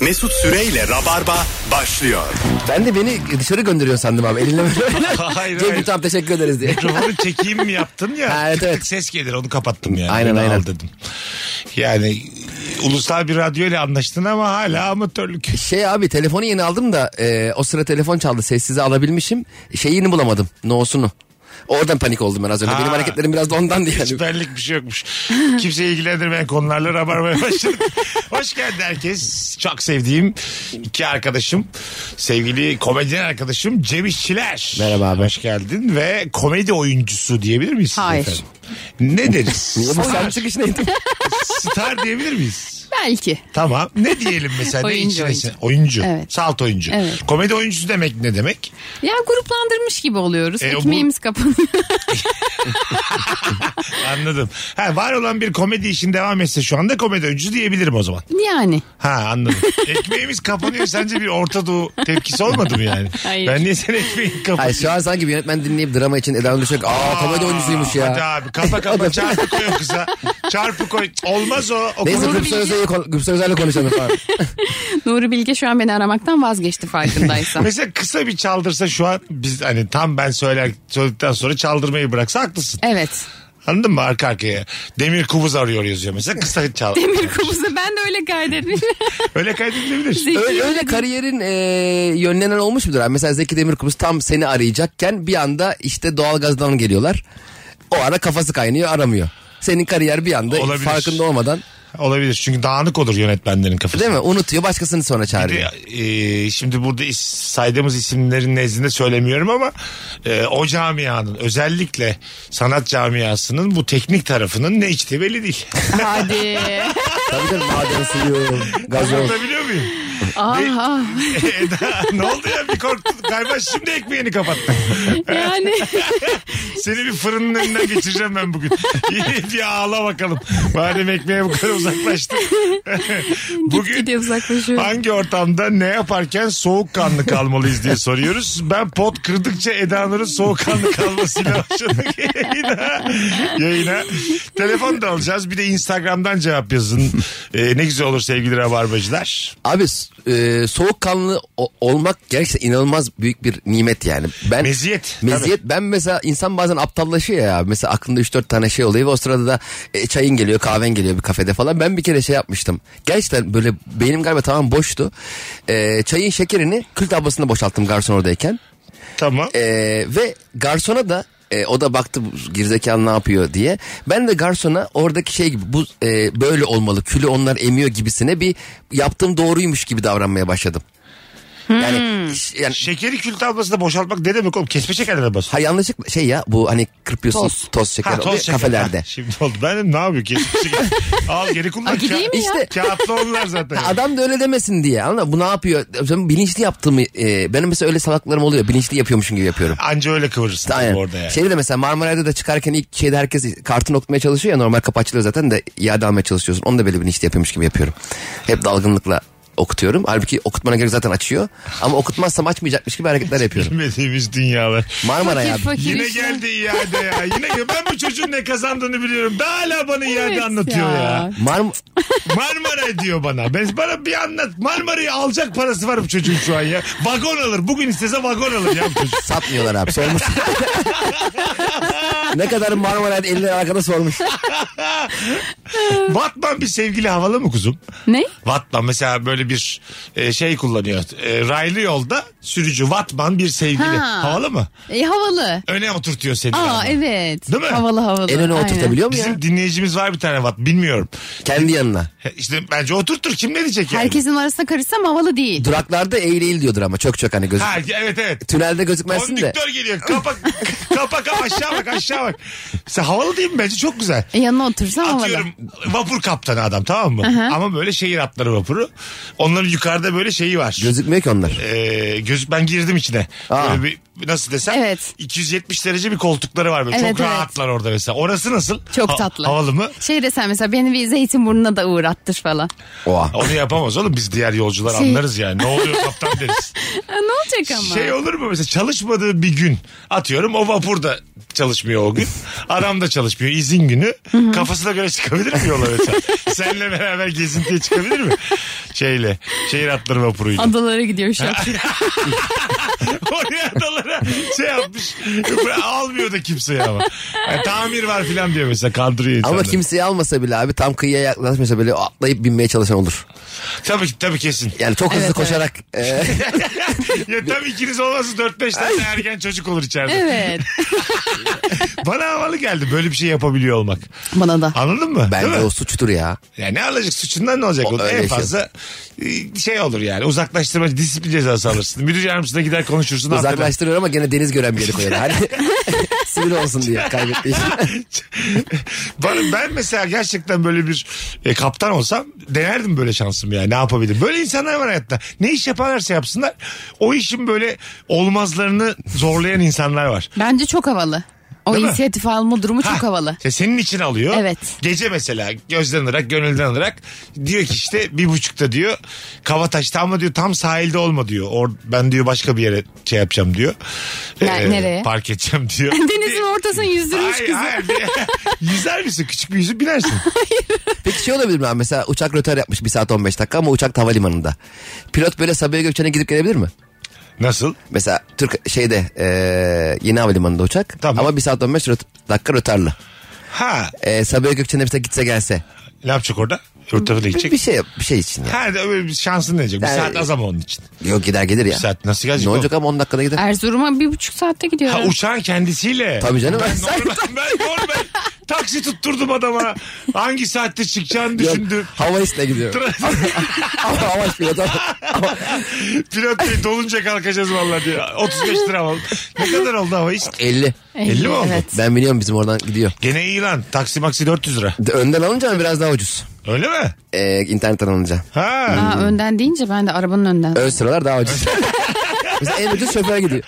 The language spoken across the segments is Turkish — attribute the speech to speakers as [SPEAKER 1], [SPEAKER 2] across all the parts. [SPEAKER 1] Mesut Süreyle Rabarba başlıyor.
[SPEAKER 2] Ben de beni dışarı gönderiyor sandım abi. Elinle böyle.
[SPEAKER 3] Hayır,
[SPEAKER 2] Cem
[SPEAKER 3] hayır.
[SPEAKER 2] Kutam teşekkür ederiz diye.
[SPEAKER 3] Mikrofonu çekeyim mi yaptın ya.
[SPEAKER 2] Ha, evet,
[SPEAKER 3] tık tık
[SPEAKER 2] evet.
[SPEAKER 3] ses gelir onu kapattım yani.
[SPEAKER 2] Aynen,
[SPEAKER 3] Beni
[SPEAKER 2] aynen.
[SPEAKER 3] al dedim. Yani ulusal bir radyo ile anlaştın ama hala amatörlük.
[SPEAKER 2] Şey abi telefonu yeni aldım da e, o sıra telefon çaldı. Sessize alabilmişim. Şeyini bulamadım. No'sunu. Oradan panik oldum ben az önce.
[SPEAKER 3] Ha.
[SPEAKER 2] Benim hareketlerim biraz da ondan diye. Hani
[SPEAKER 3] Hiç benlik bir şey yokmuş. Kimseyi ilgilendirmeyen konularla rabarmaya başladık. Hoş geldin herkes. Çok sevdiğim iki arkadaşım. Sevgili komedyen arkadaşım Cem İşçiler.
[SPEAKER 2] Merhaba abi.
[SPEAKER 3] Hoş geldin ve komedi oyuncusu diyebilir miyiz? siz
[SPEAKER 4] Hayır.
[SPEAKER 3] efendim? Ne deriz?
[SPEAKER 2] Bu sen
[SPEAKER 3] Star,
[SPEAKER 2] çıkış neydi?
[SPEAKER 3] star diyebilir miyiz?
[SPEAKER 4] Belki.
[SPEAKER 3] Tamam. Ne diyelim mesela?
[SPEAKER 4] Oyuncu,
[SPEAKER 3] ne içine- oyuncu.
[SPEAKER 4] Evet.
[SPEAKER 3] Salt oyuncu.
[SPEAKER 4] Evet.
[SPEAKER 3] Komedi oyuncusu demek ne demek?
[SPEAKER 4] Ya gruplandırmış gibi oluyoruz.
[SPEAKER 3] E, bu-
[SPEAKER 4] Ekmeğimiz kapanıyor.
[SPEAKER 3] Anladım. Ha, var olan bir komedi işin devam etse şu anda komedi oyuncusu diyebilirim o zaman.
[SPEAKER 4] yani.
[SPEAKER 3] Ha anladım. Ekmeğimiz kapanıyor sence bir Orta Doğu tepkisi olmadı mı yani?
[SPEAKER 4] Hayır.
[SPEAKER 3] Ben niye senin ekmeğin kapanıyor?
[SPEAKER 2] Hayır şu an sanki bir yönetmen dinleyip drama için Eda Düşek. Aa komedi oyuncusuymuş ya.
[SPEAKER 3] Hadi abi kapa kapa çarpı koy o kıza. Çarpı koy. Olmaz o. o
[SPEAKER 2] Neyse
[SPEAKER 3] konu-
[SPEAKER 2] Gülsel Özel'le kon- Gülsel Özel'le konuşalım falan.
[SPEAKER 4] Nuri Bilge şu an beni aramaktan vazgeçti farkındaysa.
[SPEAKER 3] Mesela kısa bir çaldırsa şu an biz hani tam ben söyler söyledikten sonra çaldırmayı bıraksa haklısın.
[SPEAKER 4] evet.
[SPEAKER 3] Anladın mı arka arkaya? Demir kubuz arıyor yazıyor mesela kısa çal.
[SPEAKER 4] Demir kubusu ben de öyle kaydetmişim.
[SPEAKER 3] Öyle kaydedilebilir.
[SPEAKER 2] öyle, öyle kariyerin e, yönlenen olmuş mudur? abi? Mesela Zeki Demirkubuz tam seni arayacakken bir anda işte doğalgazdan geliyorlar. O ara kafası kaynıyor aramıyor. Senin kariyer bir anda
[SPEAKER 3] Olabilir.
[SPEAKER 2] farkında olmadan
[SPEAKER 3] Olabilir çünkü dağınık olur yönetmenlerin kafası.
[SPEAKER 2] değil mi? Unutuyor başkasını sonra çağırıyor.
[SPEAKER 3] Ee, şimdi burada is- saydığımız isimlerin nezdinde söylemiyorum ama e, o camianın özellikle sanat camiasının bu teknik tarafının ne içtiği belli değil.
[SPEAKER 4] Hadi.
[SPEAKER 2] Tabii tabii maden suyu, gazoz.
[SPEAKER 3] Anlatabiliyor muyum?
[SPEAKER 4] Aha.
[SPEAKER 3] Eda, ne oldu ya bir korktun galiba şimdi ekmeğini kapattın.
[SPEAKER 4] Yani.
[SPEAKER 3] Seni bir fırının önünden geçireceğim ben bugün. İyi bir ağla bakalım. Madem ekmeğe bu kadar uzaklaştın. bugün
[SPEAKER 4] Gidiyor uzaklaşıyor.
[SPEAKER 3] Hangi ortamda ne yaparken soğukkanlı kalmalıyız diye soruyoruz. Ben pot kırdıkça Eda Nur'un soğukkanlı kalmasıyla başladık yayına. yayına. Telefon da alacağız. Bir de Instagram'dan cevap yazın. Ee, ne güzel olur sevgili rabarbacılar.
[SPEAKER 2] Abi e, soğukkanlı o- olmak gerçekten inanılmaz büyük bir nimet yani. Ben
[SPEAKER 3] Meziyet,
[SPEAKER 2] Meziyet. Ben mesela insan bazen aptallaşıyor ya. abi. Mesela aklında 3-4 tane şey oluyor ve o sırada da e, çayın geliyor, kahven geliyor bir kafede falan. Ben bir kere şey yapmıştım. Gerçekten böyle benim galiba tamam boştu. E, çayın şekerini kül tablasına boşalttım garson oradayken.
[SPEAKER 3] Tamam.
[SPEAKER 2] E, ve garsona da e, o da baktı bu gerizekalı ne yapıyor diye. Ben de garsona oradaki şey gibi bu e, böyle olmalı külü onlar emiyor gibisine bir yaptığım doğruymuş gibi davranmaya başladım.
[SPEAKER 3] Hmm.
[SPEAKER 2] Yani, ş- yani
[SPEAKER 3] Şekeri kül tablasında boşaltmak ne demek oğlum? Kesme şekerle bas.
[SPEAKER 2] ha yanlışlıkla şey ya bu hani kırpıyorsun toz,
[SPEAKER 4] Toz.
[SPEAKER 2] şeker oluyor
[SPEAKER 3] şeker.
[SPEAKER 2] kafelerde.
[SPEAKER 3] Ha, şimdi oldu. Ben dedim, ne yapıyor? Kesme şeker. Al geri kullan.
[SPEAKER 4] Aa, gideyim
[SPEAKER 3] Ka-
[SPEAKER 4] ya.
[SPEAKER 2] İşte-
[SPEAKER 3] Kağıtlı onlar zaten.
[SPEAKER 2] Adam da öyle demesin diye anladın mı? Bu ne yapıyor? Ben bilinçli yaptığımı e, benim mesela öyle salaklarım oluyor. Bilinçli yapıyormuşum gibi yapıyorum.
[SPEAKER 3] Anca öyle kıvırırsın
[SPEAKER 2] Aynen.
[SPEAKER 3] orada
[SPEAKER 4] Şey-
[SPEAKER 3] yani.
[SPEAKER 2] Şeyde de mesela Marmaray'da da çıkarken ilk şeyde herkes kartın okutmaya çalışıyor ya normal kapı açılıyor zaten de iade almaya çalışıyorsun. Onu da böyle bilinçli yapıyormuş gibi yapıyorum. Hep dalgınlıkla okutuyorum. Halbuki okutmana göre zaten açıyor. Ama okutmazsam açmayacakmış gibi hareketler yapıyorum.
[SPEAKER 3] Bilmediğimiz dünyalar.
[SPEAKER 2] Marmaray
[SPEAKER 4] Fakir
[SPEAKER 2] abi.
[SPEAKER 4] fakir
[SPEAKER 3] Yine
[SPEAKER 4] Şey işte.
[SPEAKER 3] geldi iade ya. Yine gel- ben bu çocuğun ne kazandığını biliyorum. Daha hala bana iade
[SPEAKER 4] Evet
[SPEAKER 3] anlatıyor ya.
[SPEAKER 2] Marm
[SPEAKER 3] Marmara diyor bana. Ben bana bir anlat. Marmara'yı alacak parası var bu çocuğun şu an ya. Vagon alır. Bugün istese vagon alır ya bu çocuk.
[SPEAKER 2] satmıyorlar abi sormuş. ne kadar Marmaray'da eller arkada sormuş.
[SPEAKER 3] Vatman bir sevgili havalı mı kuzum?
[SPEAKER 4] Ne?
[SPEAKER 3] Vatman mesela böyle bir e, şey kullanıyor. E, raylı yolda sürücü Vatman bir sevgili.
[SPEAKER 4] Ha.
[SPEAKER 3] Havalı mı?
[SPEAKER 4] E, havalı.
[SPEAKER 3] Öne oturtuyor seni.
[SPEAKER 4] Aa
[SPEAKER 3] yani.
[SPEAKER 4] evet.
[SPEAKER 3] Değil mi?
[SPEAKER 4] Havalı havalı.
[SPEAKER 2] En öne
[SPEAKER 4] Aynen.
[SPEAKER 2] oturtabiliyor mu ya?
[SPEAKER 3] Bizim dinleyicimiz var bir tane Vat. Bilmiyorum.
[SPEAKER 2] Kendi yanına.
[SPEAKER 3] He, İşte bence oturtur. Kim ne diyecek yani?
[SPEAKER 4] Herkesin arasına karışsam havalı değil.
[SPEAKER 2] Duraklarda eğil eğil diyordur ama çok çok hani gözük.
[SPEAKER 3] Ha, evet evet.
[SPEAKER 2] Tünelde gözükmezsin de.
[SPEAKER 3] Kondüktör geliyor. Kapak, kapak aşağı bak aşağı bak. Mesela havalı değil mi bence çok güzel.
[SPEAKER 4] E, yanına otursam havalı.
[SPEAKER 3] Atıyorum vapur kaptanı adam tamam mı? Ama böyle şehir atları vapuru. Onların yukarıda böyle şeyi var.
[SPEAKER 2] Gözükmüyor ki onlar.
[SPEAKER 3] Ee, gözük ben girdim içine.
[SPEAKER 2] Aa.
[SPEAKER 3] Böyle bir nasıl desem
[SPEAKER 4] Evet.
[SPEAKER 3] 270 derece bir koltukları var böyle.
[SPEAKER 4] Evet,
[SPEAKER 3] Çok
[SPEAKER 4] evet.
[SPEAKER 3] rahatlar orada mesela. Orası nasıl? Ha-
[SPEAKER 4] Çok tatlı.
[SPEAKER 3] havalı mı?
[SPEAKER 4] Şey desen mesela beni bir Zeytinburnu'na da uğrattır falan.
[SPEAKER 2] Oha.
[SPEAKER 3] Onu yapamaz oğlum biz diğer yolcular
[SPEAKER 4] Şey-
[SPEAKER 3] anlarız yani. Ne oluyor kaptan deriz.
[SPEAKER 4] Ha, ne olacak ama?
[SPEAKER 3] Şey olur mu mesela çalışmadığı bir gün atıyorum o vapur da çalışmıyor o gün. Adam da çalışmıyor izin günü. Kafasına göre çıkabilir mi yola mesela? Seninle beraber gezintiye çıkabilir mi? Şeyle şehir atları vapuruyla.
[SPEAKER 4] Adalara gidiyor şu an.
[SPEAKER 3] Oraya adalara şey yapmış. Almıyor da kimseye ama. Yani tamir var filan diyor mesela kandırıyor insanları.
[SPEAKER 2] Ama kimseyi almasa bile abi tam kıyıya yaklaşmasa bile atlayıp binmeye çalışan olur.
[SPEAKER 3] Tabii ki tabii kesin.
[SPEAKER 2] Yani çok hızlı
[SPEAKER 4] Evet,
[SPEAKER 2] koşarak e,
[SPEAKER 3] Ya tam ikiniz olmasa 4-5 tane ergen çocuk olur içeride.
[SPEAKER 4] evet.
[SPEAKER 3] Bana havalı geldi böyle bir şey yapabiliyor olmak.
[SPEAKER 4] Bana da.
[SPEAKER 3] Anladın mı? Değil mi?
[SPEAKER 2] bence o suçtur ya.
[SPEAKER 3] Ya ne alacak suçundan ne olacak?
[SPEAKER 2] O-
[SPEAKER 3] O,
[SPEAKER 2] öyle
[SPEAKER 3] en
[SPEAKER 2] şey.
[SPEAKER 3] fazla e, şey olur yani uzaklaştırma disiplin cezası alırsın. Müdür yardımcısına gider konuşursun. affeder.
[SPEAKER 2] Uzaklaştırıyor ama gene deniz gören bir yere koyuyor. Hani sivil olsun diye kaybettiği için.
[SPEAKER 3] ben, ben mesela gerçekten böyle bir e, kaptan olsam denerdim böyle şansım yani ne yapabilirim. Böyle insanlar var hayatta. Ne iş yaparlarsa yapsınlar o işin böyle olmazlarını zorlayan insanlar var.
[SPEAKER 4] Bence çok havalı. O
[SPEAKER 3] Değil mi?
[SPEAKER 4] inisiyatif alma durumu çok
[SPEAKER 3] Ha,
[SPEAKER 4] havalı.
[SPEAKER 3] işte senin için alıyor.
[SPEAKER 4] Evet.
[SPEAKER 3] Gece mesela gözden olarak gönülden olarak diyor ki işte bir buçukta diyor Kavataş'ta ama diyor tam sahilde olma diyor. Or, ben diyor başka bir yere şey yapacağım diyor. Ee,
[SPEAKER 4] Ne- nereye?
[SPEAKER 3] Park edeceğim diyor.
[SPEAKER 4] Denizin ortasına yüzdürmüş
[SPEAKER 3] Hayır,
[SPEAKER 4] kızı.
[SPEAKER 3] hayır. Yüzer misin? Küçük bir yüzüp binersin.
[SPEAKER 2] Peki şey olabilir mi abi mesela uçak rötar yapmış 1 saat 15 dakika ama uçak da havalimanında. Pilot böyle Sabiha Gökçen'e gidip gelebilir mi?
[SPEAKER 3] Nasıl?
[SPEAKER 2] Mesela Türk şeyde e, yeni havalimanında uçak
[SPEAKER 3] Tamam.
[SPEAKER 2] ama 1 saat 15 röt- dakika rötarlı.
[SPEAKER 3] Ha.
[SPEAKER 2] E, Sabiha Gökçen'e mesela gitse gelse
[SPEAKER 3] Ne yapacak orada? Öbür tarafa da
[SPEAKER 2] bir,
[SPEAKER 3] gidecek.
[SPEAKER 2] bir şey bir şey için ya.
[SPEAKER 3] Ha öyle bir şansın ne olacak? Bir
[SPEAKER 2] Yani-
[SPEAKER 3] saat az ama onun için.
[SPEAKER 2] Yok gider gelir ya.
[SPEAKER 3] Bir saat nasıl gelecek
[SPEAKER 2] Ne
[SPEAKER 3] oğlum?
[SPEAKER 2] olacak ama 10 dakikada gider.
[SPEAKER 4] Erzurum'a bir buçuk saatte gidiyorum.
[SPEAKER 3] Ha uçağın kendisiyle.
[SPEAKER 2] Tabii canım.
[SPEAKER 3] Ben normal, ben normal. Taksi tutturdum adama. Hangi saatte çıkacağını düşündüm.
[SPEAKER 2] Hava işine gidiyor. ama hava pilot ama.
[SPEAKER 3] Pilot bey dolunca kalkacağız vallahi diyor. 35 lira oldu. Ne kadar oldu hava işte.
[SPEAKER 2] 50.
[SPEAKER 3] 50 mi oldu?
[SPEAKER 4] Eh, Evet.
[SPEAKER 2] Ben biliyorum bizim oradan gidiyor.
[SPEAKER 3] Gene iyi lan. Taksi maksi 400 lira.
[SPEAKER 2] De- Önden alınca mı biraz daha ucuz.
[SPEAKER 3] Öyle mi?
[SPEAKER 2] Ee, internetten alınca.
[SPEAKER 3] Ha.
[SPEAKER 4] Ha, önden deyince ben de arabanın önden.
[SPEAKER 2] Ön sıralar daha ucuz. Mesela en ucuz şoför gidiyor.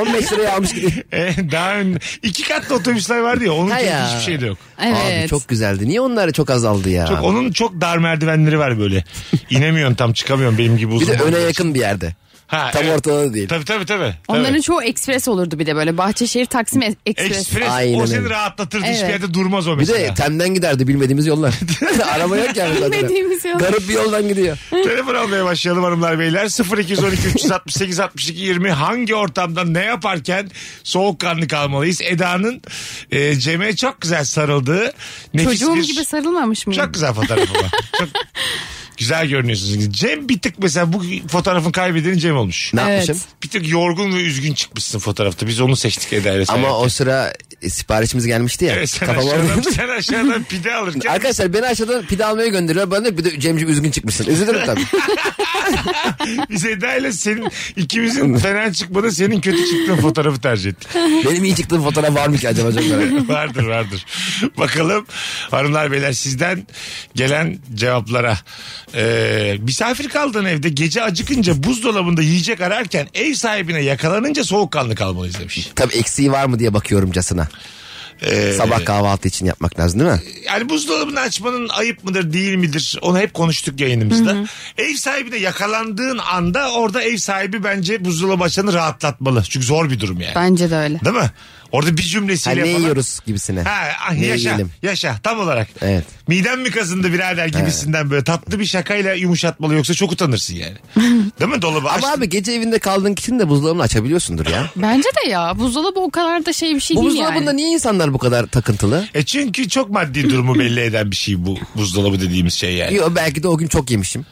[SPEAKER 2] 15 liraya almış gidiyor.
[SPEAKER 3] E, daha ön... iki katlı otobüsler vardı ya. Onun
[SPEAKER 2] Ha
[SPEAKER 3] gibi
[SPEAKER 2] ya.
[SPEAKER 3] hiçbir şey de yok.
[SPEAKER 4] Evet.
[SPEAKER 2] Abi çok güzeldi. Niye onlar çok azaldı ya?
[SPEAKER 3] Çok, onun çok dar merdivenleri var böyle. İnemiyorsun tam çıkamıyorsun benim gibi uzun.
[SPEAKER 2] bir de öne
[SPEAKER 3] merdiven.
[SPEAKER 2] yakın bir yerde.
[SPEAKER 3] Ha,
[SPEAKER 2] Tam
[SPEAKER 3] evet.
[SPEAKER 2] ortada da değil.
[SPEAKER 3] Tabii tabii tabii.
[SPEAKER 4] Onların
[SPEAKER 3] Evet.
[SPEAKER 4] çoğu ekspres olurdu bir de böyle. Bahçeşehir Taksim e- ekspres.
[SPEAKER 3] Ekspres
[SPEAKER 2] Aynen
[SPEAKER 3] o seni
[SPEAKER 2] öyle.
[SPEAKER 3] rahatlatırdı hiçbir
[SPEAKER 4] Evet.
[SPEAKER 3] yerde durmaz o
[SPEAKER 2] Bir
[SPEAKER 3] mesela.
[SPEAKER 2] de temden giderdi bilmediğimiz yollar. Araba yok ya. mesela.
[SPEAKER 4] Bilmediğimiz yollar.
[SPEAKER 2] Garip bir yoldan gidiyor.
[SPEAKER 3] Telefon almaya başlayalım hanımlar beyler. 0212 368 62 20 hangi ortamda ne yaparken soğukkanlı kalmalıyız? Eda'nın e, Cem'e çok güzel sarıldığı nefis
[SPEAKER 4] Çocuğum
[SPEAKER 3] bir...
[SPEAKER 4] gibi sarılmamış mıyım?
[SPEAKER 3] çok güzel fotoğrafı var. çok güzel görünüyorsunuz. Cem bir tık mesela bu fotoğrafın kaybedeni Cem olmuş.
[SPEAKER 2] Ne
[SPEAKER 4] Evet.
[SPEAKER 2] yapmışım?
[SPEAKER 3] Bir tık yorgun ve üzgün çıkmışsın fotoğrafta. Biz onu seçtik Eda'yla.
[SPEAKER 2] Ama o sıra e, siparişimiz gelmişti ya.
[SPEAKER 3] Şey, Evet, sen,
[SPEAKER 2] Kafama
[SPEAKER 3] aşağıdan, sen aşağıdan pide alırken
[SPEAKER 2] Arkadaşlar beni aşağıdan pide almaya gönderiyor. Bana diyor bir de Cemciğim üzgün çıkmışsın. Üzülürüm tabii.
[SPEAKER 3] biz Eda'yla senin ikimizin fena çıkmadı senin kötü çıktığın fotoğrafı tercih ettik.
[SPEAKER 2] Benim iyi çıktığım fotoğraf var mı ki acaba? Çok merak ediyorum.
[SPEAKER 3] vardır vardır. Bakalım hanımlar beyler sizden gelen cevaplara. Ee, misafir kaldığın evde gece acıkınca buzdolabında yiyecek ararken ev sahibine yakalanınca soğukkanlı kalmalıyız demiş.
[SPEAKER 2] Tabii eksiği var mı diye bakıyorumcasına.
[SPEAKER 3] Ee, e,
[SPEAKER 2] Sabah kahvaltı için yapmak lazım değil mi?
[SPEAKER 3] Yani buzdolabını açmanın ayıp mıdır değil midir onu hep konuştuk yayınımızda. Ev sahibine yakalandığın anda orada ev sahibi bence buzdolabı açanı rahatlatmalı. Çünkü zor bir durum yani.
[SPEAKER 4] Bence de öyle.
[SPEAKER 3] Değil mi? Orada bir
[SPEAKER 2] Ha,
[SPEAKER 3] cümlesiyle
[SPEAKER 2] ne
[SPEAKER 3] falan.
[SPEAKER 2] yiyoruz gibisine.
[SPEAKER 3] Ha, ah,
[SPEAKER 2] Ne
[SPEAKER 3] yaşa,
[SPEAKER 2] yiyelim?
[SPEAKER 3] yaşa tam olarak.
[SPEAKER 2] Evet.
[SPEAKER 3] Midem mi kazındı birader gibisinden böyle tatlı bir şakayla yumuşatmalı yoksa çok utanırsın yani. Değil mi dolabı
[SPEAKER 2] Ama
[SPEAKER 3] açtın.
[SPEAKER 2] abi gece evinde kaldığın kişinin de buzdolabını açabiliyorsundur ya.
[SPEAKER 4] Bence de ya. Buzdolabı o kadar da şey bir şey
[SPEAKER 2] Bu
[SPEAKER 4] değil yani.
[SPEAKER 3] hani-
[SPEAKER 2] buzdolabında niye insanlar bu kadar takıntılı?
[SPEAKER 3] E çünkü çok maddi durumu belli eden bir şey bu buzdolabı dediğimiz şey yani.
[SPEAKER 2] Yo, belki de o gün çok yemişim.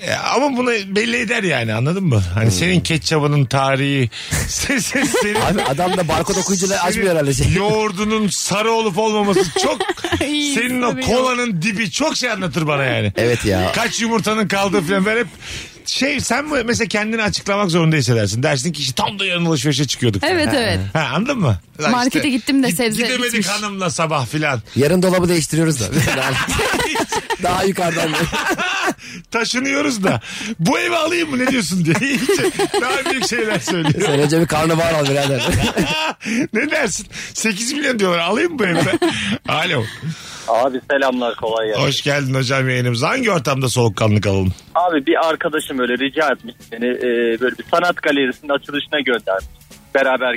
[SPEAKER 3] E, ama bunu belli eder yani anladın mı? Hani senin ketçabının tarihi, sen, sen, senin,
[SPEAKER 2] Hmm. Abi adam da barkod okuyucuları
[SPEAKER 3] senin
[SPEAKER 2] açmıyor herhalde şey.
[SPEAKER 3] yoğurdunun sarı olup olmaması çok
[SPEAKER 4] İyi,
[SPEAKER 3] senin o
[SPEAKER 4] tabii
[SPEAKER 3] kolanın dibi çok şey anlatır bana yani.
[SPEAKER 2] Evet ya.
[SPEAKER 3] Kaç yumurtanın kaldığı falan ben hep şey sen mi mesela kendini açıklamak zorunda hissedersin. Dersin ki işte tam da yarın alışverişe çıkıyorduk.
[SPEAKER 4] Evet,
[SPEAKER 3] Ha.
[SPEAKER 4] evet.
[SPEAKER 3] Ha, anladın mı? Lan
[SPEAKER 4] Markete gittim de
[SPEAKER 3] git-
[SPEAKER 4] sebze
[SPEAKER 3] Gidemedik
[SPEAKER 4] bitmiş.
[SPEAKER 3] hanımla sabah filan.
[SPEAKER 2] Yarın dolabı değiştiriyoruz da. Daha yukarıdan.
[SPEAKER 3] Taşınıyoruz da bu evi alayım mı ne diyorsun diye. İyice Daha büyük şeyler söylüyor.
[SPEAKER 2] Sen önce bir karnabahar al birader.
[SPEAKER 3] ne dersin? 8 milyon diyorlar alayım mı bu evi ben? Alo.
[SPEAKER 5] Abi selamlar kolay gelsin.
[SPEAKER 3] Hoş geldin hocam yayınımıza. Hangi ortamda soğukkanlı kalalım?
[SPEAKER 5] Abi bir arkadaşım öyle rica etmiş beni e, böyle bir sanat galerisinin açılışına göndermiş. Beraber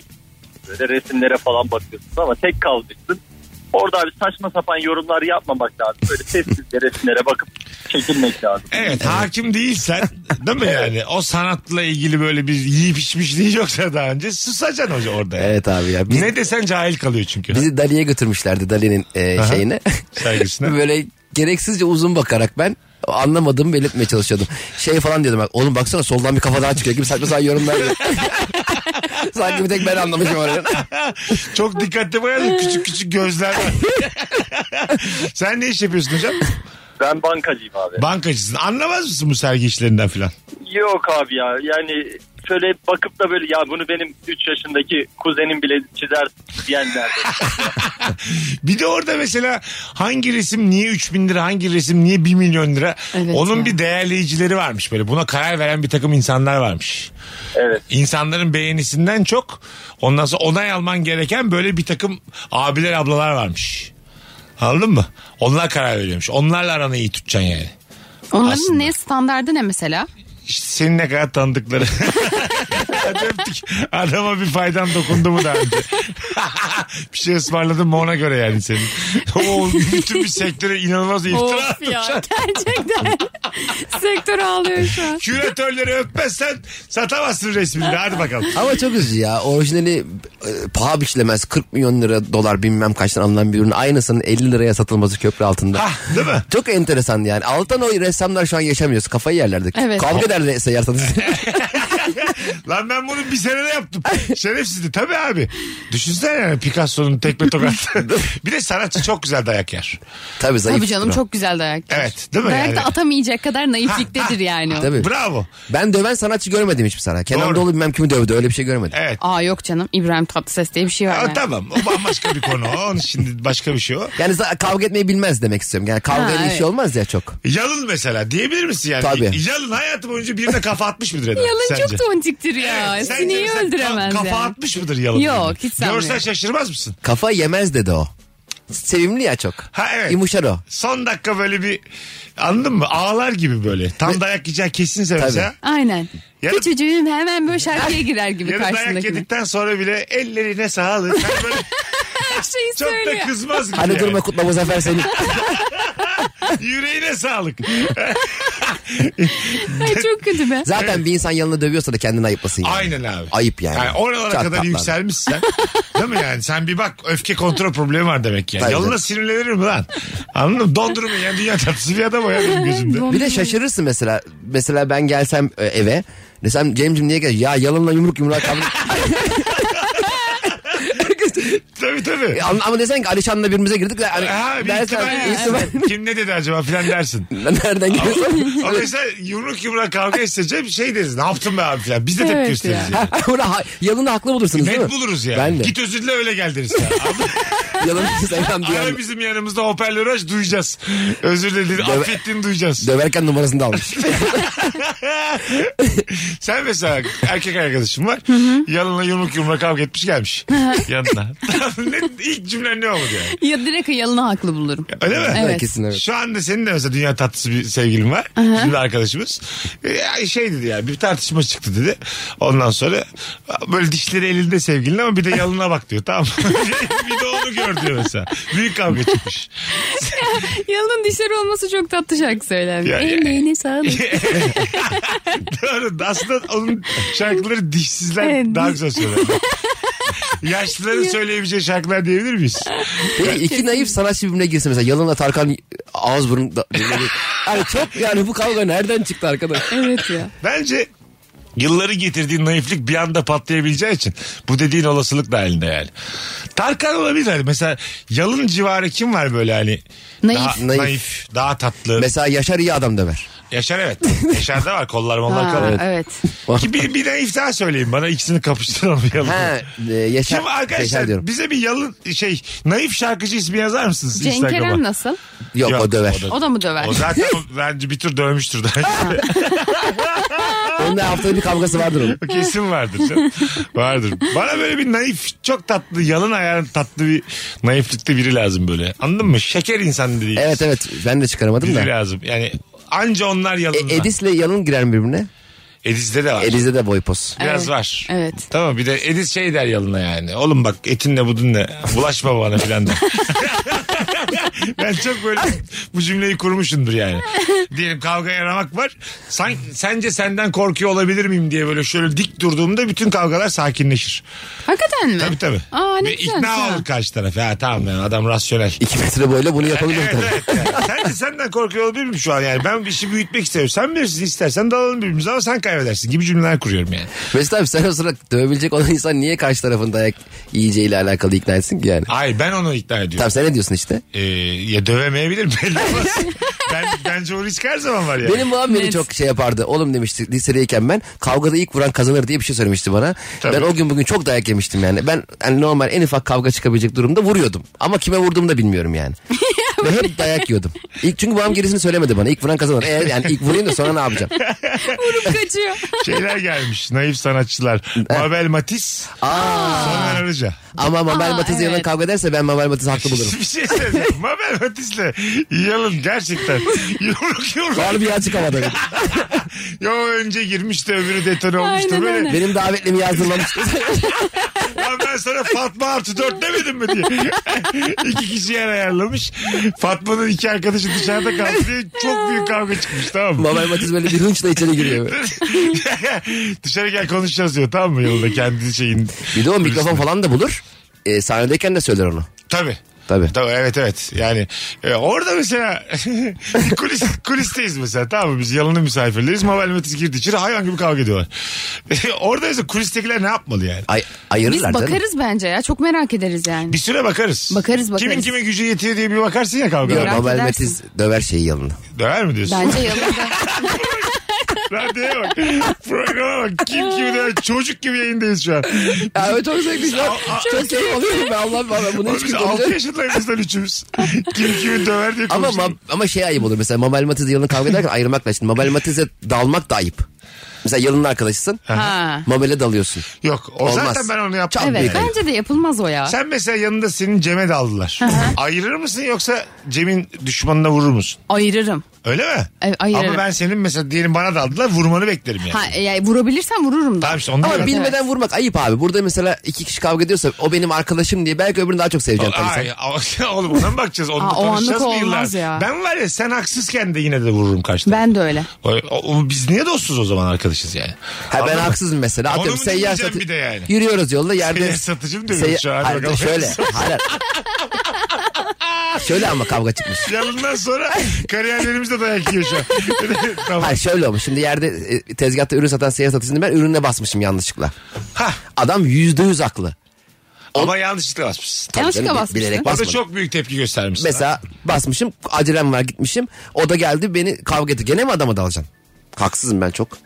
[SPEAKER 5] böyle resimlere falan bakıyorsun ama tek kalmışsın. Orada abi saçma sapan yorumlar yapmamak lazım. Böyle sessizce resimlere bakıp çekilmek lazım.
[SPEAKER 3] Evet hakim değilsen değil mi yani? O sanatla ilgili böyle bir yiyip içmişliği yoksa daha önce susacaksın hoca orada. yani.
[SPEAKER 2] evet abi ya. Biz,
[SPEAKER 3] Ne desen cahil kalıyor çünkü.
[SPEAKER 2] bizi Dali'ye götürmüşlerdi Dali'nin e,
[SPEAKER 3] Aha.
[SPEAKER 2] şeyine.
[SPEAKER 3] Sergisine.
[SPEAKER 2] Böyle gereksizce uzun bakarak ben anlamadığımı belirtmeye çalışıyordum. Şey falan diyordum bak oğlum baksana soldan bir kafa daha çıkıyor gibi saçma sapan yorumlar. yapıyor. Sanki bir tek ben anlamışım orayı.
[SPEAKER 3] Çok dikkatli bayağı küçük küçük gözler var. Sen ne iş yapıyorsun hocam?
[SPEAKER 5] Ben bankacıyım abi.
[SPEAKER 3] Bankacısın. Anlamaz mısın bu sergi işlerinden filan?
[SPEAKER 5] Yok abi ya yani şöyle bakıp da böyle ya bunu benim 3 yaşındaki kuzenim bile çizer diyenler.
[SPEAKER 3] Bir de orada mesela hangi resim niye 3000 lira hangi resim niye 1 milyon lira
[SPEAKER 4] Evet
[SPEAKER 3] onun
[SPEAKER 4] ya.
[SPEAKER 3] bir değerleyicileri varmış böyle buna karar veren bir takım insanlar varmış.
[SPEAKER 5] Evet.
[SPEAKER 3] İnsanların beğenisinden çok ondan sonra onay alman gereken böyle bir takım abiler ablalar varmış. Anladın mı? Onlar karar veriyormuş. Onlarla aranı iyi tutacaksın yani.
[SPEAKER 4] Onların
[SPEAKER 3] Aslında.
[SPEAKER 4] ne standardı ne mesela?
[SPEAKER 3] İşte senin ne kadar tanıdıkları. Hadi öptük. Adama bir faydan dokundu mu daha önce? bir şey ısmarladın mı ona göre yani senin. O bütün bir sektöre inanılmaz bir iftira
[SPEAKER 4] of
[SPEAKER 3] attın.
[SPEAKER 4] ya gerçekten. Sektör ağlıyor şu an.
[SPEAKER 3] Küratörleri öpmezsen satamazsın resmini. Hadi bakalım.
[SPEAKER 2] Ama çok üzücü ya. Orijinali e, paha biçilemez. 40 milyon lira dolar bilmem kaçtan alınan bir ürün. Aynısının 50 liraya satılması köprü altında.
[SPEAKER 3] Hah, değil mi?
[SPEAKER 2] Çok enteresan yani. Altan o ressamlar şu an yaşamıyoruz. Kafayı yerlerdik.
[SPEAKER 4] Evet.
[SPEAKER 2] Kavga ederdi seyyar satıcı.
[SPEAKER 3] Lan ben bunu bir senede yaptım. Şerefsizdi. Tabii abi. Düşünsene yani Picasso'nun tekme tokat. bir de sanatçı çok güzel dayak yer.
[SPEAKER 2] Tabii zayıf.
[SPEAKER 4] Tabii canım
[SPEAKER 2] durum.
[SPEAKER 4] çok güzel dayak.
[SPEAKER 3] Evet, değil mi
[SPEAKER 4] Dayak
[SPEAKER 3] yani?
[SPEAKER 4] da atamayacak kadar naifliktedir yani. o.
[SPEAKER 2] Tabii.
[SPEAKER 3] Bravo.
[SPEAKER 2] Ben döven sanatçı görmedim hiçbir sana.
[SPEAKER 3] Doğru. E-
[SPEAKER 2] Kenan Doğulu bilmem kimi dövdü öyle bir şey görmedim.
[SPEAKER 3] Evet.
[SPEAKER 4] Aa yok canım İbrahim Tatlıses diye bir şey var.
[SPEAKER 3] Aa,
[SPEAKER 4] yani.
[SPEAKER 3] tamam. O bambaşka bir konu. Onun şimdi başka bir şey o.
[SPEAKER 2] Yani za- kavga etmeyi bilmez demek istiyorum. Yani kavga
[SPEAKER 4] Ha,
[SPEAKER 2] ile işi
[SPEAKER 4] evet.
[SPEAKER 2] olmaz ya çok.
[SPEAKER 3] Yalın mesela diyebilir misin yani?
[SPEAKER 2] Tabii.
[SPEAKER 3] Yalın hayatı boyunca birine kafa atmış mıdır Eda?
[SPEAKER 4] Yalın
[SPEAKER 3] sence?
[SPEAKER 4] çok tontiktir ya.
[SPEAKER 3] Sence
[SPEAKER 4] Seni iyi
[SPEAKER 3] mesela
[SPEAKER 4] öldüremez
[SPEAKER 3] ka-
[SPEAKER 4] ya.
[SPEAKER 3] Kafa atmış mıdır yalın?
[SPEAKER 4] Yok, hiç sanmıyorum.
[SPEAKER 3] Görsen şaşırmaz mısın?
[SPEAKER 2] Kafa yemez dedi o. Sevimli ya çok.
[SPEAKER 3] Ha evet.
[SPEAKER 2] Yumuşar o.
[SPEAKER 3] Son dakika böyle bir anladın mı? Ağlar gibi böyle. Tam dayak yiyecek kesinse
[SPEAKER 2] Tabii.
[SPEAKER 3] mesela.
[SPEAKER 4] Aynen.
[SPEAKER 3] Ya da-
[SPEAKER 4] Küçücüğüm hemen böyle şarkıya girer gibi
[SPEAKER 3] Ya da dayak
[SPEAKER 4] karşısındakine.
[SPEAKER 3] yedikten sonra bile ellerine sağlık. Sen böyle
[SPEAKER 4] Her şeyi
[SPEAKER 3] çok da
[SPEAKER 4] söylüyor.
[SPEAKER 3] kızmaz gibi.
[SPEAKER 2] Hani
[SPEAKER 3] yani.
[SPEAKER 2] durma kutla bu zafer senin.
[SPEAKER 3] Yüreğine sağlık.
[SPEAKER 4] Ay, çok kötü be.
[SPEAKER 2] Zaten bir insan yanına dövüyorsa da kendini ayıplasın yani.
[SPEAKER 3] Aynen abi.
[SPEAKER 2] Ayıp yani.
[SPEAKER 3] oralara
[SPEAKER 2] Çok
[SPEAKER 3] kadar
[SPEAKER 2] tatlı.
[SPEAKER 3] yükselmişsen. değil mi yani? Sen bir bak öfke kontrol problemi var demek yani.
[SPEAKER 2] Tabii
[SPEAKER 3] Yalına
[SPEAKER 2] canım.
[SPEAKER 3] sinirlenir mi lan? Anladın mı? Dondurma yani dünya tatlısı bir adam o ya benim gözümde.
[SPEAKER 2] Bir de şaşırırsın mesela. Mesela ben gelsem e, eve. Desem Cem'cim niye gel? Ya yalanla yumruk yumruğa kavga.
[SPEAKER 3] tabii tabii.
[SPEAKER 2] E, ama- Ama desen ki Alişan'la birbirimize girdik. de Hani,
[SPEAKER 3] Ha, bir
[SPEAKER 2] dersen-
[SPEAKER 3] ihtimal-
[SPEAKER 2] ihtimal-
[SPEAKER 3] Kim ne dedi acaba filan dersin.
[SPEAKER 2] Nereden geliyorsun?
[SPEAKER 3] Ama mesela yumruk yumruğa kavga etse şey deriz. Ne yaptın be abi filan. Biz de tepki
[SPEAKER 4] Evet
[SPEAKER 3] gösteririz. Yani.
[SPEAKER 2] Buna ha- yalını haklı bulursunuz değil mi?
[SPEAKER 3] Net buluruz yani.
[SPEAKER 2] Ben de.
[SPEAKER 3] Git özür dile öyle gel deriz. ya.
[SPEAKER 2] Yalını sevmem
[SPEAKER 3] Ara
[SPEAKER 2] diyen.
[SPEAKER 3] bizim yanımızda hoparlörü aç duyacağız. Özür dilerim
[SPEAKER 2] Döve-
[SPEAKER 3] affettiğini duyacağız.
[SPEAKER 2] Döverken numarasını da almış.
[SPEAKER 3] Sen mesela erkek arkadaşın var. Yanına yumruk yumruk kavga etmiş gelmiş. Yanına. ne, ilk cümlen ne olur yani?
[SPEAKER 4] Ya direkt yalını haklı bulurum.
[SPEAKER 3] Öyle mi?
[SPEAKER 4] Evet.
[SPEAKER 2] Kesin evet.
[SPEAKER 3] Şu anda senin de mesela dünya tatlısı bir sevgilin var. Bizim de arkadaşımız. Ee, şey dedi yani bir tartışma çıktı dedi. Ondan sonra böyle dişleri elinde sevgilin ama bir de yalına bak diyor tamam mı? bir de onu gör diyor mesela. Büyük kavga çıkmış.
[SPEAKER 4] Yalının dişleri olması çok tatlı şarkı söyler.
[SPEAKER 3] Ya, ya.
[SPEAKER 4] Emeğine sağlık.
[SPEAKER 3] Doğru. Aslında onun şarkıları dişsizler
[SPEAKER 4] Evet.
[SPEAKER 3] daha güzel söylüyor. Yaşlıların söyleyebileceği şarkılar diyebilir miyiz?
[SPEAKER 2] Peki iki naif sanatçı birbirine girsin mesela. Yalınla Tarkan ağız burun. Da, yani çok yani bu kavga nereden çıktı arkadaş?
[SPEAKER 4] evet ya.
[SPEAKER 3] Bence yılları getirdiğin naiflik bir anda patlayabileceği için bu dediğin olasılık dahilinde yani. Tarkan olabilir hani mesela yalın civarı kim var böyle hani
[SPEAKER 4] Naif.
[SPEAKER 3] Daha, naif.
[SPEAKER 2] Naif.
[SPEAKER 3] daha tatlı.
[SPEAKER 2] Mesela Yaşar iyi adam döver.
[SPEAKER 3] Yaşar evet. Yaşar'da var kollar mollar
[SPEAKER 4] Ha,
[SPEAKER 3] kalır.
[SPEAKER 4] evet.
[SPEAKER 3] Ki bir, bir de iftira söyleyin bana ikisini kapıştıralım yalın.
[SPEAKER 2] Ha, e, Yaşar,
[SPEAKER 3] Kim
[SPEAKER 2] Yaşar
[SPEAKER 3] arkadaşlar
[SPEAKER 2] diyorum.
[SPEAKER 3] bize bir yalın şey naif şarkıcı ismi yazar mısınız
[SPEAKER 4] Cenk
[SPEAKER 3] Instagram'a?
[SPEAKER 4] Eren nasıl?
[SPEAKER 2] Yok,
[SPEAKER 3] Yok,
[SPEAKER 2] o döver.
[SPEAKER 4] O da mı döver?
[SPEAKER 3] O zaten o- bence bir tur dövmüştür daha.
[SPEAKER 2] Onun da haftada bir kavgası vardır onun.
[SPEAKER 3] Kesin vardır canım. Vardır. Bana böyle bir naif, çok tatlı, yalın ayağın tatlı bir naiflikte biri lazım böyle. Anladın mı? Şeker insan dediğimiz.
[SPEAKER 2] Evet evet ben de çıkaramadım
[SPEAKER 3] Biri
[SPEAKER 2] da.
[SPEAKER 3] lazım. Yani anca onlar yalın.
[SPEAKER 2] E, Edis'le Yalın girer mi birbirine.
[SPEAKER 3] Ediz'de de var.
[SPEAKER 2] Edis'de de boy pos.
[SPEAKER 3] Biraz
[SPEAKER 4] Evet.
[SPEAKER 3] var.
[SPEAKER 4] Evet.
[SPEAKER 3] Tamam bir de Ediz şey der yalına yani. Oğlum bak etin ne budun ne. Bulaşma bana filan der. ben çok böyle bu cümleyi kurmuşumdur yani. Diyelim kavga yaramak var. San, sence senden korkuyor olabilir miyim diye böyle şöyle dik durduğumda bütün kavgalar sakinleşir.
[SPEAKER 4] Hakikaten mi?
[SPEAKER 3] Tabii tabii.
[SPEAKER 4] Aa, ne
[SPEAKER 3] Ve
[SPEAKER 4] güzelmiş
[SPEAKER 3] ikna
[SPEAKER 4] ha.
[SPEAKER 3] olur karşı taraf. Ya tamam yani adam rasyonel.
[SPEAKER 2] İki metre boyla bunu yapabilirim
[SPEAKER 3] Evet,
[SPEAKER 2] tabii.
[SPEAKER 3] evet. Yani Sence senden korkuyor olabilir miyim şu an yani? Ben bir işi büyütmek istiyorum. Sen bilirsin istersen dalalım birbirimize ama sen kaybedersin gibi cümleler kuruyorum yani.
[SPEAKER 2] Mesut abi sen o sırada dövebilecek olan insan niye karşı tarafın dayak yiyeceğiyle alakalı ikna etsin ki yani?
[SPEAKER 3] Hayır ben onu ikna ediyorum.
[SPEAKER 2] Tamam sen ne diyorsun işte?
[SPEAKER 3] Ee, ya dövemeyebilir belli olmaz. ben, bence o risk her zaman var yani.
[SPEAKER 2] Benim babam beni
[SPEAKER 4] Net.
[SPEAKER 2] çok şey yapardı. Oğlum demişti lisedeyken ben kavgada ilk vuran kazanır diye bir şey söylemişti bana.
[SPEAKER 3] Tabii.
[SPEAKER 2] Ben o gün bugün çok dayak yemiştim yani. Ben yani normal en ufak kavga çıkabilecek durumda vuruyordum. Ama kime vurduğumu da bilmiyorum yani. Ve hep dayak yiyordum. İlk, çünkü babam gerisini söylemedi bana. İlk vuran kazanır. E, yani ilk vurayım da sonra ne yapacağım?
[SPEAKER 4] Vurup kaçıyor.
[SPEAKER 3] Şeyler gelmiş naif sanatçılar. Mabel Matiz,
[SPEAKER 2] Aa,
[SPEAKER 3] Soner Arıca.
[SPEAKER 2] ama Mabel
[SPEAKER 4] Aa,
[SPEAKER 2] Matiz'le
[SPEAKER 4] evet.
[SPEAKER 2] yalan kavga ederse ben Mabel Matiz'i haklı bulurum.
[SPEAKER 3] bir şey söyleyeyim. Mabel Matiz'le yalın gerçekten. Yumruk yumruk.
[SPEAKER 2] Var bir açık havada.
[SPEAKER 3] Yo önce girmişti öbürü detone olmuştu.
[SPEAKER 4] Aynen
[SPEAKER 3] Böyle
[SPEAKER 4] öyle.
[SPEAKER 2] Benim davetlimi yazdırmamıştı.
[SPEAKER 3] Lan ben sana Fatma artı dört demedim mi diye. iki kişi yer ayarlamış. Fatma'nın iki arkadaşı dışarıda kaldı diye çok büyük kavga çıkmış tamam mı?
[SPEAKER 2] Mabel Matiz böyle bir hınçla içeri giriyor.
[SPEAKER 3] Dışarı gel konuşacağız diyor tamam mı yolda kendi şeyin.
[SPEAKER 2] Bir de o mikrofon falan da bulur. E, sahnedeyken de söyler onu.
[SPEAKER 3] Tabii.
[SPEAKER 2] Tabii.
[SPEAKER 3] Tabii evet evet. Yani e, orada mesela bir kulis, kulisteyiz mesela tamam mı? Biz yalanın misafirleriz. Mabel Matiz girdi içeri hayvan gibi kavga ediyorlar. orada mesela kulistekiler ne yapmalı yani?
[SPEAKER 2] Ay,
[SPEAKER 4] Biz
[SPEAKER 2] ayırırlar canım.
[SPEAKER 4] bakarız bence ya. Çok merak ederiz yani.
[SPEAKER 3] Bir süre bakarız.
[SPEAKER 4] Bakarız, bakarız.
[SPEAKER 3] Kimin kime gücü yetiyor diye bir bakarsın ya
[SPEAKER 2] Yok
[SPEAKER 4] Merak
[SPEAKER 3] kavgalara.
[SPEAKER 2] Mabel
[SPEAKER 4] edersin.
[SPEAKER 2] Matiz döver şeyi yalını.
[SPEAKER 3] Döver mi diyorsun?
[SPEAKER 4] Bence yanında.
[SPEAKER 3] Radyoya bak. Programa bak. Kim gibi de çocuk gibi yayındayız şu an.
[SPEAKER 2] Ya evet çok zevkli şu an. Çok keyif alıyorum ben Allah'ım bana bunu hiç
[SPEAKER 3] Biz 6
[SPEAKER 2] kimse
[SPEAKER 3] yaşındayız biz lan üçümüz. Kim kimi döver diye
[SPEAKER 2] ama,
[SPEAKER 3] konuştuk.
[SPEAKER 2] ma- ama şey ayıp olur mesela Mabel Matiz'le yalını kavga ederken ayırmak da şimdi Mabel Matiz'e dalmak da ayıp. Mesela yalının arkadaşısın.
[SPEAKER 4] ha.
[SPEAKER 2] Mabel'e dalıyorsun.
[SPEAKER 3] Yok o
[SPEAKER 2] Olmaz.
[SPEAKER 3] zaten ben onu yaptım.
[SPEAKER 2] Çok
[SPEAKER 4] Evet
[SPEAKER 2] büyük ayıp.
[SPEAKER 4] bence de yapılmaz o ya.
[SPEAKER 3] Sen mesela yanında senin Cem'e de aldılar. Ayırır mısın yoksa Cem'in düşmanına vurur musun?
[SPEAKER 4] Ayırırım.
[SPEAKER 3] Öyle mi?
[SPEAKER 4] Evet, ayırırım.
[SPEAKER 3] Ama ben senin mesela diyelim bana da aldılar vurmanı beklerim yani.
[SPEAKER 4] Ha, yani vurabilirsem vururum da.
[SPEAKER 3] Tamam işte onu
[SPEAKER 2] Ama
[SPEAKER 3] diyorum.
[SPEAKER 2] bilmeden vurmak ayıp abi. Burada mesela iki kişi kavga ediyorsa o benim arkadaşım diye belki öbürünü daha çok seveceksin tabii sen.
[SPEAKER 3] Ay, oğlum ona mı bakacağız? Onunla
[SPEAKER 4] Aa, o
[SPEAKER 3] konuşacağız
[SPEAKER 4] anlık
[SPEAKER 3] mı
[SPEAKER 4] olmaz
[SPEAKER 3] yıllar?
[SPEAKER 4] ya.
[SPEAKER 3] Ben var ya sen haksızken de yine de vururum karşıdan.
[SPEAKER 4] Ben de öyle.
[SPEAKER 3] O, o- biz niye dostuz o zaman arkadaşız yani?
[SPEAKER 2] Ha ben
[SPEAKER 3] Anladın mı?
[SPEAKER 2] haksızım mesela.
[SPEAKER 3] Onu
[SPEAKER 2] Atıyorum
[SPEAKER 3] mu
[SPEAKER 2] seyyar
[SPEAKER 3] dinleyeceğim
[SPEAKER 2] satı-
[SPEAKER 3] bir de yani?
[SPEAKER 2] Yürüyoruz yolda yerde.
[SPEAKER 3] Seyyar satıcı mı dövüyor şu an?
[SPEAKER 2] Hayır,
[SPEAKER 3] Bakalım.
[SPEAKER 2] şöyle. Hayır. şöyle ama kavga çıkmış.
[SPEAKER 3] Yarından sonra kariyerlerimiz de dayak yiyor şu an. tamam.
[SPEAKER 2] Hayır şöyle olmuş. Şimdi yerde e, tezgahta ürün satan seyyar satıcının ben ürüne basmışım yanlışlıkla.
[SPEAKER 3] Hah,
[SPEAKER 2] Adam yüzde yüz haklı.
[SPEAKER 3] ama yanlışlıkla basmışsın.
[SPEAKER 2] Tabii
[SPEAKER 4] Yanlışlıkla
[SPEAKER 2] canım, bi-
[SPEAKER 4] basmışsın.
[SPEAKER 2] Bilerek
[SPEAKER 4] O
[SPEAKER 3] O da
[SPEAKER 2] basmadım.
[SPEAKER 3] çok büyük tepki göstermişsin.
[SPEAKER 2] Mesela basmışım acelem var gitmişim. O da geldi beni kavga etti. Gene mi adama dalacaksın? Haksızım ben çok.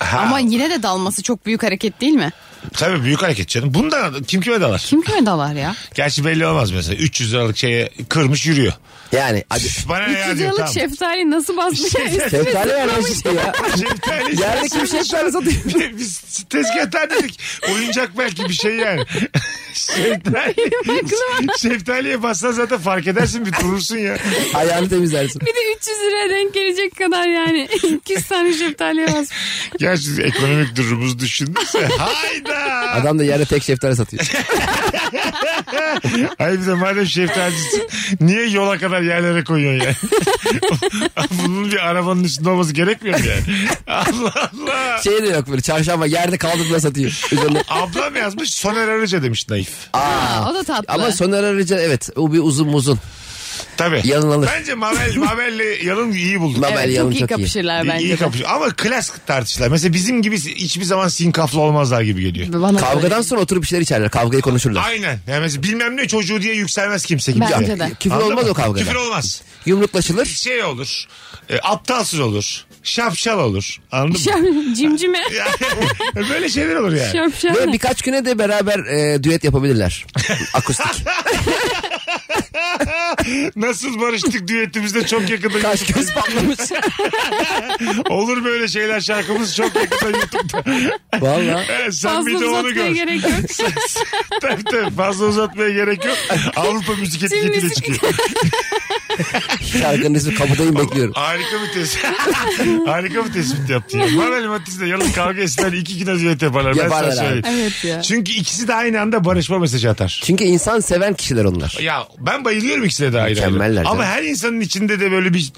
[SPEAKER 3] Ha,
[SPEAKER 4] Ama yine de dalması çok büyük hareket değil mi?
[SPEAKER 3] Tabii büyük hareket canım. Bundan kim kime dalar?
[SPEAKER 4] Kim kime dalar ya?
[SPEAKER 3] Gerçi belli olmaz mesela. 300 liralık şeye kırmış yürüyor.
[SPEAKER 2] Yani hadi.
[SPEAKER 3] Bana ne ya diyor
[SPEAKER 4] 300 liralık
[SPEAKER 3] tamam. Şey-
[SPEAKER 4] şeftali nasıl basmış?
[SPEAKER 2] Şeftali vermiş işte şey ya.
[SPEAKER 3] Şeftali.
[SPEAKER 2] Yerde kim şeftali satıyor?
[SPEAKER 3] Biz tezgahtan dedik. Oyuncak belki bir şey yani. Şeftali. Şeftaliye bassan zaten fark edersin bir durursun ya.
[SPEAKER 2] Ayağını temizlersin.
[SPEAKER 4] Bir de 300 liraya denk gelecek kadar yani. 200 tane şeftaliye basmış.
[SPEAKER 3] Gerçi ekonomik durumumuz düşündüyse. Hayda.
[SPEAKER 2] Adam da yerde tek şeftali satıyor.
[SPEAKER 3] Ay bir de madem şeftalisin niye yola kadar yerlere koyuyorsun yani? Bunun bir arabanın üstünde olması gerekmiyor mu yani? Allah Allah.
[SPEAKER 2] Şey de yok böyle çarşamba yerde kaldırma satıyor. Üzerine.
[SPEAKER 3] Ablam yazmış Soner Arıca demiş naif.
[SPEAKER 4] Aa, o da tatlı.
[SPEAKER 2] Ama Soner Arıca evet o bir uzun uzun.
[SPEAKER 3] Tabii.
[SPEAKER 2] Yalın alır.
[SPEAKER 3] Bence Mabel, Mabel'le Yalın iyi buldu.
[SPEAKER 2] Mabel
[SPEAKER 4] evet,
[SPEAKER 2] Yalın
[SPEAKER 4] çok iyi
[SPEAKER 2] çok iyi.
[SPEAKER 4] kapışırlar bence.
[SPEAKER 3] iyi
[SPEAKER 4] de.
[SPEAKER 3] kapış. Ama klas tartışırlar. Mesela bizim gibi hiçbir zaman sinkaflı olmazlar gibi geliyor.
[SPEAKER 4] Bana da
[SPEAKER 2] Kavgadan
[SPEAKER 4] öyle.
[SPEAKER 2] sonra oturup bir şeyler içerler. Kavgayı konuşurlar.
[SPEAKER 3] Aynen. Yani mesela bilmem ne çocuğu diye yükselmez kimse gibi.
[SPEAKER 4] Bence
[SPEAKER 3] Yani.
[SPEAKER 4] de.
[SPEAKER 2] Küfür
[SPEAKER 3] Anladın
[SPEAKER 2] olmaz
[SPEAKER 3] mı?
[SPEAKER 2] o kavgada.
[SPEAKER 3] Küfür olmaz.
[SPEAKER 2] Yumruklaşılır.
[SPEAKER 3] Şey olur. e, aptalsız olur. şapşal olur. Anladın mı?
[SPEAKER 4] Şap- Cimcime.
[SPEAKER 3] Böyle şeyler olur yani.
[SPEAKER 4] Şapşal.
[SPEAKER 2] Böyle birkaç güne de beraber e, düet yapabilirler. Akustik.
[SPEAKER 3] Nasıl barıştık düetimizde çok yakında
[SPEAKER 2] Kaş
[SPEAKER 3] YouTube'da.
[SPEAKER 2] göz patlamış.
[SPEAKER 3] Olur böyle şeyler şarkımız çok yakında YouTube'da.
[SPEAKER 2] Valla.
[SPEAKER 3] Evet, Sen
[SPEAKER 4] Fazla
[SPEAKER 3] bir de onu
[SPEAKER 4] uzatmaya
[SPEAKER 3] gör.
[SPEAKER 4] gerek yok.
[SPEAKER 3] tabii tabii fazla uzatmaya gerek yok. Avrupa müzik etiketiyle
[SPEAKER 4] müzik-
[SPEAKER 3] çıkıyor.
[SPEAKER 2] Şarkının ismi kapıdayım bekliyorum.
[SPEAKER 3] Harika bir tespit. Harika bir tespit yaptı. Ya. Marvel Matisse'de yalın kavga etsinler iki güne düet yaparlar. Ben sana
[SPEAKER 2] Yaparlar abi.
[SPEAKER 3] söyleyeyim.
[SPEAKER 4] evet ya.
[SPEAKER 3] Çünkü ikisi de aynı anda barışma mesajı atar.
[SPEAKER 2] Çünkü insan seven kişiler onlar.
[SPEAKER 3] Ya ben bayılıyorum ikisine de ayrı ayrı.
[SPEAKER 2] Mükemmeller
[SPEAKER 3] Ama
[SPEAKER 2] canım.
[SPEAKER 3] her insanın içinde de böyle bir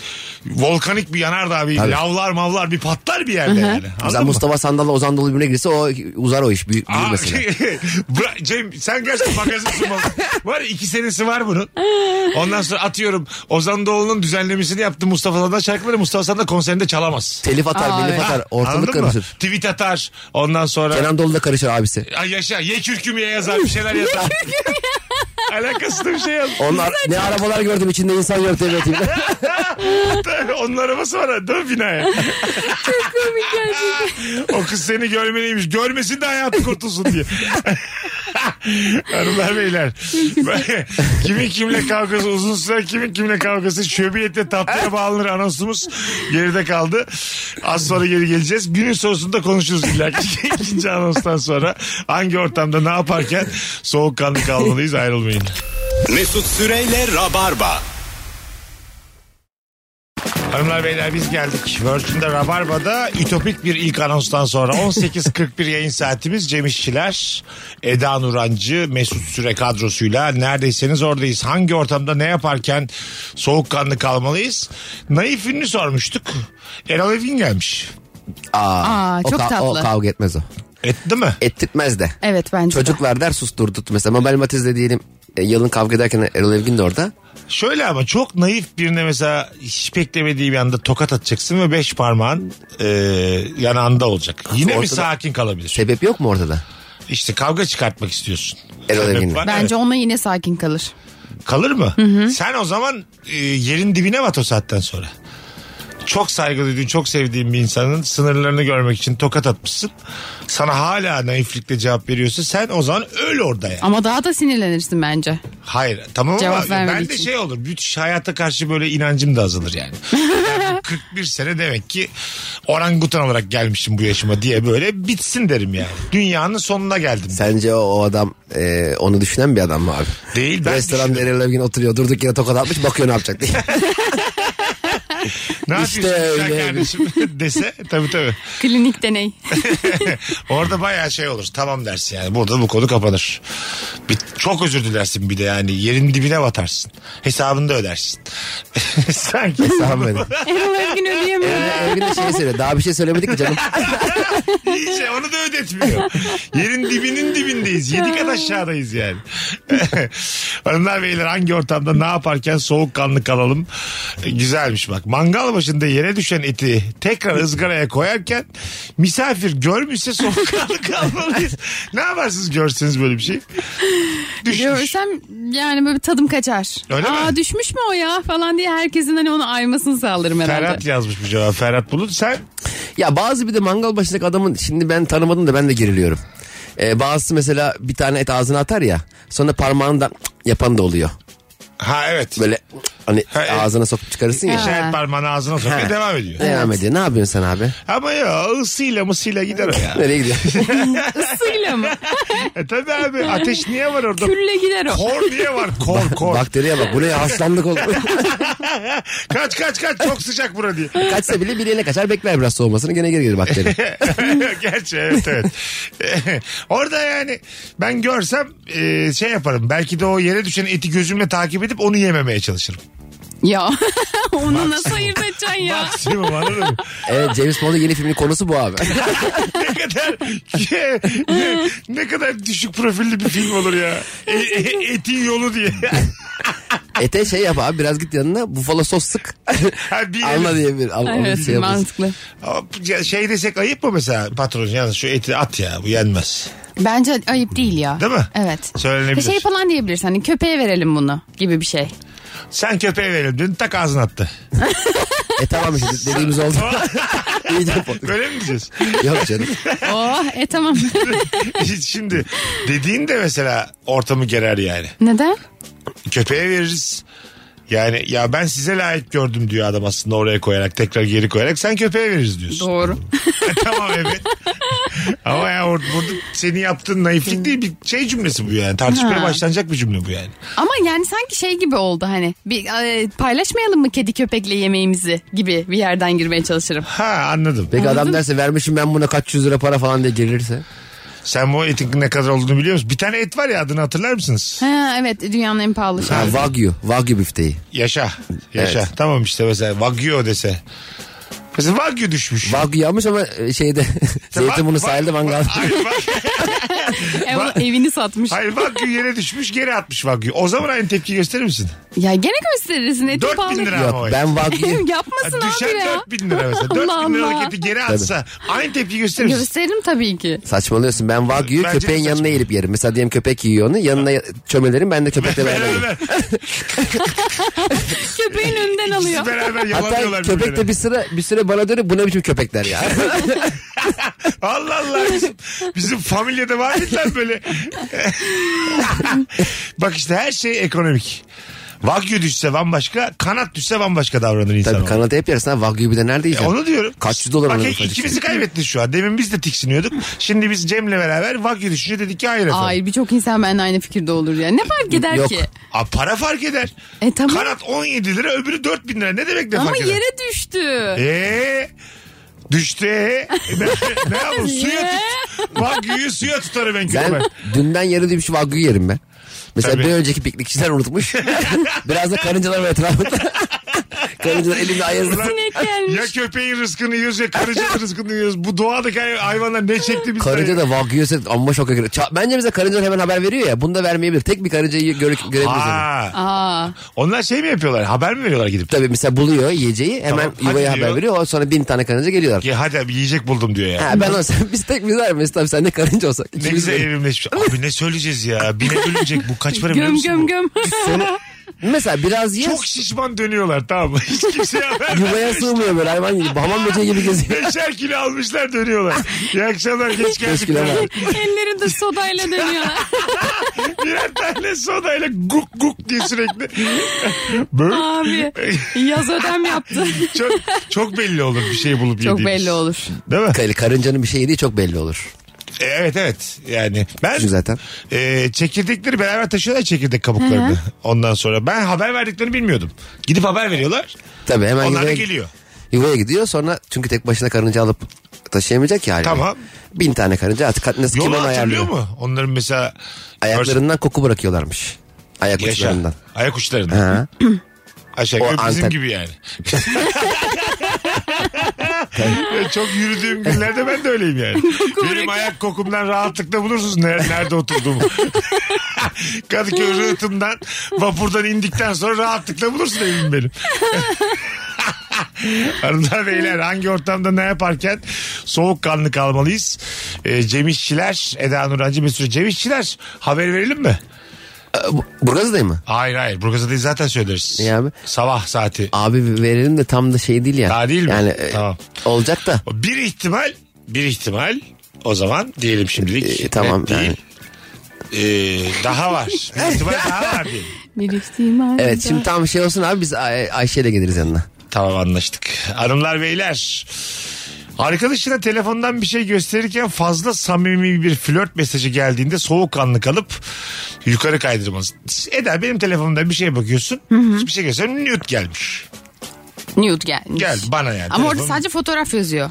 [SPEAKER 3] volkanik bir yanardağ bir
[SPEAKER 2] Tabii.
[SPEAKER 3] lavlar mavlar bir patlar bir yerde yani.
[SPEAKER 2] Mesela
[SPEAKER 3] Anladın mı?
[SPEAKER 2] Mustafa Sandal'la Ozan Dolu birbirine girse o uzar o iş. Büyük, büyür
[SPEAKER 3] Aa, şey-
[SPEAKER 2] mesela.
[SPEAKER 3] bra- Cem sen gerçekten magazinsin. bak. var ya, iki senesi var bunun. Ondan sonra atıyorum Ozan Doğulu'nun düzenlemesini yaptı Mustafa Sandal şarkıları Mustafa Sandal konserinde çalamaz.
[SPEAKER 2] Telif atar,
[SPEAKER 4] Aa,
[SPEAKER 2] belif
[SPEAKER 4] evet.
[SPEAKER 2] atar.
[SPEAKER 3] Anladın
[SPEAKER 2] Ortalık
[SPEAKER 3] mı?
[SPEAKER 2] karışır.
[SPEAKER 3] Tweet atar. Ondan sonra
[SPEAKER 2] Kenan Dolu da karışır abisi.
[SPEAKER 3] Ay yaşa ye kürkümeye yazar bir şeyler yazar. Alakası da bir şey yazmış.
[SPEAKER 2] Onlar ne arabalar gördüm içinde insan yok devletim.
[SPEAKER 3] Onun arabası var. Dön binaya.
[SPEAKER 4] Komik gerçekten.
[SPEAKER 3] O kız seni görmeliymiş. Görmesin de hayatı kurtulsun diye. Hanımlar beyler. kimin kimle kavgası uzun süre kimin kimle kavgası şöbiyetle tatlıya bağlanır anonsumuz geride kaldı. Az sonra geri geleceğiz. Günün sorusunda konuşuruz illa ki. ikinci anonstan sonra hangi ortamda ne yaparken soğukkanlı kalmalıyız ayrılmayın.
[SPEAKER 1] Mesut Süreyle Rabarba.
[SPEAKER 3] Hanımlar beyler biz geldik. Virgin'de Rabarba'da ütopik bir ilk anonstan sonra 18.41 yayın saatimiz Cem İşçiler, Eda Nurancı, Mesut Süre kadrosuyla neredeyseniz oradayız. Hangi ortamda ne yaparken soğukkanlı kalmalıyız? Naif ünlü sormuştuk. Erol Evgin gelmiş.
[SPEAKER 4] Aa,
[SPEAKER 2] o,
[SPEAKER 4] çok
[SPEAKER 2] ka- o
[SPEAKER 4] tatlı.
[SPEAKER 2] kavga etmez o.
[SPEAKER 3] Etti mi?
[SPEAKER 2] Ettirtmez de.
[SPEAKER 4] Evet bence de.
[SPEAKER 2] Çocuklar der susturdu. Mesela Mabel Matiz'le diyelim e, yalın kavga ederken Erol Evgin de orada.
[SPEAKER 3] Şöyle ama çok naif birine mesela hiç beklemediği bir anda tokat atacaksın ve beş parmağın e, yanağında olacak. Yine bir
[SPEAKER 2] Ortada-
[SPEAKER 3] sakin kalabilir.
[SPEAKER 2] Sebep yok mu ortada?
[SPEAKER 3] İşte kavga çıkartmak istiyorsun.
[SPEAKER 2] Erol
[SPEAKER 3] Sebep
[SPEAKER 2] Evgin'le.
[SPEAKER 3] var, evet.
[SPEAKER 4] Bence onunla yine sakin kalır.
[SPEAKER 3] Kalır mı? Sen o zaman e, yerin dibine bat o saatten sonra. Çok saygı duyduğun, çok sevdiğin bir insanın sınırlarını görmek için tokat atmışsın. Sana hala naiflikle cevap veriyorsa sen o zaman öl orada yani.
[SPEAKER 4] Ama daha da sinirlenirsin bence.
[SPEAKER 3] Hayır tamam
[SPEAKER 4] Cevap
[SPEAKER 3] ama
[SPEAKER 4] vermediği
[SPEAKER 3] ben de
[SPEAKER 4] için.
[SPEAKER 3] şey olur. Müthiş hayata karşı böyle inancım da azalır yani. Yani bu 41 sene demek ki orangutan olarak gelmişim bu yaşıma diye böyle bitsin derim yani. Dünyanın sonuna geldim.
[SPEAKER 2] Sence o, o adam e, onu düşünen bir adam mı abi?
[SPEAKER 3] Değil ben
[SPEAKER 2] Restoranda
[SPEAKER 3] düşünüyorum.
[SPEAKER 2] Erol Evgin oturuyor durduk yere tokat atmış bakıyor ne yapacak diye.
[SPEAKER 3] Ne
[SPEAKER 2] İşte
[SPEAKER 3] yapıyorsun güzel
[SPEAKER 2] öyle.
[SPEAKER 3] kardeşim dese tabii tabii.
[SPEAKER 4] Klinik deney.
[SPEAKER 3] Orada bayağı şey olur. Tamam dersin yani. Burada bu konu kapanır. Bir, çok özür dilersin bir de yani. Yerin dibine batarsın. Hesabını da ödersin. Sanki.
[SPEAKER 2] Tamam benim.
[SPEAKER 4] Erol Evgin ödeyemiyor.
[SPEAKER 2] Erol Evgin de şey söylüyor daha bir şey söylemedik ki canım.
[SPEAKER 3] İyice onu da ödetmiyor. Yerin dibinin dibindeyiz. Yedi kat aşağıdayız yani. Hanımlar beyler hangi ortamda ne yaparken soğukkanlı kalalım. E, Güzelmiş bak. Mangal başında yere düşen eti tekrar ızgaraya koyarken misafir görmüşse soğukkanlı kalmalıyız. ne yaparsınız görseniz böyle bir şey? Düşmüş.
[SPEAKER 4] Görsem yani böyle bir tadım kaçar.
[SPEAKER 3] Öyle mi?
[SPEAKER 4] Aa düşmüş mü o ya falan diye herkesin hani onu aymasını sağlarım herhalde.
[SPEAKER 3] Ferhat yazmış bu cevap. Ferhat Bulut sen
[SPEAKER 2] Ya bazı bir de mangal başındaki adamın şimdi ben tanımadım da ben de geriliyorum. Ee, bazısı mesela bir tane et ağzına atar ya sonra parmağından yapan da oluyor.
[SPEAKER 3] ha evet.
[SPEAKER 2] Böyle hani
[SPEAKER 3] Ha, evet.
[SPEAKER 2] ağzına sokup çıkarırsın ya.
[SPEAKER 3] İşaret parmağını ağzına sokuyor
[SPEAKER 2] Ha.
[SPEAKER 3] devam ediyor.
[SPEAKER 2] Devam ediyor. Ne yapıyorsun sen abi?
[SPEAKER 3] Ama ya ısıyla mısıyla gider o ya.
[SPEAKER 2] Nereye gidiyorsun?
[SPEAKER 4] Isıyla mı?
[SPEAKER 3] e tabi abi ateş niye var orada?
[SPEAKER 4] Külle gider o.
[SPEAKER 3] Kor niye var? Kor kor.
[SPEAKER 2] Bakteriye bak. Bu ne ya? Haşlandık oldu.
[SPEAKER 3] kaç kaç kaç çok sıcak bura diye.
[SPEAKER 2] Kaçsa bile bir yerine kaçar. Bekler biraz soğumasını. Gene geri gelir bakteri.
[SPEAKER 3] Gerçi evet evet. orada yani ben görsem e, şey yaparım. Belki de o yere düşen eti gözümle takip edip onu yememeye çalışırım.
[SPEAKER 4] Ya onu nasıl ayırt edeceksin ya?
[SPEAKER 3] Maksimum anladın mı?
[SPEAKER 2] Evet James Bond'un yeni filmin konusu bu abi.
[SPEAKER 3] ne kadar ne, ne kadar düşük profilli bir film olur ya. E, e- etin yolu diye.
[SPEAKER 2] Ete şey yap abi biraz git yanına bufalo sos sık.
[SPEAKER 3] Ha, bir
[SPEAKER 2] Alma diye bir al, al-
[SPEAKER 4] Evet
[SPEAKER 2] şey yapıyorsun.
[SPEAKER 4] mantıklı.
[SPEAKER 3] Ama ya şey desek ayıp mı mesela patron yalnız şu eti at ya bu yenmez.
[SPEAKER 4] Bence ayıp değil ya.
[SPEAKER 3] Değil mi?
[SPEAKER 4] Evet.
[SPEAKER 3] Söylenebilir.
[SPEAKER 4] Şey falan diyebilirsin hani köpeğe verelim bunu gibi bir şey.
[SPEAKER 3] Sen köpeğe verelim dedin tak ağzına attı.
[SPEAKER 2] E tamam işte dediğimiz oldu. İyice pot-
[SPEAKER 3] Böyle mi diyeceğiz?
[SPEAKER 2] Yok canım.
[SPEAKER 4] Oh e tamam.
[SPEAKER 3] Şimdi dediğin de mesela ortamı gerer yani.
[SPEAKER 4] Neden?
[SPEAKER 3] Köpeğe veririz. Yani ya ben size layık gördüm diyor adam aslında oraya koyarak tekrar geri koyarak sen köpeğe veririz diyorsun.
[SPEAKER 4] Doğru.
[SPEAKER 3] tamam evet. Ama ya or- burada seni yaptığın naiflik değil bir şey cümlesi bu yani. Tartışmaya
[SPEAKER 4] Ha.
[SPEAKER 3] başlanacak bir cümle bu yani.
[SPEAKER 4] Ama yani sanki şey gibi oldu hani bir e, paylaşmayalım mı kedi köpekle yemeğimizi gibi bir yerden girmeye çalışırım.
[SPEAKER 3] Ha anladım.
[SPEAKER 2] Peki adam derse vermişim ben buna kaç yüz lira para falan diye gelirse.
[SPEAKER 3] Sen bu etin ne kadar olduğunu biliyor musun? Bir tane et var ya adını hatırlar mısınız?
[SPEAKER 4] Ha, evet dünyanın en pahalı şey.
[SPEAKER 2] Ha, Wagyu. Wagyu büfteyi.
[SPEAKER 3] Yaşa. Yaşa.
[SPEAKER 2] Evet.
[SPEAKER 3] Tamam işte mesela Wagyu dese. Mesela Wagyu düşmüş.
[SPEAKER 2] Wagyu almış ama e, şeyde Zeytinburnu
[SPEAKER 3] Wag-
[SPEAKER 2] sahilde mangal.
[SPEAKER 3] Hayır, Wag-
[SPEAKER 4] Ev- E, evini satmış.
[SPEAKER 3] Hayır Wagyu yere düşmüş geri atmış Wagyu. O zaman aynı tepki gösterir misin?
[SPEAKER 4] Ya gene gösterirsin etin
[SPEAKER 3] 4000
[SPEAKER 4] pahalı.
[SPEAKER 3] lira.
[SPEAKER 2] Yok
[SPEAKER 3] Ama o
[SPEAKER 2] ben Wagyu.
[SPEAKER 4] Yapmasın
[SPEAKER 3] Ha,
[SPEAKER 4] abi
[SPEAKER 3] Düşen
[SPEAKER 4] ya.
[SPEAKER 3] 4000 lira mesela.
[SPEAKER 4] Allah
[SPEAKER 3] 4000 liralık
[SPEAKER 4] Allah.
[SPEAKER 3] eti geri atsa aynı tepki gösterir misin?
[SPEAKER 4] Gösteririm tabii ki.
[SPEAKER 2] Saçmalıyorsun ben Wagyu
[SPEAKER 3] Bence de
[SPEAKER 2] köpeğin yanına
[SPEAKER 3] saçma.
[SPEAKER 2] eğilip yerim. Mesela diyelim köpek yiyor onu yanına çömelerim ben de köpekle beraber yerim.
[SPEAKER 3] Beraber.
[SPEAKER 4] Köpeğin önünden
[SPEAKER 3] Siz
[SPEAKER 4] alıyor.
[SPEAKER 3] beraber
[SPEAKER 2] Hatta
[SPEAKER 3] yalanıyorlar
[SPEAKER 2] köpek de
[SPEAKER 3] birbirine.
[SPEAKER 2] bir sıra bir süre bana dönüp bu ne biçim köpekler ya.
[SPEAKER 3] Allah Allah. Bizim, bizim familyada var mıydı lan böyle? Bak işte her şey ekonomik. Wagyu düşse bambaşka, kanat düşse bambaşka davranır insan.
[SPEAKER 2] Tabii
[SPEAKER 3] olarak.
[SPEAKER 2] Kanada hep yersin ha Wagyu bir de nerede
[SPEAKER 3] E
[SPEAKER 2] yiyeceksin?
[SPEAKER 3] onu diyorum.
[SPEAKER 2] Kaç yüz dolar
[SPEAKER 3] Bak
[SPEAKER 2] alıyor
[SPEAKER 3] ikimizi
[SPEAKER 2] kardeşim?
[SPEAKER 3] kaybettin şu an. Demin biz de tiksiniyorduk. Şimdi biz Cem'le beraber Wagyu düşünce dedik ki hayır efendim.
[SPEAKER 4] Ay birçok insan benimle aynı fikirde olur ya. Ne fark eder
[SPEAKER 2] Yok.
[SPEAKER 4] ki?
[SPEAKER 3] Aa, para fark eder.
[SPEAKER 4] E, tamam.
[SPEAKER 3] Kanat 17 lira öbürü 4000 lira. Ne demek ne
[SPEAKER 4] Ama
[SPEAKER 3] fark eder?
[SPEAKER 4] yere düştü.
[SPEAKER 3] Eee düştü ee. E, ben- ne yapayım suya tut. Wagyu'yu suya tutarım en kötü
[SPEAKER 2] Ben
[SPEAKER 3] ben.
[SPEAKER 2] dünden yarı demiş Wagyu yerim ben. Mesela
[SPEAKER 3] Tabii.
[SPEAKER 2] bir önceki piknikçiler unutmuş. Biraz da karıncalar var etrafında. karıncalar elimde ayazlı.
[SPEAKER 4] Sinek gelmiş.
[SPEAKER 3] Ya köpeğin rızkını yiyoruz ya karıncanın rızkını yiyoruz. Bu doğadaki hay- hayvanlar ne çekti bizden.
[SPEAKER 2] Karınca da Wagyu yese amma şoka girer. Ça- Bence bize karıncalar hemen haber veriyor ya. Bunu da vermeyebilir. Tek bir karıncayı gör- görebiliriz. yani.
[SPEAKER 3] Aa,
[SPEAKER 4] Aa,
[SPEAKER 3] onlar şey mi yapıyorlar? Haber mi veriyorlar gidip?
[SPEAKER 2] Tabii mesela buluyor yiyeceği hemen
[SPEAKER 3] Tamam,
[SPEAKER 2] yuvaya
[SPEAKER 3] hadi diyor.
[SPEAKER 2] haber veriyor. O sonra bin tane karınca geliyorlar.
[SPEAKER 3] Ya hadi abi yiyecek buldum diyor ya.
[SPEAKER 2] Ha, ben olsam biz tek biz var Mesut abi sen de karınca olsak.
[SPEAKER 3] Ne
[SPEAKER 2] İkimiz
[SPEAKER 3] güzel
[SPEAKER 2] de-
[SPEAKER 3] evrimleşmiş. Abi ne söyleyeceğiz ya? Bine bölünecek bu kaç para biliyor
[SPEAKER 4] göm
[SPEAKER 3] musun? bu?
[SPEAKER 4] göm göm.
[SPEAKER 2] Mesela biraz ye
[SPEAKER 3] Çok şişman dönüyorlar tamam mı? Hiç kimseye haber
[SPEAKER 2] yuvaya sığmıyor böyle hayvan gibi. Hamam böceği gibi geziyor.
[SPEAKER 3] Beşer kilo almışlar dönüyorlar. İyi akşamlar geç
[SPEAKER 2] Beş kilo var.
[SPEAKER 3] geldik.
[SPEAKER 4] Ellerinde sodayla dönüyorlar.
[SPEAKER 3] Birer tane sodayla guk guk diye sürekli. Böyle
[SPEAKER 4] Abi yaz ödem yaptı.
[SPEAKER 3] çok, çok belli olur bir şey bulup
[SPEAKER 4] Çok
[SPEAKER 3] yediğimiz.
[SPEAKER 4] belli olur.
[SPEAKER 3] Değil mi?
[SPEAKER 2] Kar- Karıncanın bir şey yediği çok belli olur.
[SPEAKER 3] E, Evet evet yani ben
[SPEAKER 2] Çünkü zaten.
[SPEAKER 3] e, çekirdekleri beraber taşıyorlar çekirdek kabuklarını ondan sonra ben haber verdiklerini bilmiyordum gidip haber veriyorlar
[SPEAKER 2] Tabii hemen
[SPEAKER 3] onlar da
[SPEAKER 2] yuvaya,
[SPEAKER 3] geliyor
[SPEAKER 2] yuvaya gidiyor sonra çünkü tek başına karınca alıp taşıyamayacak ya. hayvan.
[SPEAKER 3] Tamam.
[SPEAKER 2] Bin tane karınca artık kat- nasıl kim
[SPEAKER 3] yolu
[SPEAKER 2] onu
[SPEAKER 3] hatırlıyor
[SPEAKER 2] ayarlıyor.
[SPEAKER 3] mu onların mesela
[SPEAKER 2] Ayaklarından koku bırakıyorlarmış. Ayak
[SPEAKER 3] Yaşa.
[SPEAKER 2] uçlarından.
[SPEAKER 3] ayak uçlarından
[SPEAKER 2] Ha.
[SPEAKER 3] aşağı
[SPEAKER 2] O
[SPEAKER 3] yukarı bizim
[SPEAKER 2] anten-
[SPEAKER 3] gibi yani Ve çok yürüdüğüm günlerde ben de öyleyim yani benim ayak kokumdan rahatlıkla bulursunuz ne- nerede oturduğumu Kadıköy rıhtımdan vapurdan indikten sonra rahatlıkla bulursun evim benim. Hanımlar beyler hangi ortamda ne yaparken soğukkanlı kalmalıyız? Ee, Cem İşçiler, Eda Nurancı Mesut Cem İşçiler haber verelim mi?
[SPEAKER 2] Ee, bu- Burgaz'dayım mı?
[SPEAKER 3] Hayır hayır Burgazada'yı zaten söyleriz.
[SPEAKER 2] Niye abi?
[SPEAKER 3] Sabah saati.
[SPEAKER 2] Abi verelim de tam da şey değil ya.
[SPEAKER 3] Daha değil mi?
[SPEAKER 2] Yani e,
[SPEAKER 3] Tamam.
[SPEAKER 2] olacak da.
[SPEAKER 3] Bir ihtimal bir ihtimal o zaman diyelim şimdilik.
[SPEAKER 2] Ee, tamam,
[SPEAKER 3] Net değil. Ee, daha var. Bir ihtimal daha var diyelim.
[SPEAKER 4] Bir ihtimal.
[SPEAKER 2] Evet şimdi tam şey olsun abi biz Ay- Ayşe'yle geliriz yanına.
[SPEAKER 3] Tamam anlaştık. Hanımlar beyler. Arkadaşına telefondan bir şey gösterirken fazla samimi bir flört mesajı geldiğinde soğukkanlı kalıp yukarı kaydırmalısın. Eda benim telefonumda bir şey bakıyorsun. Bir şey gösteriyorum. Nude gelmiş.
[SPEAKER 4] Nude gelmiş.
[SPEAKER 3] Gel bana yani.
[SPEAKER 4] Ama orada
[SPEAKER 3] Telefon-
[SPEAKER 4] sadece fotoğraf yazıyor.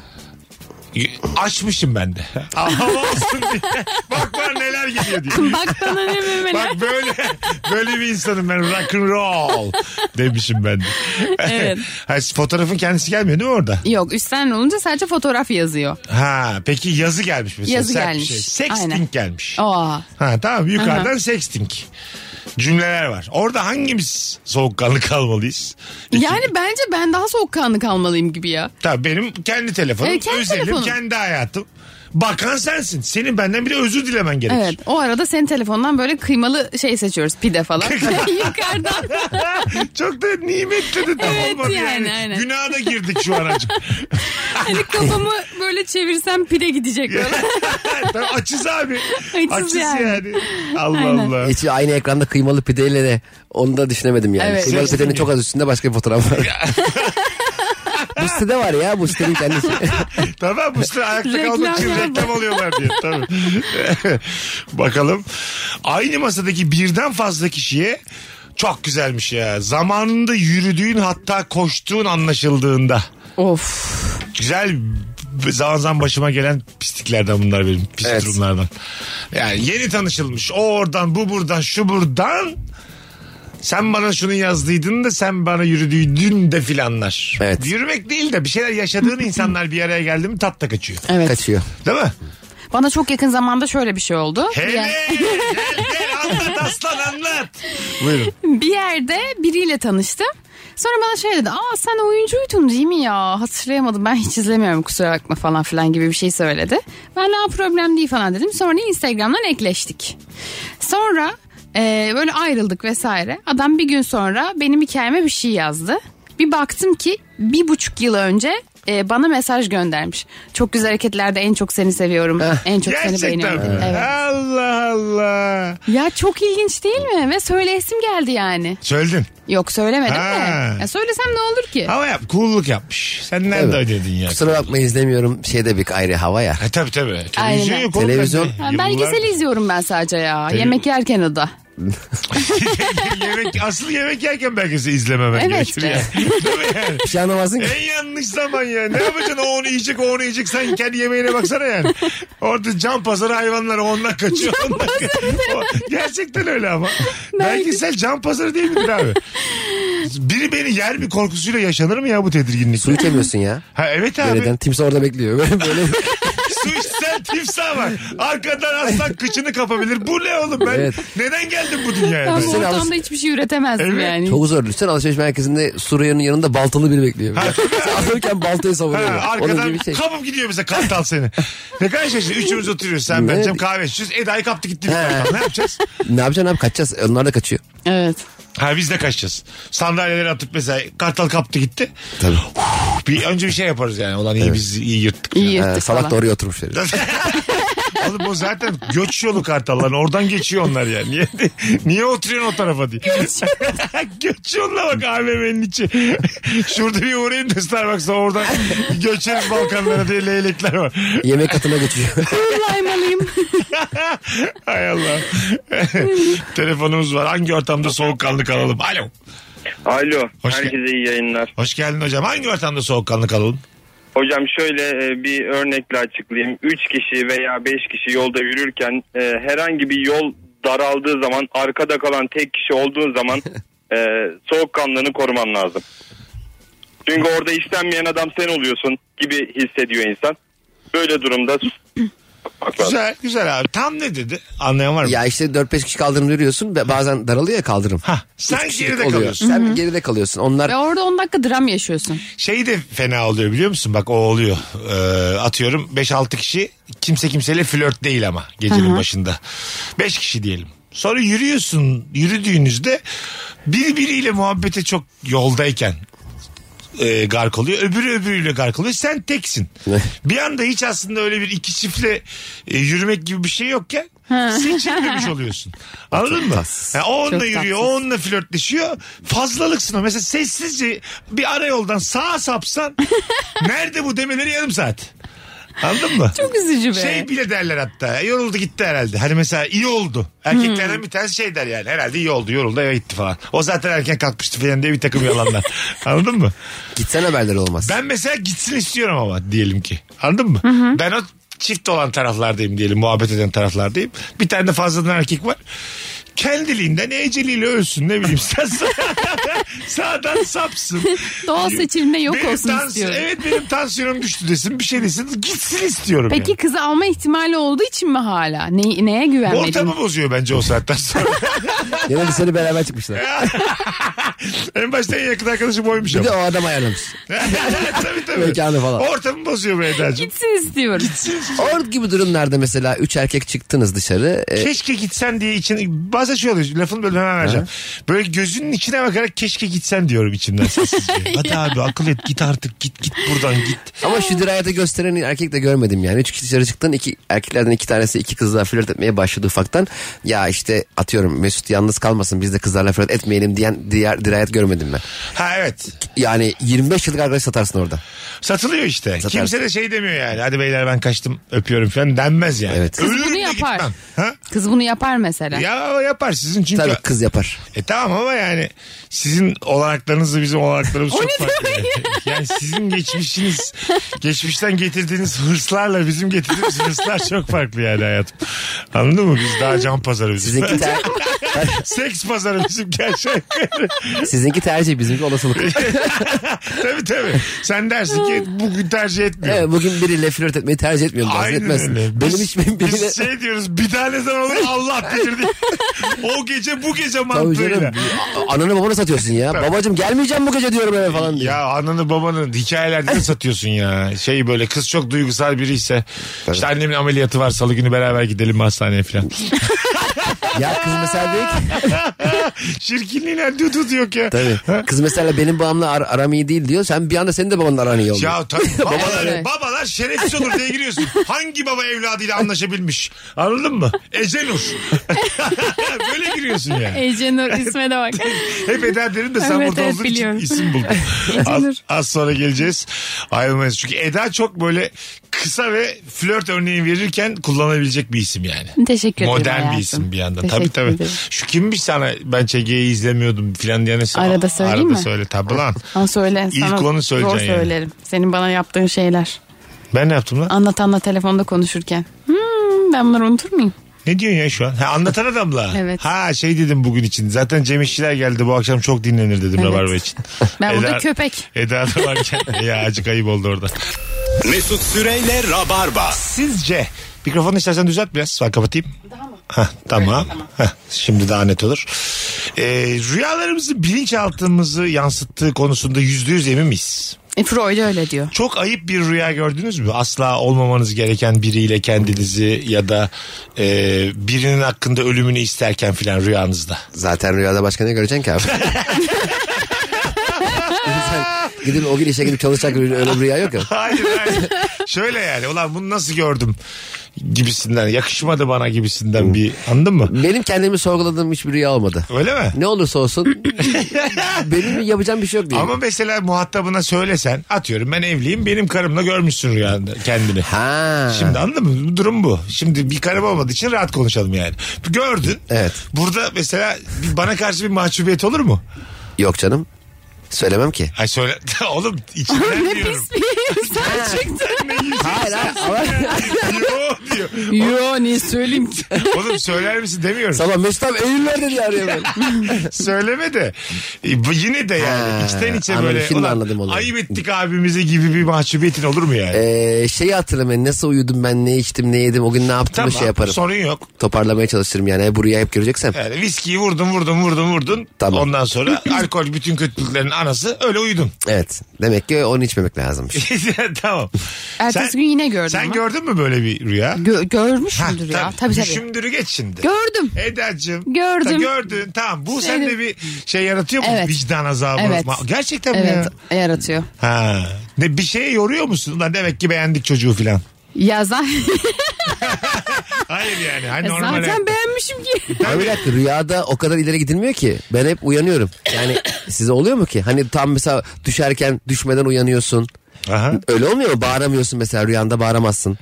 [SPEAKER 3] Açmışım ben de. Hava olsun diye. Bak bana neler geliyor diye.
[SPEAKER 4] Bak bana ne memeli.
[SPEAKER 3] Bak böyle böyle bir insanım ben rock and roll demişim ben de.
[SPEAKER 4] Evet.
[SPEAKER 3] Ha, fotoğrafın kendisi gelmiyor değil mi orada?
[SPEAKER 4] Yok üstten olunca sadece fotoğraf yazıyor.
[SPEAKER 3] Ha peki yazı gelmiş mesela.
[SPEAKER 4] Yazı
[SPEAKER 3] sert bir
[SPEAKER 4] gelmiş.
[SPEAKER 3] Şey. Sexting
[SPEAKER 4] Aynen.
[SPEAKER 3] gelmiş.
[SPEAKER 4] Aa.
[SPEAKER 3] Ha tamam yukarıdan sexting. Cümleler var. Orada hangimiz soğukkanlı kalmalıyız? İki-
[SPEAKER 4] Yani bence ben daha soğukkanlı kalmalıyım gibi ya.
[SPEAKER 3] Tabii benim kendi telefonum,
[SPEAKER 4] Evet, kendi
[SPEAKER 3] özelim,
[SPEAKER 4] telefonun.
[SPEAKER 3] kendi hayatım. Bakan sensin. Senin benden bir de özür dilemen gerekir.
[SPEAKER 4] Evet o arada senin telefondan böyle kıymalı şey seçiyoruz pide falan. Yukarıdan.
[SPEAKER 3] Çok da nimetli de tam
[SPEAKER 4] Evet,
[SPEAKER 3] olmadı yani.
[SPEAKER 4] yani, aynen.
[SPEAKER 3] Günaha da girdik şu an acık.
[SPEAKER 4] Hani kafamı böyle çevirsem pide gidecek böyle.
[SPEAKER 3] Tamam, açız abi.
[SPEAKER 4] Açız
[SPEAKER 3] Açız yani.
[SPEAKER 4] yani.
[SPEAKER 3] Allah
[SPEAKER 4] Aynen.
[SPEAKER 3] Allah.
[SPEAKER 2] Hiç aynı ekranda kıymalı pideyle de onu da düşünemedim yani.
[SPEAKER 4] Evet.
[SPEAKER 2] Kıymalı
[SPEAKER 3] Şey-
[SPEAKER 2] pidenin çok az üstünde başka bir fotoğraf var. bu sitede var ya bu sitenin kendisi.
[SPEAKER 3] Tamam bu sırada ayakta
[SPEAKER 4] Reklam
[SPEAKER 3] kalmak için
[SPEAKER 4] ya bu.
[SPEAKER 3] reklam alıyorlar diye. Tamam. Bakalım. Aynı masadaki birden fazla kişiye çok güzelmiş ya. Zamanında yürüdüğün hatta koştuğun anlaşıldığında.
[SPEAKER 4] of.
[SPEAKER 3] Güzel zaman zaman başıma gelen pisliklerden bunlar benim. Pis
[SPEAKER 2] Evet.
[SPEAKER 3] durumlardan. Yani yeni tanışılmış. O oradan bu buradan şu buradan. Sen bana şunu yazdıydın da sen bana yürüdüğün de filanlar.
[SPEAKER 2] Evet.
[SPEAKER 3] Yürümek değil de bir şeyler yaşadığın insanlar bir araya geldi mi tat da kaçıyor.
[SPEAKER 4] Evet.
[SPEAKER 2] Kaçıyor.
[SPEAKER 3] Değil mi?
[SPEAKER 4] Bana çok yakın zamanda şöyle bir şey oldu.
[SPEAKER 3] Hele
[SPEAKER 4] Bir yer-
[SPEAKER 3] gel gel anlat aslan anlat. Buyurun.
[SPEAKER 4] bir yerde biriyle tanıştım. Sonra bana şey dedi. Aa sen oyuncuydun değil mi ya? Hatırlayamadım ben hiç izlemiyorum kusura bakma falan filan gibi bir şey söyledi. Ben daha problem değil falan dedim. Sonra Instagram'dan ekleştik. Sonra e, böyle ayrıldık vesaire. Adam bir gün sonra benim hikayeme bir şey yazdı. Bir baktım ki bir buçuk yıl önce e, bana mesaj göndermiş. Çok güzel hareketlerde en çok seni seviyorum. en çok seni
[SPEAKER 3] Gerçekten
[SPEAKER 4] beğeniyorum.
[SPEAKER 3] mi?
[SPEAKER 4] Evet.
[SPEAKER 3] Allah Allah.
[SPEAKER 4] Ya çok ilginç değil mi? Ve söyleyesim geldi yani.
[SPEAKER 3] Söyledin.
[SPEAKER 4] Yok söylemedim
[SPEAKER 3] Ha.
[SPEAKER 4] de. Ya söylesem ne olur ki?
[SPEAKER 3] Ama yap, cool'luk yapmış. Sen nerede
[SPEAKER 2] Evet.
[SPEAKER 3] ödedin ya?
[SPEAKER 2] Kusura bakma izlemiyorum şeyde bir ayrı hava ya.
[SPEAKER 3] Ha, tabii tabii. Televizyon
[SPEAKER 4] Aynen.
[SPEAKER 3] yok oğlum
[SPEAKER 2] Televizyon.
[SPEAKER 3] bende.
[SPEAKER 4] Ha,
[SPEAKER 3] Yıllar-
[SPEAKER 4] belgeseli izliyorum ben sadece ya. Yemek yerken o da.
[SPEAKER 3] yemek, asıl yemek yerken belgeseli izlememen
[SPEAKER 4] Evet
[SPEAKER 3] gerekir
[SPEAKER 4] de.
[SPEAKER 3] ya. Değil mi yani?
[SPEAKER 2] Bir şey anlamazsın ki.
[SPEAKER 3] En yanlış zaman ya. Ne yapacaksın? O onu yiyecek, o onu yiyecek. Sen kendi yemeğine baksana yani. Orada can pazarı hayvanları ondan kaçıyor. Ondan kaçıyor. O- gerçekten öyle ama. Belgesel can pazarı değil midir abi? Biri beni yer mi korkusuyla yaşanır mı ya bu tedirginlik?
[SPEAKER 2] Su içemiyorsun ya.
[SPEAKER 3] Ha evet abi.
[SPEAKER 2] Dereden. Timsah orada bekliyor. Böyle, böyle.
[SPEAKER 3] Su içsen timsah var. Arkadan aslan kıçını kapabilir. Bu ne oğlum ben?
[SPEAKER 2] Evet.
[SPEAKER 3] Neden geldim bu dünyaya?
[SPEAKER 4] Ben
[SPEAKER 3] ben?
[SPEAKER 4] bu
[SPEAKER 2] Sen
[SPEAKER 4] ortamda
[SPEAKER 2] alışsın.
[SPEAKER 4] hiçbir şey üretemezdim
[SPEAKER 3] Evet.
[SPEAKER 4] yani.
[SPEAKER 2] Çok zor. Sen alışveriş merkezinde Suriye'nin yanında baltalı biri bekliyor. Sen alırken baltayı
[SPEAKER 3] Ha,
[SPEAKER 2] savuruyor. Onun
[SPEAKER 3] arkadan
[SPEAKER 2] gibi şey.
[SPEAKER 3] kapıp gidiyor mesela kartal seni. ne kadar şaşırıyor. Üçümüz oturuyoruz. Sen ben
[SPEAKER 2] Ne?
[SPEAKER 3] Cem kahve içiyoruz. Eda'yı kaptı gitti. bir
[SPEAKER 2] He.
[SPEAKER 3] kartal. ne yapacağız?
[SPEAKER 2] Ne yapacaksın abi kaçacağız. Onlar da kaçıyor.
[SPEAKER 4] Evet.
[SPEAKER 3] Ha biz de kaçacağız. Sandalyeleri atıp mesela kartal kaptı gitti.
[SPEAKER 2] Tabii.
[SPEAKER 3] Bir, önce bir şey yaparız yani. Ulan iyi biz iyi yırttık.
[SPEAKER 4] İyi
[SPEAKER 2] Ee,
[SPEAKER 4] yırttık
[SPEAKER 2] salak
[SPEAKER 4] falan.
[SPEAKER 2] da oraya oturmuş herif.
[SPEAKER 3] Oğlum o zaten göç yolu kartalların. Oradan geçiyor onlar yani. Niye, niye oturuyorsun o tarafa diye. göç yoluna bak AVM'nin içi. Şurada bir uğrayayım da Starbucks'a oradan göçeriz Balkanlara diye leylekler var.
[SPEAKER 2] Yemek katına geçiyor.
[SPEAKER 4] Kullanmalıyım.
[SPEAKER 3] Hay Allah. Telefonumuz var. Hangi ortamda soğukkanlı kalalım? Alo.
[SPEAKER 6] Alo.
[SPEAKER 3] Hoş
[SPEAKER 6] herkese iyi yayınlar.
[SPEAKER 3] Hoş geldin hocam. Hangi ortamda soğukkanlı kalalım?
[SPEAKER 6] Hocam şöyle e, bir örnekle açıklayayım. 3 kişi veya 5 kişi yolda yürürken e, herhangi bir yol daraldığı zaman arkada kalan tek kişi olduğu zaman e, soğukkanlığını koruman lazım. Çünkü orada istenmeyen adam sen oluyorsun gibi hissediyor insan. Böyle durumda bakmak lazım.
[SPEAKER 3] Güzel, güzel abi. Tam ne dedi? Anlayan var mı?
[SPEAKER 2] ya işte 4-5 kişi kaldırım yürüyorsun. Ba- Bazen daralıyor ya kaldırım.
[SPEAKER 3] Hah,
[SPEAKER 2] Üç
[SPEAKER 3] sen
[SPEAKER 2] kişilik
[SPEAKER 3] geride
[SPEAKER 2] oluyor.
[SPEAKER 3] kalıyorsun.
[SPEAKER 2] Sen geride kalıyorsun. Onlar
[SPEAKER 4] Ve orada 10 dakika dram yaşıyorsun.
[SPEAKER 3] Şey de fena oluyor biliyor musun? Bak o oluyor. Ee, atıyorum 5-6 kişi kimse kimseyle flört değil ama gecenin başında. 5 kişi diyelim. Sonra yürüyorsun yürüdüğünüzde birbiriyle muhabbete çok yoldayken e, gark oluyor. Öbürü öbürüyle gark oluyor. Sen teksin. bir anda hiç aslında öyle bir iki çiftle e, yürümek gibi bir şey yokken seçilmemiş oluyorsun. Anladın mı? Yani o onunla
[SPEAKER 4] Çok
[SPEAKER 3] yürüyor, o
[SPEAKER 4] tatsız.
[SPEAKER 3] onunla flörtleşiyor. Fazlalıksın o. Mesela sessizce bir ara yoldan sağa sapsan nerede bu demeleri yarım saat. Anladın mı?
[SPEAKER 4] Çok üzücü be.
[SPEAKER 3] Şey bile derler hatta. Yoruldu gitti herhalde. Hani mesela iyi oldu. Erkeklerden
[SPEAKER 4] Hmm.
[SPEAKER 3] bir tanesi şey der yani. Herhalde iyi oldu. Yoruldu eve gitti falan. O zaten erken kalkmıştı falan diye bir takım yalanlar. Anladın mı?
[SPEAKER 2] gitsen haberleri olmaz.
[SPEAKER 3] Ben mesela gitsin istiyorum ama diyelim ki. Anladın mı? Ben o çift olan taraflardayım diyelim. Muhabbet eden taraflardayım. Bir tane de fazladan erkek var. Kendiliğinden eceliyle ölsün ne bileyim sen sağ- sağdan sapsın.
[SPEAKER 4] Doğal seçilme yok
[SPEAKER 3] Benim
[SPEAKER 4] olsun
[SPEAKER 3] tans-
[SPEAKER 4] istiyorum.
[SPEAKER 3] Evet benim tansiyonum düştü desin bir şey desin gitsin istiyorum.
[SPEAKER 4] Peki kızı alma ihtimali olduğu için mi hala? Ne, neye
[SPEAKER 3] yani.
[SPEAKER 4] güvenmedin?
[SPEAKER 3] Ortamı bozuyor bence o saatten sonra.
[SPEAKER 2] Yine dışarı beraber çıkmışlar.
[SPEAKER 3] En başta en yakın arkadaşım oymuş
[SPEAKER 2] Bir
[SPEAKER 3] ama.
[SPEAKER 2] de o adam ayarlamış.
[SPEAKER 3] tabii tabii.
[SPEAKER 2] Mekanı falan.
[SPEAKER 3] Ortamı bozuyor be Eda'cığım.
[SPEAKER 4] Gitsin istiyorum.
[SPEAKER 2] Or gibi durumlarda mesela üç erkek çıktınız dışarı. e,
[SPEAKER 3] Keşke gitsen diye için bazen şey oluyor lafını böyle hemen vereceğim. Böyle gözünün içine bakarak keşke gitsen diyorum içimden sessizce. Hadi abi akıl et git artık git git buradan git.
[SPEAKER 2] ama şu dirayeti gösteren erkek de görmedim yani. Üç kişi dışarı çıktın. iki erkeklerden iki tanesi iki kızla flört etmeye başladı ufaktan. Ya işte atıyorum Mesut yalnız kalmasın biz de kızlarla flört etmeyelim diyen diğer dirayet görmedim ben.
[SPEAKER 3] Ha evet
[SPEAKER 2] Yani 25 yıllık arkadaş satarsın orada.
[SPEAKER 3] satılıyor işte.
[SPEAKER 2] Satarsın.
[SPEAKER 3] Kimse de şey demiyor yani hadi beyler ben kaçtım öpüyorum falan denmez yani.
[SPEAKER 2] Evet. Kız
[SPEAKER 4] Kız
[SPEAKER 3] Ölürüm
[SPEAKER 4] bunu
[SPEAKER 3] de
[SPEAKER 4] yapar.
[SPEAKER 3] gitmem. Ha?
[SPEAKER 4] Kız bunu yapar mesela.
[SPEAKER 3] Ya yapar sizin çünkü.
[SPEAKER 2] Tabii kız yapar.
[SPEAKER 3] E tamam ama yani sizin olanaklarınızla bizim olanaklarımız çok
[SPEAKER 4] ne
[SPEAKER 3] farklı. Yani. Yani sizin geçmişiniz, geçmişten getirdiğiniz hırslarla bizim getirdiğimiz hırslar çok farklı yani hayatım. Anladın mı? Biz daha can pazarı bizim.
[SPEAKER 2] Sizinki, ter-
[SPEAKER 3] Seks pazarı bizim gerçekten.
[SPEAKER 2] sizinki tercih bizimki olasılık.
[SPEAKER 3] tabii tabii. Sen dersin ki bugün tercih etmiyorum.
[SPEAKER 2] Evet, bugün biriyle flört etmeyi tercih etmiyorum. Tercih
[SPEAKER 3] Aynen
[SPEAKER 2] etmezsin.
[SPEAKER 3] öyle.
[SPEAKER 2] Benim
[SPEAKER 3] Biz-
[SPEAKER 2] hiç benim
[SPEAKER 3] biz
[SPEAKER 2] biriyle...
[SPEAKER 3] şey diyoruz bir daha ne zaman olur Allah bilir diye. o gece bu gece
[SPEAKER 2] Tabii
[SPEAKER 3] mantığıyla.
[SPEAKER 2] canım. a- Ananı babanı satıyorsun ya. Babacım gelmeyeceğim bu gece diyorum eve falan diye.
[SPEAKER 3] Ya ananı babanı hikayelerde de satıyorsun ya. Şey böyle kız çok duygusal biri ise işte annemin ameliyatı var salı günü beraber gidelim mi hastaneye falan.
[SPEAKER 2] Ya kız mesela diyor ki...
[SPEAKER 3] Şirkinliğine düdüt yok ya.
[SPEAKER 2] Tabii. Kız mesela benim babamla ar- aram iyi değil diyor. Sen bir anda senin de babanla aran iyi oluyor.
[SPEAKER 3] Ya tabii babalar,
[SPEAKER 4] Evet.
[SPEAKER 3] babalar şerefsiz olur diye giriyorsun. Hangi baba evladıyla anlaşabilmiş? Anladın mı? Ecenur. Böyle giriyorsun yani.
[SPEAKER 4] Ecenur isme de bak.
[SPEAKER 3] Hep Eda derim de sen
[SPEAKER 4] Evet,
[SPEAKER 3] burada
[SPEAKER 4] evet,
[SPEAKER 3] olduğun
[SPEAKER 4] biliyorum.
[SPEAKER 3] için isim buldun. az,
[SPEAKER 4] Ecenur.
[SPEAKER 3] az sonra geleceğiz. Ayrılmayız. Çünkü Eda çok böyle kısa ve flört örneği verirken kullanabilecek bir isim yani.
[SPEAKER 4] Teşekkür ederim
[SPEAKER 3] Modern bir
[SPEAKER 4] hayatım.
[SPEAKER 3] isim bir yandan.
[SPEAKER 4] Teşekkür
[SPEAKER 3] Tabii tabii.
[SPEAKER 4] ederim.
[SPEAKER 3] Şu kimmiş sana ben ÇG'yi izlemiyordum filan diyene sana.
[SPEAKER 4] Arada söyleyeyim
[SPEAKER 3] Arada
[SPEAKER 4] mi?
[SPEAKER 3] söyle tabii lan.
[SPEAKER 4] Ama söyle.
[SPEAKER 3] İlk
[SPEAKER 4] sana
[SPEAKER 3] onu söyleyeceksin
[SPEAKER 4] Zor
[SPEAKER 3] yani.
[SPEAKER 4] söylerim. Senin bana yaptığın şeyler.
[SPEAKER 3] Ben ne yaptım lan?
[SPEAKER 4] Anlat anlat telefonda konuşurken. Hmm, ben bunları unutur muyum?
[SPEAKER 3] Ne diyorsun ya şu an? Ha, anlatan adamla.
[SPEAKER 4] Evet.
[SPEAKER 3] Ha şey dedim bugün için. Zaten Cem İşçiler geldi bu akşam çok dinlenir dedim
[SPEAKER 4] Evet.
[SPEAKER 3] Rabarba için.
[SPEAKER 4] Ben burada
[SPEAKER 3] Eda-
[SPEAKER 4] köpek.
[SPEAKER 3] Eda da varken ya acık ayıp oldu orada.
[SPEAKER 1] Mesut Süreyle Rabarba.
[SPEAKER 3] Sizce mikrofonu istersen düzelt biraz. Ben kapatayım. Daha mı? tamam. Hah, şimdi daha net olur. Ee, rüyalarımızı bilinçaltımızı yansıttığı konusunda yüzde yüz emin miyiz?
[SPEAKER 4] E, Freud öyle diyor.
[SPEAKER 3] Çok ayıp bir rüya gördünüz mü? Asla olmamanız gereken biriyle kendinizi ya da e, birinin hakkında ölümünü isterken filan rüyanızda.
[SPEAKER 2] Zaten rüyada başka ne göreceksin ki abi? İnsan gidip o gün işe gidip çalışacak bir- öyle bir rüya yok ya.
[SPEAKER 3] Hayır hayır. Şöyle yani ulan bunu nasıl gördüm gibisinden yakışmadı bana
[SPEAKER 2] Hmm.
[SPEAKER 3] gibisinden bir anladın mı?
[SPEAKER 2] Benim kendimi sorguladığım hiçbir rüya olmadı.
[SPEAKER 3] Öyle mi?
[SPEAKER 2] Ne olursa olsun benim yapacağım bir şey yok diye.
[SPEAKER 3] Ama mesela muhatabına söylesen atıyorum ben evliyim benim karımla görmüşsün rüyanda kendini.
[SPEAKER 2] Ha.
[SPEAKER 3] Şimdi anladın mı? Bu Durum bu. Şimdi bir karım olmadığı için rahat konuşalım yani. Gördün.
[SPEAKER 2] Evet.
[SPEAKER 3] Burada mesela bir- bana karşı bir mahcubiyet olur mu?
[SPEAKER 2] Yok canım. Söylemem ki.
[SPEAKER 3] Ay söyle. Oğlum içimden
[SPEAKER 4] Ne
[SPEAKER 3] diyorum.
[SPEAKER 4] pis bir insan çıktı.
[SPEAKER 2] Hayır hayır. Ama...
[SPEAKER 3] Yo diyor.
[SPEAKER 4] Yo ne söyleyeyim ki?
[SPEAKER 3] Oğlum söyler misin demiyorum.
[SPEAKER 2] Sabah Mesut abi Eylül'ler dedi arıyor beni.
[SPEAKER 3] Söyleme de. E, bu Yine de yani
[SPEAKER 2] Ha,
[SPEAKER 3] içten içe
[SPEAKER 2] anladım.
[SPEAKER 3] böyle.
[SPEAKER 2] Şimdi
[SPEAKER 3] "Ulan
[SPEAKER 2] anladım olayı."
[SPEAKER 3] ayıp ettik abimize gibi bir mahcubiyetin olur mu yani?
[SPEAKER 2] Ee, şeyi hatırlamayın. Nasıl uyudum ben, ne içtim, ne yedim, o gün ne yaptım
[SPEAKER 3] tamam
[SPEAKER 2] şey yaparım.
[SPEAKER 3] sorun yok.
[SPEAKER 2] Toparlamaya çalışırım yani. E, Buraya hep göreceksem.
[SPEAKER 3] Yani viskiyi vurdun vurdun vurdun vurdun.
[SPEAKER 2] Tamam.
[SPEAKER 3] Ondan sonra alkol bütün kötülüklerin anası öyle uyudun.
[SPEAKER 2] Evet. Demek ki onu içmemek lazımmış.
[SPEAKER 3] tamam.
[SPEAKER 4] Ertesi gün yine gördüm
[SPEAKER 3] Sen
[SPEAKER 4] ama.
[SPEAKER 3] gördün mü böyle bir rüya?
[SPEAKER 4] Gö- görmüş
[SPEAKER 3] Ha,
[SPEAKER 4] müdür ya? Tabii tabii.
[SPEAKER 3] Düşündürü geç şimdi.
[SPEAKER 4] Gördüm.
[SPEAKER 3] Eda'cığım.
[SPEAKER 4] Gördüm.
[SPEAKER 3] Ta- gördün. Tamam bu
[SPEAKER 4] Şeydim.
[SPEAKER 3] sende bir şey yaratıyor mu?
[SPEAKER 4] Evet.
[SPEAKER 3] Vicdan azabı.
[SPEAKER 4] Evet.
[SPEAKER 3] Ma- Gerçekten mi
[SPEAKER 4] Evet
[SPEAKER 3] ya?
[SPEAKER 4] yaratıyor.
[SPEAKER 3] Ha. Ne, bir şeye yoruyor musun? Ulan demek ki beğendik çocuğu filan.
[SPEAKER 4] Yazan.
[SPEAKER 3] Hayır yani. Hani normal.
[SPEAKER 4] E, Zaten beğenmişim ki.
[SPEAKER 2] Ama bir dakika rüyada o kadar ileri gidilmiyor ki. Ben hep uyanıyorum. Yani size oluyor mu ki? Hani tam mesela düşerken düşmeden uyanıyorsun.
[SPEAKER 3] Aha.
[SPEAKER 2] Öyle olmuyor mu? Bağıramıyorsun mesela rüyanda bağıramazsın.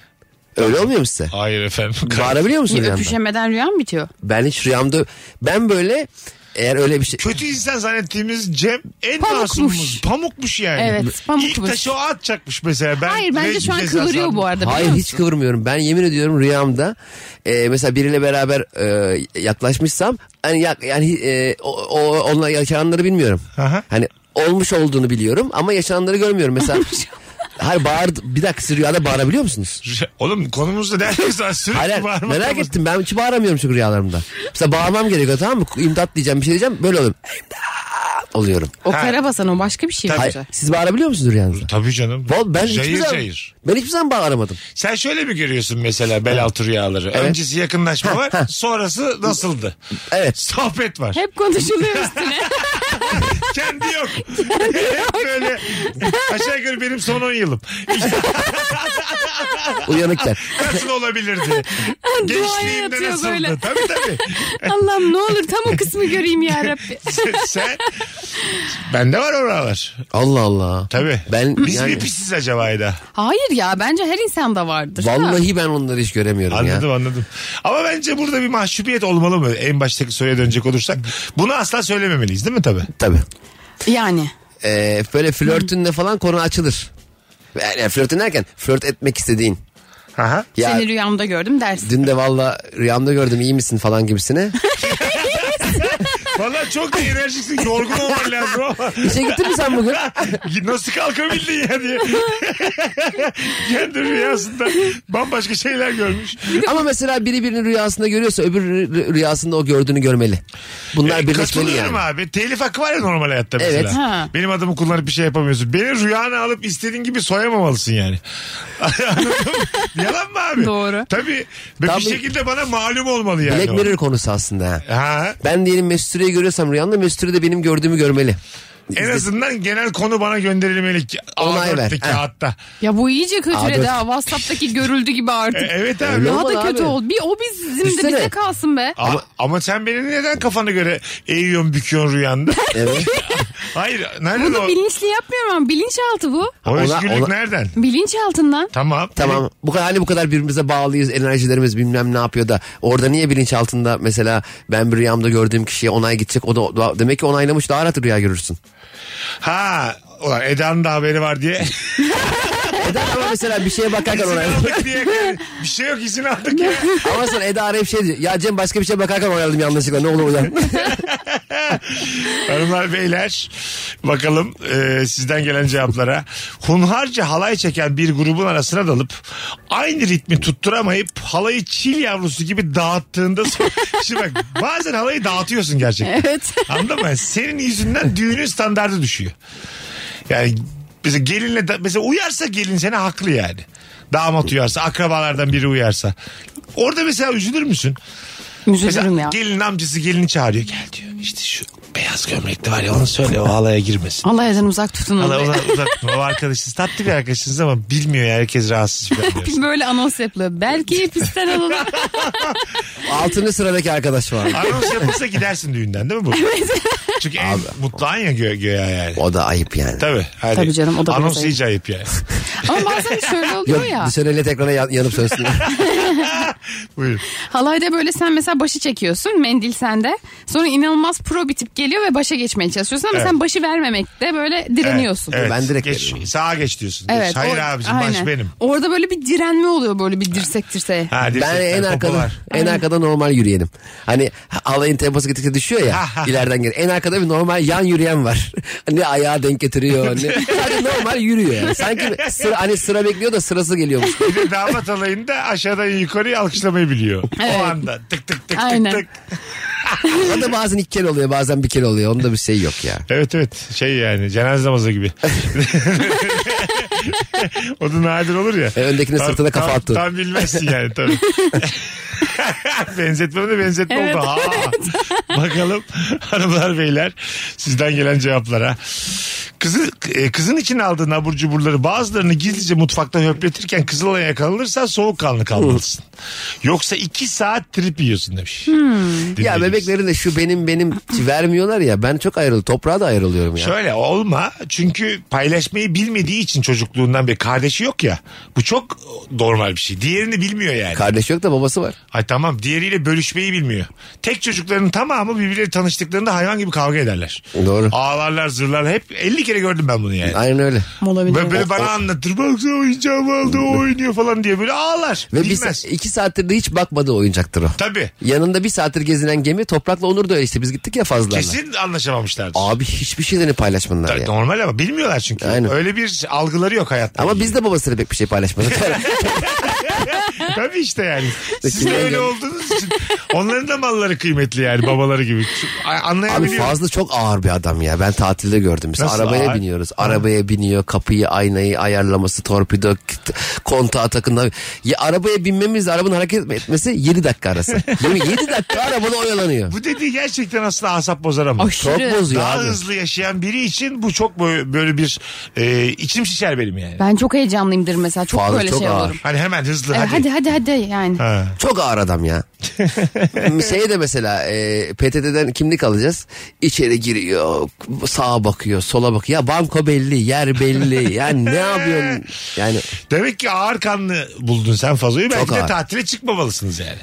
[SPEAKER 2] Öyle olmuyor mu size?
[SPEAKER 3] Hayır efendim.
[SPEAKER 2] Bağırabiliyor musun rüyanda?
[SPEAKER 4] Öpüşemeden rüya mı bitiyor?
[SPEAKER 2] Ben hiç rüyamda ben böyle eğer öyle bir şey
[SPEAKER 3] Kötü insan zannettiğimiz Cem en
[SPEAKER 4] Pamukmuş.
[SPEAKER 3] masumumuz. Pamukmuş yani.
[SPEAKER 4] Evet, pamukmuş.
[SPEAKER 3] İlk taşı o atacakmış mesela. Ben
[SPEAKER 4] Hayır bence
[SPEAKER 3] ne
[SPEAKER 4] şu an
[SPEAKER 3] cezası
[SPEAKER 4] kıvırıyor bu
[SPEAKER 3] aldım?
[SPEAKER 4] arada.
[SPEAKER 2] Hayır
[SPEAKER 4] biliyor
[SPEAKER 2] hiç
[SPEAKER 4] musun?
[SPEAKER 2] kıvırmıyorum. Ben yemin ediyorum rüyamda e, mesela biriyle beraber e, yaklaşmışsam hani yak, yani e, o, o onunla yaşananları bilmiyorum.
[SPEAKER 3] Aha.
[SPEAKER 2] Hani olmuş olduğunu biliyorum ama yaşananları görmüyorum mesela. Hayır bağır bir dakika siz rüyada bağırabiliyor musunuz?
[SPEAKER 3] Oğlum konumuzda neredeyse var. sürekli
[SPEAKER 2] Hayır hayır,
[SPEAKER 3] bağırmak
[SPEAKER 2] merak
[SPEAKER 3] olmaz.
[SPEAKER 2] ettim ben hiç bağıramıyorum çünkü rüyalarımda. Mesela bağırmam gerekiyor tamam mı? İmdat diyeceğim bir şey diyeceğim böyle oluyorum. İmdat oluyorum.
[SPEAKER 4] O
[SPEAKER 3] Ha.
[SPEAKER 4] karabasan o başka bir şey
[SPEAKER 3] Tabii.
[SPEAKER 2] Hayır,
[SPEAKER 4] bence.
[SPEAKER 2] siz bağırabiliyor musunuz rüyanızda?
[SPEAKER 3] Tabii canım.
[SPEAKER 2] Vallahi ben hiçbir
[SPEAKER 3] cayır
[SPEAKER 2] zaman,
[SPEAKER 3] cayır.
[SPEAKER 2] ben hiçbir zaman bağıramadım.
[SPEAKER 3] Sen şöyle mi görüyorsun mesela bel altı rüyaları? Öncesi yakınlaşma var, sonrası nasıldı?
[SPEAKER 2] Evet.
[SPEAKER 3] Sohbet var.
[SPEAKER 4] Hep konuşuluyor üstüne.
[SPEAKER 3] Kendi yok. Hep böyle aşağı yukarı benim son 10 yılım. İşte
[SPEAKER 2] Uyanıkken.
[SPEAKER 3] nasıl olabilirdi? Gençliğimde
[SPEAKER 4] yatıyor
[SPEAKER 3] nasıldı?
[SPEAKER 4] böyle.
[SPEAKER 3] Tabii tabii.
[SPEAKER 4] Allah'ım ne olur tam o kısmı göreyim ya Rabbi.
[SPEAKER 3] Sen- Sen, bende var oralar.
[SPEAKER 2] Allah Allah.
[SPEAKER 3] Tabii.
[SPEAKER 2] Ben
[SPEAKER 3] Biz
[SPEAKER 2] yani-
[SPEAKER 3] mi pisiz acaba Eda?
[SPEAKER 4] Hayır ya bence her insanda vardır. da.
[SPEAKER 2] Vallahi ben onları hiç göremiyorum
[SPEAKER 3] Anladım
[SPEAKER 2] ya.
[SPEAKER 3] anladım. Ama bence burada bir mahcubiyet olmalı mı? En baştaki soruya dönecek olursak. Bunu asla söylememeliyiz değil mi tabii?
[SPEAKER 2] Tabii.
[SPEAKER 4] Yani.
[SPEAKER 2] Ee, böyle flörtünle falan konu açılır. Yani flörtün derken flört etmek istediğin.
[SPEAKER 3] Aha.
[SPEAKER 2] Ya
[SPEAKER 4] Seni rüyamda gördüm dersin.
[SPEAKER 2] dün de valla rüyamda gördüm iyi misin falan gibisine.
[SPEAKER 3] Valla çok da enerjiksin. Yorgun olman lazım ama.
[SPEAKER 2] İşe gittin mi sen bugün?
[SPEAKER 3] Nasıl kalkabildin ya diye. Kendi rüyasında bambaşka şeyler görmüş.
[SPEAKER 2] Ama mesela biri birini rüyasında görüyorsa öbür rü- rüyasında o gördüğünü görmeli. Bunlar birleşmeli
[SPEAKER 3] E, Katılıyorum
[SPEAKER 2] yani.
[SPEAKER 3] abi. Telif hakkı var ya normal hayatta mesela.
[SPEAKER 2] Evet.
[SPEAKER 4] Ha.
[SPEAKER 3] Benim adımı kullanıp bir şey yapamıyorsun. Beni rüyanı alıp istediğin gibi soyamamalısın yani. Anladın mı? Yalan mı abi?
[SPEAKER 4] Doğru.
[SPEAKER 3] Tabii. Ve
[SPEAKER 2] Tabii.
[SPEAKER 3] Bir şekilde bana malum olmalı yani.
[SPEAKER 2] Black
[SPEAKER 3] o.
[SPEAKER 2] Mirror konusu aslında. ha.
[SPEAKER 3] Ha.
[SPEAKER 2] Ben diyelim Mesut Süre'yi görüyorsam rüyamda Mesut Süre de benim gördüğümü görmeli.
[SPEAKER 3] En azından genel konu bana gönderilmeli. ki-
[SPEAKER 2] Onay ver.
[SPEAKER 3] A4'teki
[SPEAKER 2] Heh.
[SPEAKER 3] hatta.
[SPEAKER 4] Ya bu iyice
[SPEAKER 2] Aa,
[SPEAKER 4] kötü
[SPEAKER 2] dur.
[SPEAKER 4] daha. Whatsapp'taki görüldü gibi
[SPEAKER 3] E,
[SPEAKER 4] artık.
[SPEAKER 3] Evet abi.
[SPEAKER 2] Öyle
[SPEAKER 4] Daha
[SPEAKER 2] olmadı
[SPEAKER 4] da kötü
[SPEAKER 2] abi.
[SPEAKER 4] ol. Bir o bizim de
[SPEAKER 2] Düşsene.
[SPEAKER 4] bize kalsın be.
[SPEAKER 3] Ama, ama, sen beni neden kafana göre eğiyorsun büküyorsun rüyanda?
[SPEAKER 2] Evet.
[SPEAKER 3] Hayır. Nereden
[SPEAKER 4] Bunu
[SPEAKER 3] o?
[SPEAKER 4] bilinçli yapmıyorum ama bilinçaltı bu.
[SPEAKER 3] O
[SPEAKER 2] Ona-
[SPEAKER 3] özgürlük
[SPEAKER 2] ona-
[SPEAKER 3] nereden?
[SPEAKER 4] Bilinçaltından.
[SPEAKER 3] Tamam.
[SPEAKER 2] Tamam. Bu kadar hani bu kadar birbirimize bağlıyız. Enerjilerimiz bilmem ne yapıyor da orada niye bilinç altında mesela ben bir rüyamda gördüğüm kişiye onay gidecek. O da- da demek ki onaylamış daha rahat rüya görürsün.
[SPEAKER 3] Ha. Ulan Eda'nın da haberi var diye.
[SPEAKER 2] Eda ama mesela bir şeye bakarken
[SPEAKER 3] İzin
[SPEAKER 2] onay.
[SPEAKER 3] aldık diye. Bir şey yok izin aldık ya.
[SPEAKER 2] Ama sonra Eda arayıp şey diyor. Ya Cem başka bir şeye bakarken onayladım yanlışlıkla ne olur ulan.
[SPEAKER 3] Hanımlar beyler bakalım e, sizden gelen cevaplara. Hunharca halay çeken bir grubun arasına dalıp aynı ritmi tutturamayıp halayı çil yavrusu gibi dağıttığında sonra- şimdi bak bazen halayı dağıtıyorsun gerçekten.
[SPEAKER 4] Evet.
[SPEAKER 3] Anladın mı? Senin yüzünden düğünün standardı düşüyor. Yani mesela gelinle da- mesela uyarsa gelin seni haklı yani. Damat uyarsa, akrabalardan biri uyarsa. Orada mesela üzülür müsün?
[SPEAKER 4] Üzülürüm
[SPEAKER 3] Mesela
[SPEAKER 4] ya.
[SPEAKER 3] gelin amcası gelini çağırıyor. Gel diyor. İşte şu beyaz gömlekli var ya onu söyle o halaya girmesin.
[SPEAKER 4] Allah yerden uzak tutun
[SPEAKER 3] Hala
[SPEAKER 4] onu.
[SPEAKER 3] ona uzatma. O arkadaşınız tatlı bir arkadaşınız ama bilmiyor ya herkes rahatsız falan diyor.
[SPEAKER 4] Böyle anons yapılıyor. Belki pistten alalım.
[SPEAKER 2] Altıncı sıradaki arkadaş var.
[SPEAKER 3] Anons yapılsa gidersin düğünden değil mi bu? Çünkü en mutlu an ya gö göya yani.
[SPEAKER 2] O da ayıp yani.
[SPEAKER 3] Tabii. Hani
[SPEAKER 4] Tabii canım, o da
[SPEAKER 3] Anons
[SPEAKER 4] biraz
[SPEAKER 3] iyice ayıp yani.
[SPEAKER 4] Ama bazen şöyle
[SPEAKER 2] Yok
[SPEAKER 4] oluyor ya.
[SPEAKER 2] dışarı led ekrana yan- yanıp sönsün.
[SPEAKER 3] Buyurun.
[SPEAKER 4] Halayda böyle sen mesela başı çekiyorsun. Mendil sende. Sonra inanılmaz pro bir tip geliyor ve başa geçmeye çalışıyorsun. Ama
[SPEAKER 3] Evet.
[SPEAKER 4] sen başı vermemekte böyle
[SPEAKER 3] Evet,
[SPEAKER 4] direniyorsun.
[SPEAKER 3] evet.
[SPEAKER 2] Ben direkt
[SPEAKER 3] Geç,
[SPEAKER 2] veririm.
[SPEAKER 3] Sağa geç diyorsun.
[SPEAKER 4] Evet,
[SPEAKER 3] Geç. Hayır
[SPEAKER 4] o-
[SPEAKER 3] abicim baş
[SPEAKER 4] aynen.
[SPEAKER 3] benim.
[SPEAKER 4] Orada böyle bir direnme oluyor böyle bir dirsek dirseğe.
[SPEAKER 3] Ha,
[SPEAKER 2] ben
[SPEAKER 3] dirsekten
[SPEAKER 2] en arkada
[SPEAKER 3] kopular.
[SPEAKER 2] en arkada normal yürüyenim. Hani halayın temposu gittikçe düşüyor ya ileriden gel. En arkada bir normal yan yürüyen var. Ne ayağa denk getiriyor ne. Sadece normal yürüyor yani. Sanki sıra, hani sıra bekliyor da sırası geliyormuş.
[SPEAKER 3] Bir de damat alayında aşağıdan yukarıya alkışlamayı biliyor. O
[SPEAKER 4] Evet.
[SPEAKER 3] anda tık tık tık
[SPEAKER 4] Aynen.
[SPEAKER 3] tık tık.
[SPEAKER 2] O da bazen iki kere oluyor bazen bir kere oluyor. Onda bir şey yok ya.
[SPEAKER 3] Evet evet şey yani cenaze namazı gibi. o da nadir olur ya.
[SPEAKER 2] E, öndekinin
[SPEAKER 3] Tam-
[SPEAKER 2] sırtına kafa
[SPEAKER 3] tam-
[SPEAKER 2] attı.
[SPEAKER 3] Tam bilmezsin yani tabii. Benzetmem de benzetme
[SPEAKER 4] Evet,
[SPEAKER 3] oldu. Ha. Bakalım hanımlar beyler sizden gelen cevaplara. Kızı, e, kızın için aldığı nabur cuburları bazılarını gizlice mutfakta höpletirken kızılaya yakalanırsan soğukkanlı kalmalısın. Yoksa iki saat trip yiyorsun demiş.
[SPEAKER 2] Ya
[SPEAKER 3] Dinleyicimiz.
[SPEAKER 2] bebeklerin de şu benim benim vermiyorlar ya. Ben çok ayrıl toprağa da ayrılıyorum ya.
[SPEAKER 3] Şöyle olma çünkü paylaşmayı bilmediği için çocukluğundan beri kardeşi yok ya. Bu çok normal bir şey. Diğerini bilmiyor yani.
[SPEAKER 2] Kardeş yok da babası var.
[SPEAKER 3] Ay tamam diğeriyle bölüşmeyi bilmiyor. Tek çocukların tamamı birbirleri tanıştıklarında hayvan gibi kavga ederler.
[SPEAKER 2] Doğru.
[SPEAKER 3] Ağlarlar zırlarlar hep 50 kere gördüm ben bunu yani.
[SPEAKER 2] Aynen öyle.
[SPEAKER 4] Olabilir.
[SPEAKER 3] Böyle, böyle bana anlatır. Baksana oyuncağım aldı o oynuyor falan diye böyle ağlar.
[SPEAKER 2] Ve e- bir,
[SPEAKER 3] Bilmez.
[SPEAKER 2] sa- iki saattir de hiç bakmadığı oyuncaktır o.
[SPEAKER 3] Tabii.
[SPEAKER 2] Yanında bir saattir gezinen gemi toprakla Onur da öyle işte biz gittik ya fazla.
[SPEAKER 3] Kesin anlaşamamışlardır.
[SPEAKER 2] Abi hiçbir şeyden paylaşmadılar
[SPEAKER 3] Tabii,
[SPEAKER 2] ya.
[SPEAKER 3] Normal ama bilmiyorlar çünkü.
[SPEAKER 2] Aynen.
[SPEAKER 3] Öyle bir algıları yok hayatta.
[SPEAKER 2] Ama biz de babasıyla pek bir şey paylaşmadık.
[SPEAKER 3] Tabii işte yani. Siz de
[SPEAKER 2] Kimden
[SPEAKER 3] öyle
[SPEAKER 2] geldi?
[SPEAKER 3] olduğunuz için onların da malları kıymetli yani babaları gibi. Şu- a-
[SPEAKER 2] Abi
[SPEAKER 3] Anlayabiliyorum.
[SPEAKER 2] fazla çok ağır bir adam ya. Ben tatilde gördüm. Mesela
[SPEAKER 3] Nasıl
[SPEAKER 2] arabaya
[SPEAKER 3] ağır?
[SPEAKER 2] biniyoruz. Arabaya biniyor. Kapıyı, aynayı, ayarlaması, torpido, k- kontağı takında. Ya arabaya binmemiz, arabanın hareket etmesi 7 dakika arası. 7 dakika arabada oyalanıyor.
[SPEAKER 3] Bu dediği gerçekten aslında asap bozar ama.
[SPEAKER 2] Çok
[SPEAKER 4] Aşırı.
[SPEAKER 2] bozuyor
[SPEAKER 3] Daha
[SPEAKER 2] abi.
[SPEAKER 3] hızlı yaşayan biri için bu çok bö- böyle bir e, içim şişer benim yani.
[SPEAKER 4] Ben çok heyecanlıyımdır mesela. Çok
[SPEAKER 2] Fazla,
[SPEAKER 4] böyle
[SPEAKER 2] çok
[SPEAKER 4] şey
[SPEAKER 2] ağır.
[SPEAKER 4] olurum.
[SPEAKER 3] Hani hemen hızlı
[SPEAKER 4] Evet,
[SPEAKER 3] hadi.
[SPEAKER 4] hadi hadi hadi yani.
[SPEAKER 3] Ha.
[SPEAKER 2] Çok ağır adam ya. şey de mesela e, PTT'den kimlik alacağız. İçeri giriyor, sağa bakıyor, sola bakıyor. Ya banko belli, yer belli. Yani ne yapıyorsun? Yani
[SPEAKER 3] Demek ki ağır kanlı buldun sen Fazo'yu. Belki
[SPEAKER 2] Çok
[SPEAKER 3] de
[SPEAKER 2] ağır.
[SPEAKER 3] tatile çıkmamalısınız yani.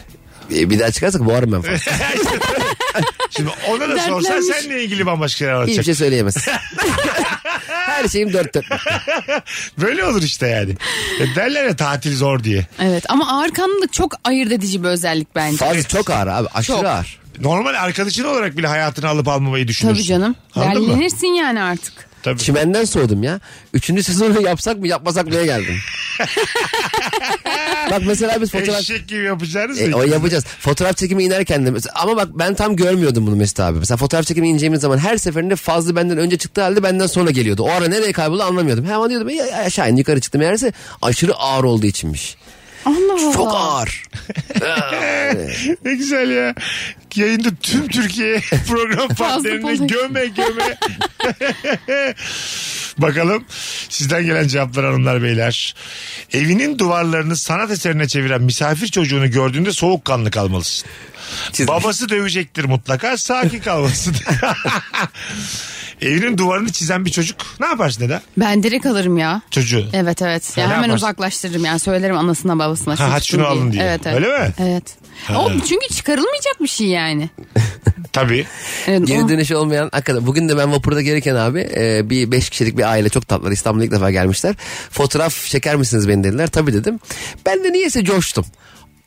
[SPEAKER 2] e, bir daha çıkarsak boğarım ben falan.
[SPEAKER 3] Şimdi ona da sorsan
[SPEAKER 4] Dertlenmiş.
[SPEAKER 3] seninle ilgili bambaşka şeyler
[SPEAKER 2] Hiçbir
[SPEAKER 3] anlatacak.
[SPEAKER 2] şey söyleyemez. Her şeyim dört dört.
[SPEAKER 3] Böyle olur işte yani. E derler ya tatil zor diye.
[SPEAKER 4] Evet ama ağır kanlılık çok ayırt edici bir özellik bence.
[SPEAKER 2] Fazla çok ağır abi. Aşırı
[SPEAKER 4] Çok.
[SPEAKER 2] ağır.
[SPEAKER 3] Normal arkadaşın olarak bile hayatını alıp almamayı düşünürsün.
[SPEAKER 4] Tabii canım.
[SPEAKER 3] Anladın mı?
[SPEAKER 4] Derlenirsin yani artık.
[SPEAKER 3] Tabii.
[SPEAKER 2] Çimenden soğudum ya. Üçüncü sezonu yapsak mı yapmasak mıya geldim. bak mesela biz fotoğraf...
[SPEAKER 3] Eşek gibi yapacağınız
[SPEAKER 2] E,
[SPEAKER 3] mı?
[SPEAKER 2] o yapacağız. Fotoğraf çekimi inerken de mesela- ama bak ben tam görmüyordum bunu Mesut abi. Mesela fotoğraf çekimi ineceğimiz zaman her seferinde Fazlı benden önce çıktığı halde benden sonra geliyordu. O ara nereye kayboldu anlamıyordum. Hemen diyordum "Ya, ya, aşağı in yukarı çıktım. Meğerse aşırı ağır olduğu içinmiş.
[SPEAKER 4] Allah Allah.
[SPEAKER 2] Çok ağır.
[SPEAKER 3] Ne güzel ya. Yayında tüm Türkiye program partnerini
[SPEAKER 4] balık.
[SPEAKER 3] göme göme. Bakalım sizden gelen cevaplar hanımlar beyler. Evinin duvarlarını sanat eserine çeviren misafir çocuğunu gördüğünde soğukkanlı kalmalısın. Babası dövecektir mutlaka sakin kalmalısın. Evinin duvarını çizen bir çocuk ne yaparsın neden?
[SPEAKER 4] Ben direkt alırım ya.
[SPEAKER 3] Çocuğu.
[SPEAKER 4] Evet evet.
[SPEAKER 3] Ha,
[SPEAKER 4] Ya
[SPEAKER 3] ne
[SPEAKER 4] hemen
[SPEAKER 3] yaparsın?
[SPEAKER 4] uzaklaştırırım yani söylerim anasına babasına.
[SPEAKER 3] Ha, hadi
[SPEAKER 4] çocuk
[SPEAKER 3] şunu
[SPEAKER 4] değil.
[SPEAKER 3] alın diye.
[SPEAKER 4] Evet, evet.
[SPEAKER 3] Öyle mi?
[SPEAKER 4] Evet. O çünkü çıkarılmayacak bir şey yani.
[SPEAKER 3] Tabii.
[SPEAKER 4] Evet, o-
[SPEAKER 2] Geri dönüş olmayan hakikaten. Bugün de ben vapurda gelirken abi e, bir beş kişilik bir aile çok tatlılar İstanbul'a ilk defa gelmişler. Fotoğraf çeker misiniz beni dediler. Tabii dedim. Ben de niyeyse coştum.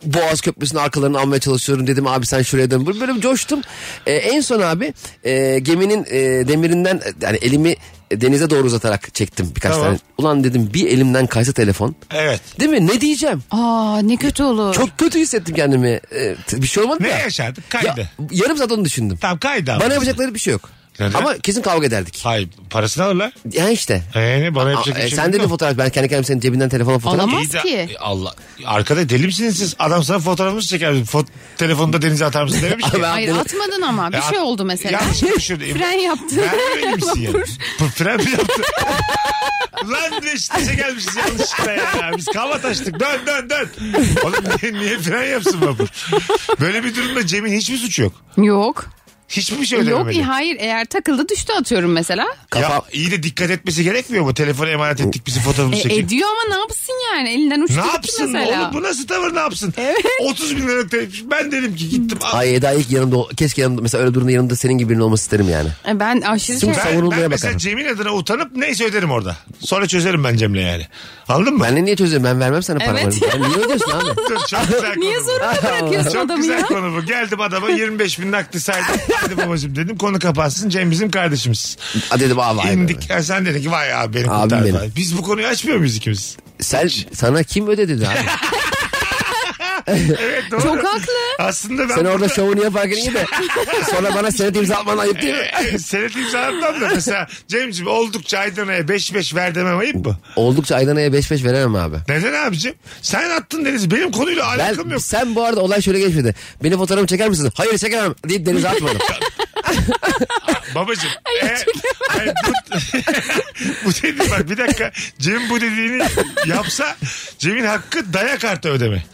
[SPEAKER 2] Boğaz Köprüsü'nün arkalarını almaya çalışıyorum dedim abi sen şuraya dön. Böyle bir coştum. E, en son abi e, geminin e, demirinden e, yani elimi denize doğru uzatarak çektim birkaç
[SPEAKER 3] Tamam.
[SPEAKER 2] tane. Ulan dedim bir elimden kaysa telefon.
[SPEAKER 3] Evet.
[SPEAKER 2] Değil mi? Ne diyeceğim?
[SPEAKER 4] Aa ne kötü olur.
[SPEAKER 2] Çok kötü hissettim kendimi. E, t- bir şey olmadı
[SPEAKER 3] Ne
[SPEAKER 2] da.
[SPEAKER 3] yaşadı?
[SPEAKER 2] Ya,
[SPEAKER 3] Kaydı.
[SPEAKER 2] yarım saat onu düşündüm.
[SPEAKER 3] Tam kaydı ama.
[SPEAKER 2] Bana yapacakları bir şey yok.
[SPEAKER 3] Neden?
[SPEAKER 2] Ama kesin kavga ederdik.
[SPEAKER 3] Hayır parasını alırlar.
[SPEAKER 2] Ya işte.
[SPEAKER 3] Ee, ne bana
[SPEAKER 2] Aa,
[SPEAKER 3] yapacak bir
[SPEAKER 2] e,
[SPEAKER 3] şey
[SPEAKER 2] sen de
[SPEAKER 3] yok.
[SPEAKER 2] bir fotoğraf. Ben kendi kendime senin cebinden telefona fotoğraf.
[SPEAKER 4] Alamaz
[SPEAKER 3] İyi de-
[SPEAKER 4] ki.
[SPEAKER 3] E, Allah. Arkada deli misiniz siz? Adam sana fotoğrafımızı çeker. Fot telefonda denize atar mısın dememiş ki.
[SPEAKER 2] Ben-
[SPEAKER 4] Hayır atmadın ama bir
[SPEAKER 3] Ya,
[SPEAKER 4] şey oldu mesela.
[SPEAKER 3] Yanlış konuşuyordu.
[SPEAKER 4] Fren yaptı.
[SPEAKER 3] Fren misin yani?
[SPEAKER 4] Vapur.
[SPEAKER 3] P- Fren mi yaptı? Lan Beşiktaş'a gelmişiz yanlışlıkla ya. Biz kava taştık. Dön dön dön. Oğlum niye, niye fren yapsın vapur? Böyle bir durumda Cem'in hiçbir suçu yok.
[SPEAKER 4] Yok.
[SPEAKER 3] Hiçbir şey
[SPEAKER 4] Yok
[SPEAKER 3] ödememeli.
[SPEAKER 4] e, hayır eğer takıldı düştü atıyorum mesela.
[SPEAKER 3] Ya
[SPEAKER 2] Kafa-
[SPEAKER 3] iyi de dikkat etmesi gerekmiyor mu? Telefonu emanet ettik bizi fotoğrafımızı
[SPEAKER 4] E,
[SPEAKER 3] çekin.
[SPEAKER 4] ediyor ama ne yapsın yani elinden uçtu
[SPEAKER 3] Ne
[SPEAKER 4] gitti
[SPEAKER 3] yapsın
[SPEAKER 4] mesela.
[SPEAKER 3] oğlum bu nasıl tavır ne yapsın? 30 bin liralık telefon. Ben dedim ki gittim. al.
[SPEAKER 2] Ay Eda ilk yanımda ol- keşke yanımda mesela öyle durumda yanımda senin gibi birinin olması isterim yani.
[SPEAKER 4] E, Ben aşırı
[SPEAKER 2] Şimdi
[SPEAKER 4] şey.
[SPEAKER 3] Ben, ben
[SPEAKER 2] Savunulmaya
[SPEAKER 3] mesela
[SPEAKER 2] bakarım.
[SPEAKER 3] Cem'in adına utanıp neyse öderim orada. Sonra çözerim ben Cem'le yani. Anladın mı?
[SPEAKER 2] Ben de niye çözüyorum? Ben vermem sana paramı.
[SPEAKER 4] Evet.
[SPEAKER 2] Ben niye ödüyorsun abi?
[SPEAKER 3] Dur, Çok güzel konu
[SPEAKER 4] Niye
[SPEAKER 3] bu.
[SPEAKER 4] zorunda bırakıyorsun
[SPEAKER 3] Çok
[SPEAKER 4] adamı
[SPEAKER 3] güzel
[SPEAKER 4] ya?
[SPEAKER 3] konu bu. Geldim adama 25 bin nakdi saydım. Hadi babacım dedim konu kapansın. Cem bizim kardeşimiz.
[SPEAKER 2] Aa, dedim aa vay be.
[SPEAKER 3] İndik. Ha, sen dedin ki vay abi beni
[SPEAKER 2] Abim
[SPEAKER 3] kurtar.
[SPEAKER 2] benim.
[SPEAKER 3] falan. Biz bu konuyu açmıyor muyuz ikimiz?
[SPEAKER 2] Sen, sana kim ödedi abi?
[SPEAKER 3] Evet doğru.
[SPEAKER 4] Çok haklı.
[SPEAKER 3] Aslında ben
[SPEAKER 2] Sen orada
[SPEAKER 3] burada-
[SPEAKER 2] şovunu yaparken iyi de sonra bana senet imza atman ayıp değil mi?
[SPEAKER 3] Ee, Senet imzalatmam da mesela Cem'ciğim oldukça Aydana'ya 5-5 ver demem ayıp mı?
[SPEAKER 2] Oldukça Aydana'ya 5-5 veremem abi.
[SPEAKER 3] Neden abicim? Sen attın Deniz. Benim konuyla alakam
[SPEAKER 2] Ben,
[SPEAKER 3] yok.
[SPEAKER 2] sen bu arada olay şöyle geçmedi. Beni fotoğrafımı çeker misiniz? Hayır çekemem deyip denize atmadım.
[SPEAKER 3] Babacım. e, e, bu, bu dedi bak bir dakika. Cem bu dediğini yapsa Cem'in hakkı dayak artı ödeme.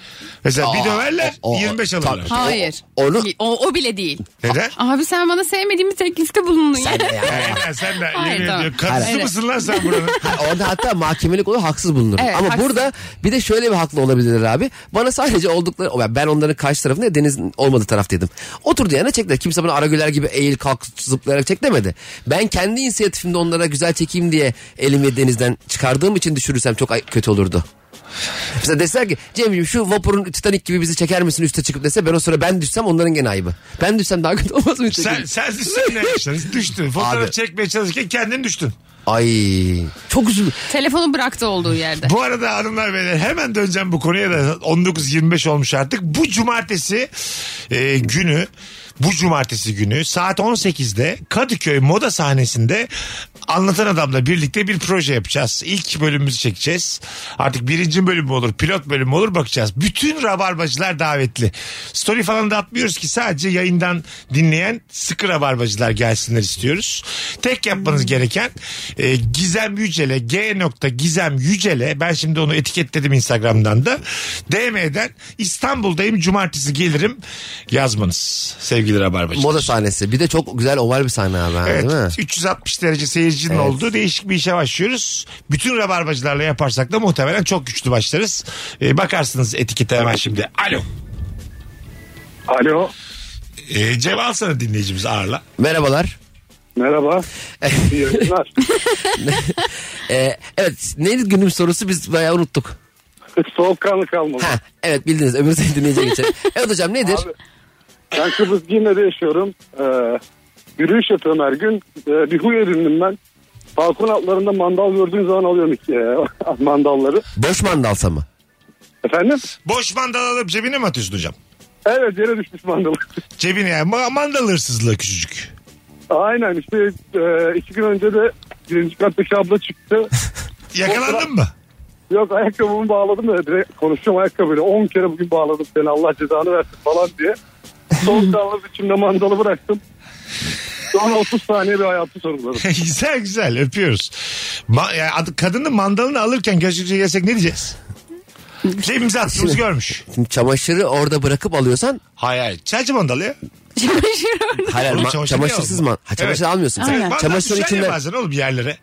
[SPEAKER 3] Mesela bir
[SPEAKER 2] Aa,
[SPEAKER 3] döverler
[SPEAKER 2] o- o-
[SPEAKER 3] 25 alırlar.
[SPEAKER 2] tabii.
[SPEAKER 4] Hayır.
[SPEAKER 2] O- onu-
[SPEAKER 4] o, o bile değil.
[SPEAKER 3] Neden?
[SPEAKER 4] Abi sen bana sevmediğim bir teklifte bulundun ya.
[SPEAKER 3] Aynen sen de
[SPEAKER 4] Hayır,
[SPEAKER 3] yemin
[SPEAKER 4] tamam.
[SPEAKER 3] ediyorum. Karısı
[SPEAKER 4] Hayır.
[SPEAKER 3] mısın lan sen buranın?
[SPEAKER 2] Orada hatta mahkemelik olur haksız bulunur.
[SPEAKER 4] Evet,
[SPEAKER 2] Ama
[SPEAKER 4] haksız.
[SPEAKER 2] burada bir de şöyle bir haklı olabilirler abi. Bana sadece oldukları ya ben onların karşı tarafında denizin olmadığı taraftaydım. Oturdu yana çektiler. Kimse bana aragüler gibi eğil kalk zıplayarak çek demedi. Ben kendi inisiyatifimde onlara güzel çekeyim diye elimi denizden çıkardığım için düşürürsem çok ay- kötü olurdu. Mesela deseler ki Cem'ciğim şu vapurun Titanic gibi bizi çeker misin üste çıkıp dese ben o sıra ben düşsem onların gene ayıbı. Ben düşsem daha kötü olmaz mı? üste
[SPEAKER 3] sen,
[SPEAKER 2] çıkıp?
[SPEAKER 3] sen düşsen ne yapmışlar? Düştün. Fotoğraf
[SPEAKER 2] Abi.
[SPEAKER 3] çekmeye çalışırken kendin düştün.
[SPEAKER 2] Ay çok üzüldüm.
[SPEAKER 4] Telefonu bıraktı olduğu yerde.
[SPEAKER 3] Bu arada hanımlar beyler hemen döneceğim bu konuya da 19.25 olmuş artık. Bu cumartesi e, günü bu cumartesi günü saat 18'de Kadıköy Moda sahnesinde Anlatan Adam'la birlikte bir proje yapacağız. İlk bölümümüzü çekeceğiz. Artık birinci bölüm mü olur, pilot bölüm mü olur bakacağız. Bütün rabarbacılar davetli. Story falan da atmıyoruz ki sadece yayından dinleyen sıkı rabarbacılar gelsinler istiyoruz. Tek yapmanız gereken e, Gizem Yücel'e G nokta Gizem Yücel'e ben şimdi onu etiketledim Instagram'dan da DM'den İstanbul'dayım cumartesi gelirim yazmanız sevgili rabarbacılar.
[SPEAKER 2] Moda sahnesi. Bir de çok güzel oval bir sahne abi. ha,
[SPEAKER 3] Evet,
[SPEAKER 2] Değil mi?
[SPEAKER 3] 360 derece seyircinin olduğu değişik bir işe başlıyoruz. Bütün rabarbacılarla yaparsak da muhtemelen çok güçlü başlarız. Ee, bakarsınız etikete hemen şimdi. Alo.
[SPEAKER 7] Alo.
[SPEAKER 3] Ee, Cem alsana dinleyicimizi ağırla.
[SPEAKER 2] Merhabalar.
[SPEAKER 7] Merhaba. İyi yayınlar.
[SPEAKER 2] Ee, evet neydi günün sorusu biz bayağı unuttuk.
[SPEAKER 7] Soğukkanlı kalmadı.
[SPEAKER 2] Ha, evet bildiniz ömür seni dinleyeceğim için. Evet hocam nedir?
[SPEAKER 7] Abi, ben Kıbrıs Giyme'de yaşıyorum. Ee, yürüyüş yapıyorum her gün. Ee, bir huy edindim ben. Balkon altlarında mandal gördüğün zaman alıyorum e, mandalları.
[SPEAKER 2] Boş mandalsa mı?
[SPEAKER 7] Efendim?
[SPEAKER 3] Boş mandal alıp cebine mi atıyorsun hocam?
[SPEAKER 7] Evet yere düşmüş mandalı.
[SPEAKER 3] Cebine yani Ma- mandal hırsızlığı küçücük.
[SPEAKER 7] Aynen işte e, iki gün önce de birinci kattaki abla çıktı.
[SPEAKER 3] Yakalandın mı?
[SPEAKER 7] Yok ayakkabımı bağladım da direkt konuşacağım ayakkabıyla. 10 kere bugün bağladım seni Allah cezanı versin falan diye. Son kalmaz içimde mandalı bıraktım. Sonra 30 saniye bir hayatı sorguladım.
[SPEAKER 3] güzel güzel öpüyoruz. Ma- yani ad- kadının mandalını alırken gözümüze gelsek ne diyeceğiz? Cebimize attığımızı görmüş.
[SPEAKER 2] Şimdi çamaşırı orada bırakıp alıyorsan
[SPEAKER 3] Hay hay. Çerçi mandalı ya.
[SPEAKER 2] hayır
[SPEAKER 3] Oğlum,
[SPEAKER 2] ma-
[SPEAKER 3] çamaşır
[SPEAKER 2] çamaşırsız
[SPEAKER 3] niye
[SPEAKER 2] man. Ha,
[SPEAKER 3] aldın?
[SPEAKER 2] çamaşır
[SPEAKER 3] Evet.
[SPEAKER 2] almıyorsun sen.
[SPEAKER 4] Aynen.
[SPEAKER 3] Mandal
[SPEAKER 2] Çamaşırın
[SPEAKER 3] düşer ya
[SPEAKER 2] içinde.
[SPEAKER 3] bazen oğlum bir yerlere.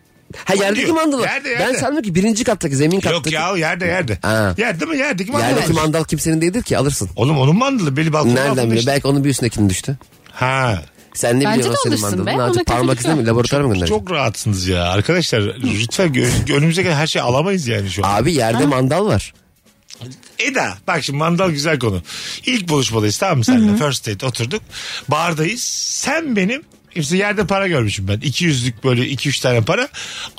[SPEAKER 2] Ha yerdeki
[SPEAKER 3] Diyor.
[SPEAKER 2] mandalı.
[SPEAKER 3] Yerde,
[SPEAKER 2] Ben
[SPEAKER 3] yerde.
[SPEAKER 2] sandım ki birinci kattaki zemin
[SPEAKER 3] Yok
[SPEAKER 2] kattaki.
[SPEAKER 3] ya yerde yerde.
[SPEAKER 2] Ha.
[SPEAKER 3] Yerde mi yerdeki mandal.
[SPEAKER 2] Yerdeki
[SPEAKER 3] alır.
[SPEAKER 2] mandal kimsenin değildir ki alırsın.
[SPEAKER 3] Oğlum onun mandalı beli balkonun altında
[SPEAKER 2] Nereden biliyor?
[SPEAKER 3] işte.
[SPEAKER 2] Belki onun bir üstündekinin düştü.
[SPEAKER 3] Ha.
[SPEAKER 2] Sen ne
[SPEAKER 4] Bence
[SPEAKER 2] biliyorsun
[SPEAKER 4] de
[SPEAKER 2] o senin
[SPEAKER 4] alırsın
[SPEAKER 2] mandalını?
[SPEAKER 4] be,
[SPEAKER 2] Ne yapacak?
[SPEAKER 4] ona
[SPEAKER 2] Parmak
[SPEAKER 4] kötülük
[SPEAKER 2] izine mi?
[SPEAKER 4] yok.
[SPEAKER 2] Laboratuvara mı gönderecek?
[SPEAKER 3] Çok rahatsınız ya arkadaşlar. Lütfen gö- önümüze gelen her şeyi alamayız yani şu an.
[SPEAKER 2] Abi yerde mandal var.
[SPEAKER 3] Eda bak şimdi mandal güzel konu. İlk buluşmadayız tamam mı seninle? First date oturduk. Bardayız. Sen benim işte yerde para görmüşüm ben. 200'lük böyle 2-3 tane para.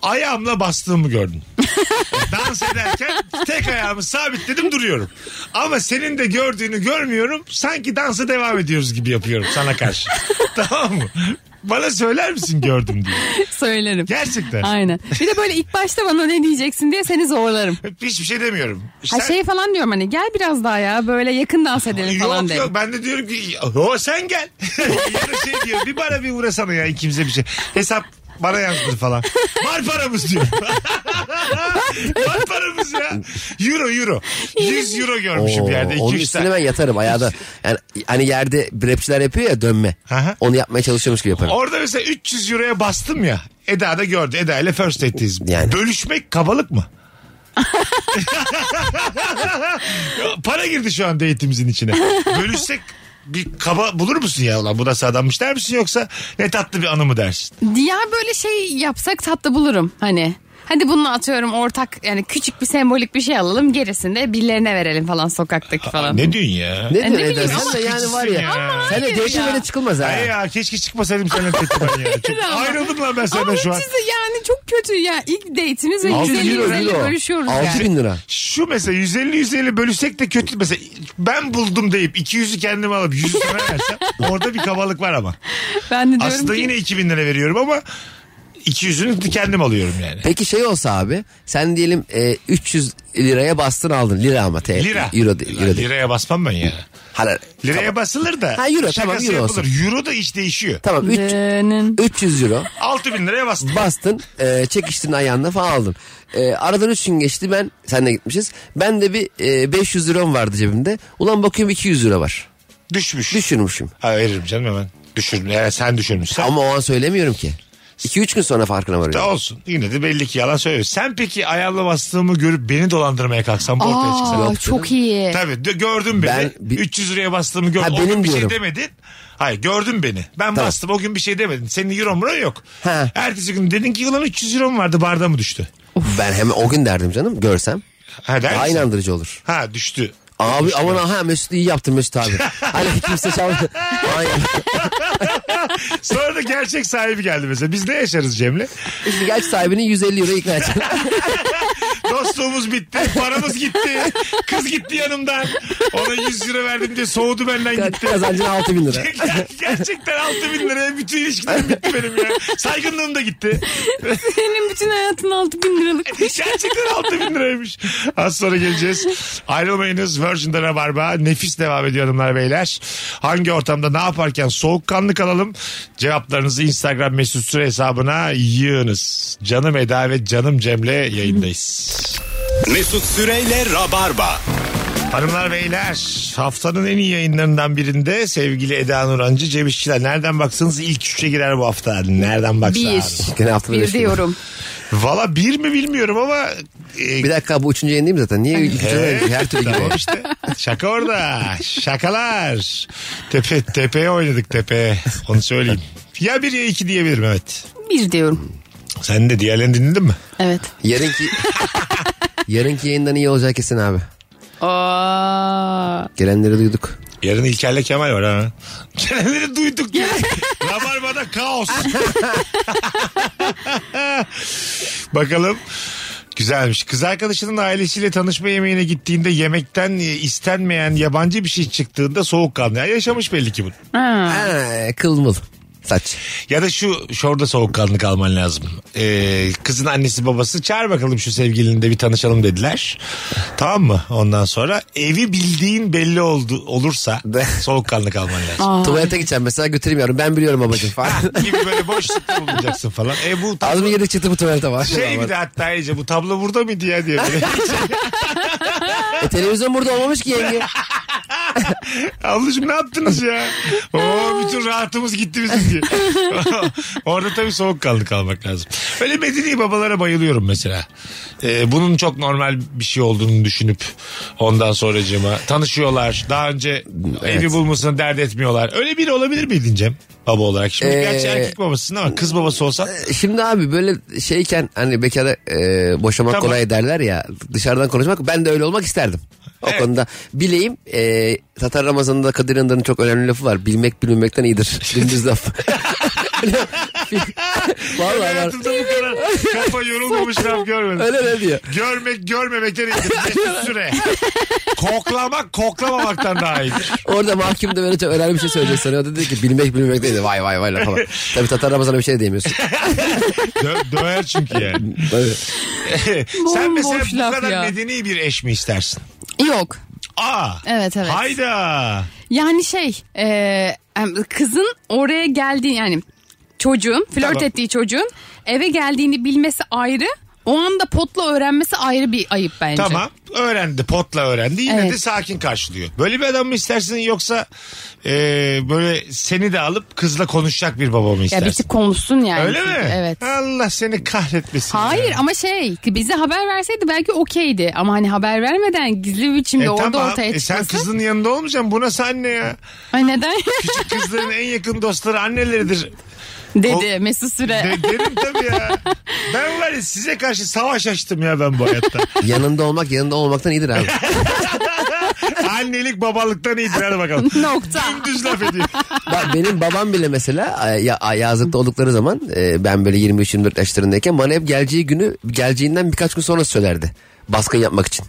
[SPEAKER 3] Ayağımla bastığımı gördüm. Dans ederken tek ayağımı sabitledim duruyorum. Ama senin de gördüğünü görmüyorum. Sanki dansa devam ediyoruz gibi yapıyorum sana karşı. tamam mı? Bana söyler misin gördüm diye.
[SPEAKER 4] Söylerim.
[SPEAKER 3] Gerçekten.
[SPEAKER 4] Aynen. Bir de böyle ilk başta bana ne diyeceksin diye seni zorlarım.
[SPEAKER 3] Hiçbir şey demiyorum.
[SPEAKER 4] Ha
[SPEAKER 3] Sen-
[SPEAKER 4] şey falan diyorum hani gel biraz daha ya böyle yakın dans edelim falan
[SPEAKER 3] Yok
[SPEAKER 4] derim.
[SPEAKER 3] yok ben de diyorum ki o sen gel. ya da şey diyor bir bana bir uğrasana ya ikimize bir şey. Hesap bana yazdır falan. Var paramız diyor. Var paramız ya. Euro euro. 100 euro görmüşüm
[SPEAKER 2] Oo,
[SPEAKER 3] bir yerde.
[SPEAKER 2] onun
[SPEAKER 3] 2
[SPEAKER 2] üstüne ben yatarım ayağda. Yani hani yerde rapçiler yapıyor ya dönme.
[SPEAKER 3] Aha.
[SPEAKER 2] Onu yapmaya çalışıyormuş gibi yaparım.
[SPEAKER 3] Orada mesela 300 euroya bastım ya. Eda da gördü. Eda ile first date'teyiz.
[SPEAKER 2] Yani.
[SPEAKER 3] Bölüşmek kabalık mı? Para girdi şu anda eğitimimizin içine. Bölüşsek bir kaba bulur musun ya ulan bu nasıl adammış der misin yoksa ne tatlı bir anı mı dersin?
[SPEAKER 4] Ya böyle şey yapsak tatlı bulurum hani. Hadi bunu atıyorum ortak yani küçük bir sembolik bir şey alalım gerisini de birilerine verelim falan sokaktaki falan.
[SPEAKER 3] Ne diyorsun ya?
[SPEAKER 2] Ne
[SPEAKER 4] E, ne
[SPEAKER 2] diyor
[SPEAKER 4] bileyim
[SPEAKER 2] Eda?
[SPEAKER 4] ama
[SPEAKER 2] Sen de yani var ya.
[SPEAKER 3] küçüksün ya.
[SPEAKER 2] Sen de
[SPEAKER 4] Hayır
[SPEAKER 2] dövdün
[SPEAKER 4] ya.
[SPEAKER 2] böyle çıkılmaz ha.
[SPEAKER 3] Ay ya keşke çıkmasaydım seninle tekrardan ya. Çok
[SPEAKER 4] Ama-
[SPEAKER 3] ayrıldım lan ben
[SPEAKER 4] Ama
[SPEAKER 3] senden şu an.
[SPEAKER 4] siz de yani çok kötü ya. İlk date'imiz ve
[SPEAKER 2] Altı euro,
[SPEAKER 4] güzeliyle
[SPEAKER 2] euro.
[SPEAKER 4] görüşüyoruz
[SPEAKER 2] Altı
[SPEAKER 4] yani.
[SPEAKER 2] bin lira.
[SPEAKER 3] Şu mesela 150 150 bölüşsek de kötü. Mesela ben buldum deyip 200'ü kendime alıp 100'ü sana versem orada bir kabalık var ama.
[SPEAKER 4] Ben de diyorum
[SPEAKER 3] Aslında
[SPEAKER 4] ki
[SPEAKER 3] yine 2000 lira veriyorum ama 200'ünü kendim alıyorum yani.
[SPEAKER 2] Peki şey olsa abi sen diyelim e, 300 liraya bastın aldın lira ama te,
[SPEAKER 3] Lira.
[SPEAKER 2] euro değil.
[SPEAKER 3] Lan
[SPEAKER 2] Euro değil.
[SPEAKER 3] Liraya basmam ben ya.
[SPEAKER 2] Hayır,
[SPEAKER 3] Liraya
[SPEAKER 2] tamam.
[SPEAKER 3] basılır da.
[SPEAKER 2] Ha, euro,
[SPEAKER 3] şakası
[SPEAKER 2] tamam, euro
[SPEAKER 3] yapılır. Euro da iş değişiyor.
[SPEAKER 2] Tamam üç-
[SPEAKER 4] Dının.
[SPEAKER 2] 300 euro
[SPEAKER 3] 6000 liraya bastım.
[SPEAKER 2] bastın e, çekiştin ayağında falan aldın. E, aradan 3 gün geçti ben senle gitmişiz. Ben de bir e, 500 liram vardı cebimde. Ulan bakıyorum 200 lira var.
[SPEAKER 3] Düşmüş.
[SPEAKER 2] Düşürmüşüm.
[SPEAKER 3] Ha, veririm canım hemen. Düşürüm. Yani sen düşürmüşsen.
[SPEAKER 2] Ama o an söylemiyorum ki. 2-3 gün sonra farkına
[SPEAKER 3] Da
[SPEAKER 2] varıyorum.
[SPEAKER 3] olsun. Yine de belli ki yalan söylüyor. Sen peki ayağımla bastığımı görüp beni dolandırmaya kalksan bu ortaya çıksa.
[SPEAKER 4] Aa,
[SPEAKER 2] Yok
[SPEAKER 4] çok iyi.
[SPEAKER 3] Tabii de- gördün beni.
[SPEAKER 2] Ben bir-
[SPEAKER 3] 300 liraya bastığımı
[SPEAKER 2] Ha,
[SPEAKER 3] gördün. o gün
[SPEAKER 2] benim
[SPEAKER 3] bir şey
[SPEAKER 2] diyorum.
[SPEAKER 3] demedin. Hayır gördün beni. Ben
[SPEAKER 2] Tamam.
[SPEAKER 3] bastım o gün bir şey demedin. Senin euro mu yok.
[SPEAKER 2] Ha.
[SPEAKER 3] Ertesi gün dedin ki ulan 300 euro mu vardı barda mı düştü?
[SPEAKER 2] Ben hemen o gün derdim canım görsem.
[SPEAKER 3] Ha, dersin.
[SPEAKER 2] Daha inandırıcı olur.
[SPEAKER 3] Ha düştü.
[SPEAKER 2] Abi aman ha Mesut iyi yaptın Mesut abi. Hani kimse çalmadı. Aynen.
[SPEAKER 3] Sonra da gerçek sahibi geldi mesela. Biz ne yaşarız Cem'le?
[SPEAKER 2] Şimdi gerçi sahibini 150 euro ikna edeceğim.
[SPEAKER 3] Dostluğumuz bitti. Paramız gitti. Kız gitti yanımdan. Ona 100 lira verdim diye soğudu benden gitti.
[SPEAKER 2] Kazancın 6 bin lira.
[SPEAKER 3] Ger- Gerçekten 6 bin liraya bütün ilişkilerim bitti benim ya. Saygınlığım da gitti.
[SPEAKER 4] Senin bütün hayatın 6000 liralık.
[SPEAKER 3] Gerçekten 6 şey bin liraymış. Az sonra geleceğiz. Ayrılmayınız. Virgin'de Rabarba. Nefis devam ediyor hanımlar beyler. Hangi ortamda ne yaparken soğukkanlı kalalım. Cevaplarınızı Instagram mesut süre hesabına yığınız. Canım Eda ve canım Cem'le yayındayız.
[SPEAKER 1] Mesut Süreyle Rabarba.
[SPEAKER 3] Hanımlar beyler haftanın en iyi yayınlarından birinde sevgili Eda Nurancı Cem İşçiler. Nereden baksanız ilk üçe girer bu hafta. Nereden
[SPEAKER 4] Bir.
[SPEAKER 3] baksanız.
[SPEAKER 2] Gene haftada
[SPEAKER 4] Bir
[SPEAKER 2] bir
[SPEAKER 4] diyorum.
[SPEAKER 3] Valla bir mi bilmiyorum ama... e,
[SPEAKER 2] Bir dakika bu üçüncü yayın değil mi zaten? Niye üçüncü yayın? Her türlü
[SPEAKER 3] Tamam
[SPEAKER 2] gibi.
[SPEAKER 3] işte. Şaka orada. Şakalar. Tepe, tepeye oynadık tepeye. Onu söyleyeyim. Ya bir ya iki diyebilirim evet.
[SPEAKER 4] Bir diyorum.
[SPEAKER 3] Sen de diğerlerini dinledin mi?
[SPEAKER 4] Evet.
[SPEAKER 2] Yarınki... Yarınki yayından iyi olacak kesin abi.
[SPEAKER 4] Aa,
[SPEAKER 2] Gelenleri duyduk.
[SPEAKER 3] Yarın İlker'le Kemal var ha. Gelenleri duyduk ya. Rabarba'da kaos. Bakalım. Güzelmiş. Kız arkadaşının ailesiyle tanışma yemeğine gittiğinde yemekten istenmeyen yabancı bir şey çıktığında soğukkanlı. Ya yaşamış belli ki bunu.
[SPEAKER 2] Ha, kılmıl. Saç.
[SPEAKER 3] Ya da şu şurada soğukkanlık alman lazım. Ee, kızın annesi babası çağır bakalım şu sevgilini de bir tanışalım dediler. tamam mı? Ondan sonra evi bildiğin belli oldu olursa soğukkanlık alman lazım.
[SPEAKER 2] Tuvalete gideceğim mesela götüreyim yavrum. Ben biliyorum babacığım falan.
[SPEAKER 3] gibi böyle boşlukta bulunacaksın falan. E bu
[SPEAKER 2] Az mı yedik çıktı bu tuvalete var.
[SPEAKER 3] şey bir de hatta iyice bu tablo burada mıydı ya diye böyle.
[SPEAKER 2] E, televizyon burada olmamış ki yenge.
[SPEAKER 3] Ablacığım ne yaptınız ya? Oo, bütün rahatımız gitti bizim diye. Orada tabii soğukkanlı kalmak lazım. Öyle medeni babalara bayılıyorum mesela. Ee, bunun çok normal bir şey olduğunu düşünüp ondan sonracığıma tanışıyorlar. Daha önce evi bulmasını dert etmiyorlar. Öyle biri olabilir miydin Cem? Baba olarak. Şimdi
[SPEAKER 2] Ee,
[SPEAKER 3] gerçi erkek babasısın ama kız babası olsan
[SPEAKER 2] Şimdi abi böyle şeyken hani bekara e, boşamak
[SPEAKER 3] Tamam.
[SPEAKER 2] kolay derler ya dışarıdan konuşmak ben de öyle olmak isterdim. O
[SPEAKER 3] Evet.
[SPEAKER 2] konuda bileyim e, Tatar Ramazan'da Kadir İnanır'ın çok önemli lafı var. Bilmek bilinmekten iyidir. Dümdüz laf. Vallahi var.
[SPEAKER 3] hayatımda bu kadar kafa yorulmamış laf görmedim.
[SPEAKER 2] Öyle ne diyor?
[SPEAKER 3] Görmek görmemekten iyidir. Mesut Süre. Koklamak koklamamaktan daha iyidir.
[SPEAKER 2] Orada mahkum da böyle çok önemli bir şey söyleyecek sanıyor. Dedi ki bilmek bilmemek değil. Vay vay vay laf falan. Tabii Tatar Ramazan'a bir şey diyemiyorsun.
[SPEAKER 3] Dö- döver çünkü yani.
[SPEAKER 2] Böyle.
[SPEAKER 3] Sen mesela
[SPEAKER 4] Bomboş
[SPEAKER 3] bu
[SPEAKER 4] laf
[SPEAKER 3] kadar
[SPEAKER 4] ya.
[SPEAKER 3] medeni bir eş mi istersin?
[SPEAKER 4] yok.
[SPEAKER 3] Aa.
[SPEAKER 4] Evet, evet.
[SPEAKER 3] Hayda.
[SPEAKER 4] Yani şey e, em, kızın oraya geldiği yani çocuğun flört
[SPEAKER 3] Tamam.
[SPEAKER 4] ettiği çocuğun eve geldiğini bilmesi ayrı. O anda potla öğrenmesi ayrı bir ayıp bence.
[SPEAKER 3] Tamam. Öğrendi. Potla öğrendi. Yine
[SPEAKER 4] şey- Evet.
[SPEAKER 3] de sakin karşılıyor. Böyle bir adam mı istersin yoksa e, böyle seni de alıp kızla konuşacak bir baba mı
[SPEAKER 4] Ya
[SPEAKER 3] istersin?
[SPEAKER 4] bir tık konuşsun yani.
[SPEAKER 3] Öyle mi?
[SPEAKER 4] Evet.
[SPEAKER 3] Allah seni kahretmesin.
[SPEAKER 4] Hayır
[SPEAKER 3] ya.
[SPEAKER 4] ama şey bize haber verseydi belki okeydi. Ama hani haber vermeden gizli bir biçimde
[SPEAKER 3] E
[SPEAKER 4] orada
[SPEAKER 3] tamam.
[SPEAKER 4] ortaya
[SPEAKER 3] E sen
[SPEAKER 4] çıkması.
[SPEAKER 3] kızın yanında olmayacaksın. Bu nasıl anne ya?
[SPEAKER 4] Ay neden?
[SPEAKER 3] Küçük kızların en yakın dostları anneleridir.
[SPEAKER 4] Dedi Mesut Süre.
[SPEAKER 3] De- derim tabii ya. Ben var ya size karşı savaş açtım ya ben bu hayatta.
[SPEAKER 2] Yanında olmak yanında olmaktan iyidir abi.
[SPEAKER 3] Annelik babalıktan iyidir hadi bakalım.
[SPEAKER 4] Nokta.
[SPEAKER 3] Düz laf ediyor.
[SPEAKER 2] Bak benim babam bile mesela e, ya, a- yazlıkta oldukları zaman e, ben böyle 23-24 yaşlarındayken bana hep geleceği günü geleceğinden birkaç gün sonra söylerdi. Baskın yapmak için.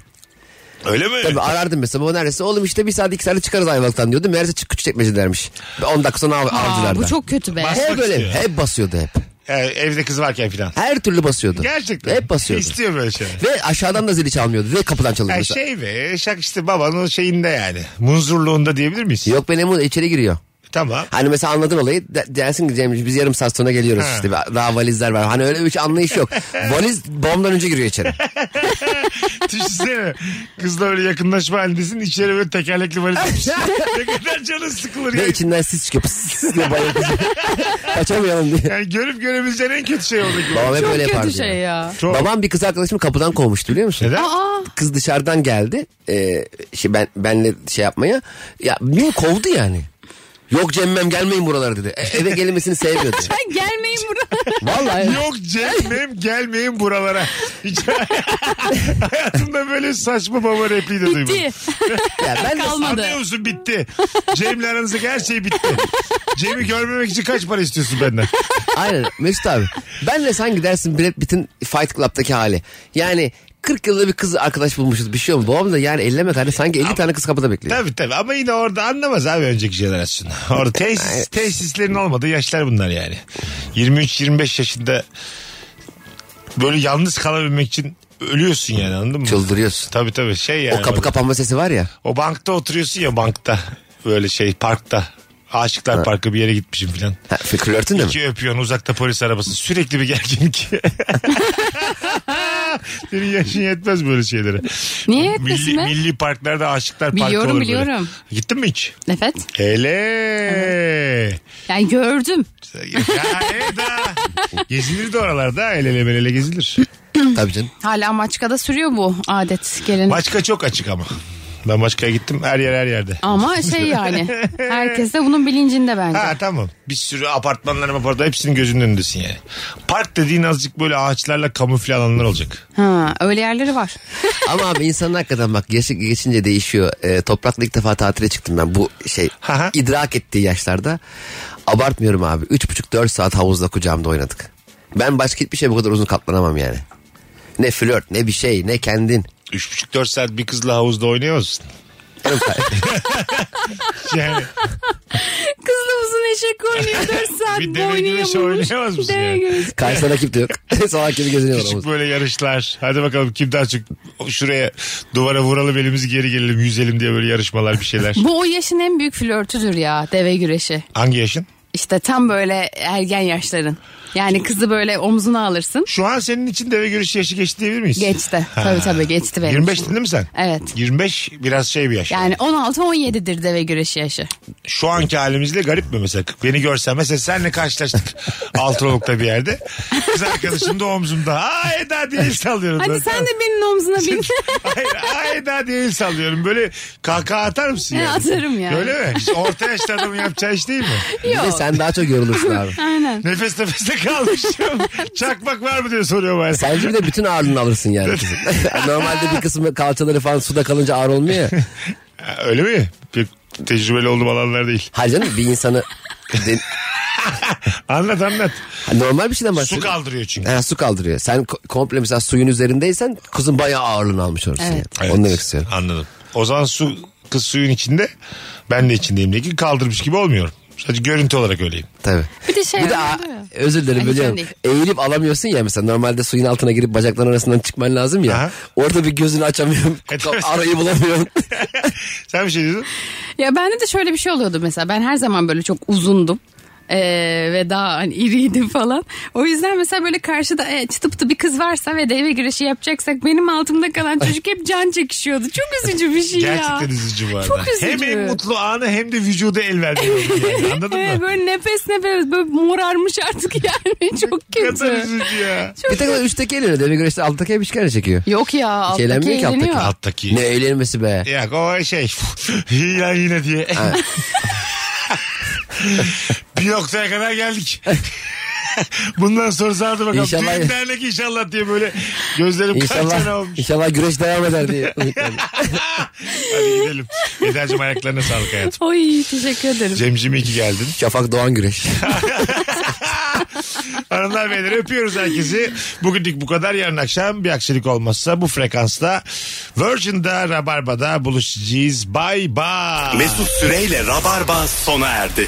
[SPEAKER 3] Öyle mi?
[SPEAKER 2] Tabii arardım mesela baba neredeyse oğlum işte bir saat iki saatte çıkarız Ayvalık'tan diyordu. Meğerse çık küçük çekmece dermiş. 10 dakika sonra av,
[SPEAKER 4] Aa,
[SPEAKER 2] avcılarda.
[SPEAKER 4] bu çok kötü be.
[SPEAKER 3] Bas-
[SPEAKER 2] Hep
[SPEAKER 3] Basmak
[SPEAKER 2] böyle
[SPEAKER 3] istiyor.
[SPEAKER 2] hep basıyordu hep.
[SPEAKER 3] Ee, evde kız varken filan.
[SPEAKER 2] Her türlü basıyordu.
[SPEAKER 3] Gerçekten.
[SPEAKER 2] Hep basıyordu.
[SPEAKER 3] İstiyor böyle şeyler.
[SPEAKER 2] Ve aşağıdan da zili çalmıyordu. Direkt kapıdan çalıyordu.
[SPEAKER 3] Her şey be. Şak işte babanın şeyinde yani. Munzurluğunda diyebilir miyiz?
[SPEAKER 2] Yok benim o içeri giriyor.
[SPEAKER 3] Tamam.
[SPEAKER 2] Hani mesela anladın olayı de- dersin ki Cemciğim biz yarım saat sonra geliyoruz
[SPEAKER 3] Ha.
[SPEAKER 2] işte daha valizler var. Hani öyle bir anlayış yok. Valiz bombadan önce giriyor içeri.
[SPEAKER 3] Düşünsene. Kızla böyle yakınlaşma halindesin. İçeri böyle tekerlekli valiz atmış. ne kadar canın sıkılır ya.
[SPEAKER 2] Ve içinden sis çıkıyor pıs diye bayılıyor. Kaçamayalım diye.
[SPEAKER 3] Yani görüp görebileceğin en kötü şey oldu. ki.
[SPEAKER 2] Babam hep
[SPEAKER 4] Çok
[SPEAKER 2] öyle yapardı.
[SPEAKER 4] kötü şey
[SPEAKER 2] yani.
[SPEAKER 4] ya. Ah.
[SPEAKER 3] Çok.
[SPEAKER 2] Babam bir kız arkadaşımı kapıdan kovmuştu biliyor musun?
[SPEAKER 3] Neden?
[SPEAKER 4] Aa,
[SPEAKER 2] Kız dışarıdan geldi. Ee, şey ben benle şey yapmaya. Ya niye kovdu yani? Yok Cemmem gelmeyin buralara dedi. E, eve gelmesini sevmiyordu.
[SPEAKER 4] ben gelmeyin buraya.
[SPEAKER 2] Vallahi.
[SPEAKER 3] Yok Cem'im gelmeyin buralara. Hiç hayatımda böyle saçma baba repliği de duymadım.
[SPEAKER 4] Bitti.
[SPEAKER 2] Ya ben de
[SPEAKER 4] Kalmadı.
[SPEAKER 3] Anlıyor musun bitti. Cem'le aranızdaki her şey bitti. Cem'i görmemek için kaç para istiyorsun benden?
[SPEAKER 2] Aynen Mesut abi. Ben de sanki dersin Brad Pitt'in Fight Club'daki hali. Yani 40 yılda bir kız arkadaş bulmuşuz bir şey oldu. Babam da yani elleme kardeş sanki 50 tane kız kapıda bekliyor.
[SPEAKER 3] Tabii tabii ama yine orada anlamaz abi önceki jenerasyon. Orada tesis, tesislerin olmadığı yaşlar bunlar yani. 23-25 yaşında böyle yalnız kalabilmek için ölüyorsun yani anladın mı?
[SPEAKER 2] Çıldırıyorsun.
[SPEAKER 3] Tabii tabii şey yani.
[SPEAKER 2] O kapı
[SPEAKER 3] orada-
[SPEAKER 2] kapanma sesi var ya.
[SPEAKER 3] O bankta oturuyorsun ya bankta. Böyle şey parkta. Aşıklar Parkı bir yere gitmişim filan.
[SPEAKER 2] Ha, flörtün de mi?
[SPEAKER 3] İki öpüyorsun uzakta polis arabası. Sürekli bir gerginlik. Senin yaşın yetmez böyle şeylere.
[SPEAKER 4] Niye yetmesin
[SPEAKER 3] Milli,
[SPEAKER 4] be?
[SPEAKER 3] milli parklarda aşıklar parkı
[SPEAKER 4] Biliyorum,
[SPEAKER 3] olur
[SPEAKER 4] biliyorum.
[SPEAKER 3] Böyle. Gittin mi hiç?
[SPEAKER 4] Evet.
[SPEAKER 3] Hele.
[SPEAKER 4] Yani gördüm.
[SPEAKER 3] ya Eda. Gezilir de oralarda. El ele belele gezilir.
[SPEAKER 2] Tabii canım.
[SPEAKER 4] Hala Maçka'da sürüyor bu adet gelenek.
[SPEAKER 3] Başka çok açık ama. Ben başkaya gittim. Her yer her yerde.
[SPEAKER 4] Ama şey yani herkes de bunun bilincinde bence.
[SPEAKER 3] Ha tamam. Bir sürü apartmanlar apartmanlar hepsinin gözünün önündesin yani. Park dediğin azıcık böyle ağaçlarla kamufle alanlar olacak.
[SPEAKER 4] Ha, öyle yerleri var.
[SPEAKER 2] Ama abi insanın hakikaten bak yaşı geçince değişiyor. Ee, toprakla ilk defa tatile çıktım ben bu şey
[SPEAKER 3] Aha.
[SPEAKER 2] idrak ettiği yaşlarda. Abartmıyorum abi. 3,5-4 saat havuzda kucağımda oynadık. Ben başka hiçbir şey bu kadar uzun katlanamam yani. Ne flört ne bir şey ne kendin.
[SPEAKER 3] 3,5-4 saat bir kızla havuzda oynuyor musun? yani
[SPEAKER 4] Kızla uzun eşek oynuyor 4 saat
[SPEAKER 3] Bir
[SPEAKER 4] bir
[SPEAKER 3] deve güreşi oynayamaz mısın yani?
[SPEAKER 2] Karşısına rakip de yok. Salak gibi geziniyor
[SPEAKER 3] küçük
[SPEAKER 2] havuzda.
[SPEAKER 3] böyle yarışlar. Hadi bakalım kim daha çok şuraya duvara vuralım elimizi geri gelelim yüzelim diye böyle yarışmalar bir şeyler.
[SPEAKER 4] Bu o yaşın en büyük flörtüdür ya deve güreşi.
[SPEAKER 3] Hangi yaşın?
[SPEAKER 4] İşte tam böyle ergen yaşların. Yani kızı böyle omzuna alırsın.
[SPEAKER 3] Şu an senin için deve görüşü yaşı geçti diyebilir miyiz?
[SPEAKER 4] Geçti.
[SPEAKER 3] Ha.
[SPEAKER 4] Tabii tabii geçti benim.
[SPEAKER 3] 25 değil mi sen?
[SPEAKER 4] Evet.
[SPEAKER 3] 25 biraz şey bir yaş.
[SPEAKER 4] Yani 16-17'dir deve güreşi yaşı.
[SPEAKER 3] şu anki halimizle garip mi mesela? Beni görsen mesela senle karşılaştık Altınoluk'ta bir yerde. Kız arkadaşım da omzumda. Aa Eda diye el sallıyorum.
[SPEAKER 4] Hadi
[SPEAKER 3] ben.
[SPEAKER 4] sen de benim omzuna bin.
[SPEAKER 3] Hayır aa Eda diye el sallıyorum. Böyle kahkaha atar mısın?
[SPEAKER 4] Ya,
[SPEAKER 3] Yani?
[SPEAKER 4] atarım yani.
[SPEAKER 3] Öyle mi? İşte orta yaşlı adamın yapacağı iş değil mi?
[SPEAKER 2] Bir de sen daha çok yorulursun abi.
[SPEAKER 3] Nefes nefeste kalmışım. Çakmak var mı diye soruyor bana.
[SPEAKER 2] Sence bir de bütün ağırlığını alırsın yani. kızın. Normalde bir kısmı kalçaları falan suda kalınca ağır olmuyor ya.
[SPEAKER 3] Ha, Öyle mi? Bir tecrübeli olduğum alanlar değil.
[SPEAKER 2] Hayır canım bir insanı de-
[SPEAKER 3] Anlat anlat.
[SPEAKER 2] normal bir şeyden
[SPEAKER 3] Su
[SPEAKER 2] bahsediyor.
[SPEAKER 3] kaldırıyor çünkü.
[SPEAKER 2] Ha, su kaldırıyor. Sen ko- komple mesela suyun üzerindeysen kızın bayağı ağırlığını almış olursun.
[SPEAKER 4] Evet.
[SPEAKER 2] Yani. Onu demek istiyorum.
[SPEAKER 3] Anladım. O zaman su kız suyun içinde ben de içindeyim diye ki kaldırmış gibi olmuyorum. Sadece görüntü olarak öyleyim.
[SPEAKER 2] Tabii.
[SPEAKER 4] Bir de şey
[SPEAKER 2] Bir de a-
[SPEAKER 4] oluyor ya.
[SPEAKER 2] özür dilerim
[SPEAKER 4] Ay, hiç
[SPEAKER 2] biliyorum.
[SPEAKER 4] önemli değil.
[SPEAKER 2] Eğilip alamıyorsun ya mesela normalde suyun altına girip bacakların arasından çıkman lazım ya.
[SPEAKER 3] Aha.
[SPEAKER 2] Orada bir gözünü açamıyorum. Arayı bulamıyorum.
[SPEAKER 3] Sen bir şey diyordun.
[SPEAKER 4] Ya bende de şöyle bir şey oluyordu mesela. Ben her zaman böyle çok uzundum. Ee, ve daha hani iriydim falan. O yüzden mesela böyle karşıda e, çıtıptı bir kız varsa ve deve güreşi yapacaksak benim altımda kalan çocuk hep can çekişiyordu. Çok üzücü bir şey ya.
[SPEAKER 3] Gerçekten üzücü bu arada.
[SPEAKER 4] Çok üzücü.
[SPEAKER 3] Hem en mutlu anı hem de vücuda el vermiyor. Yani. Anladın
[SPEAKER 4] Evet,
[SPEAKER 3] mı?
[SPEAKER 4] böyle nefes nefes böyle morarmış artık yani çok
[SPEAKER 3] Ne kadar
[SPEAKER 4] kötü.
[SPEAKER 3] üzücü ya.
[SPEAKER 2] bir tek o üstteki eliyle demi güreşte alttaki bir şikayet çekiyor.
[SPEAKER 4] Yok ya alttaki
[SPEAKER 2] Şeylenmiyor şey ki alttaki.
[SPEAKER 4] eğleniyor.
[SPEAKER 3] Alttaki.
[SPEAKER 2] Ne eğlenmesi be.
[SPEAKER 3] Ya o şey. ya yine diye. bir noktaya kadar geldik. Bundan sonra sardı bakalım.
[SPEAKER 2] İnşallah-
[SPEAKER 3] Düğün dernek inşallah diye böyle gözlerim kaçan
[SPEAKER 2] İnşallah,
[SPEAKER 3] olmuş.
[SPEAKER 2] inşallah güreş devam eder diye.
[SPEAKER 3] Hadi gidelim. Eda'cığım ayaklarına sağlık hayatım.
[SPEAKER 4] Oy teşekkür ederim.
[SPEAKER 3] Cemcim iyi ki geldin.
[SPEAKER 2] Şafak Doğan güreş.
[SPEAKER 3] Hanımlar beyler öpüyoruz herkesi. Bugünlük bu kadar. Yarın akşam bir aksilik olmazsa bu frekansta Virgin'da Rabarba'da buluşacağız. Bye bye.
[SPEAKER 1] Mesut Süreyle Rabarba sona erdi.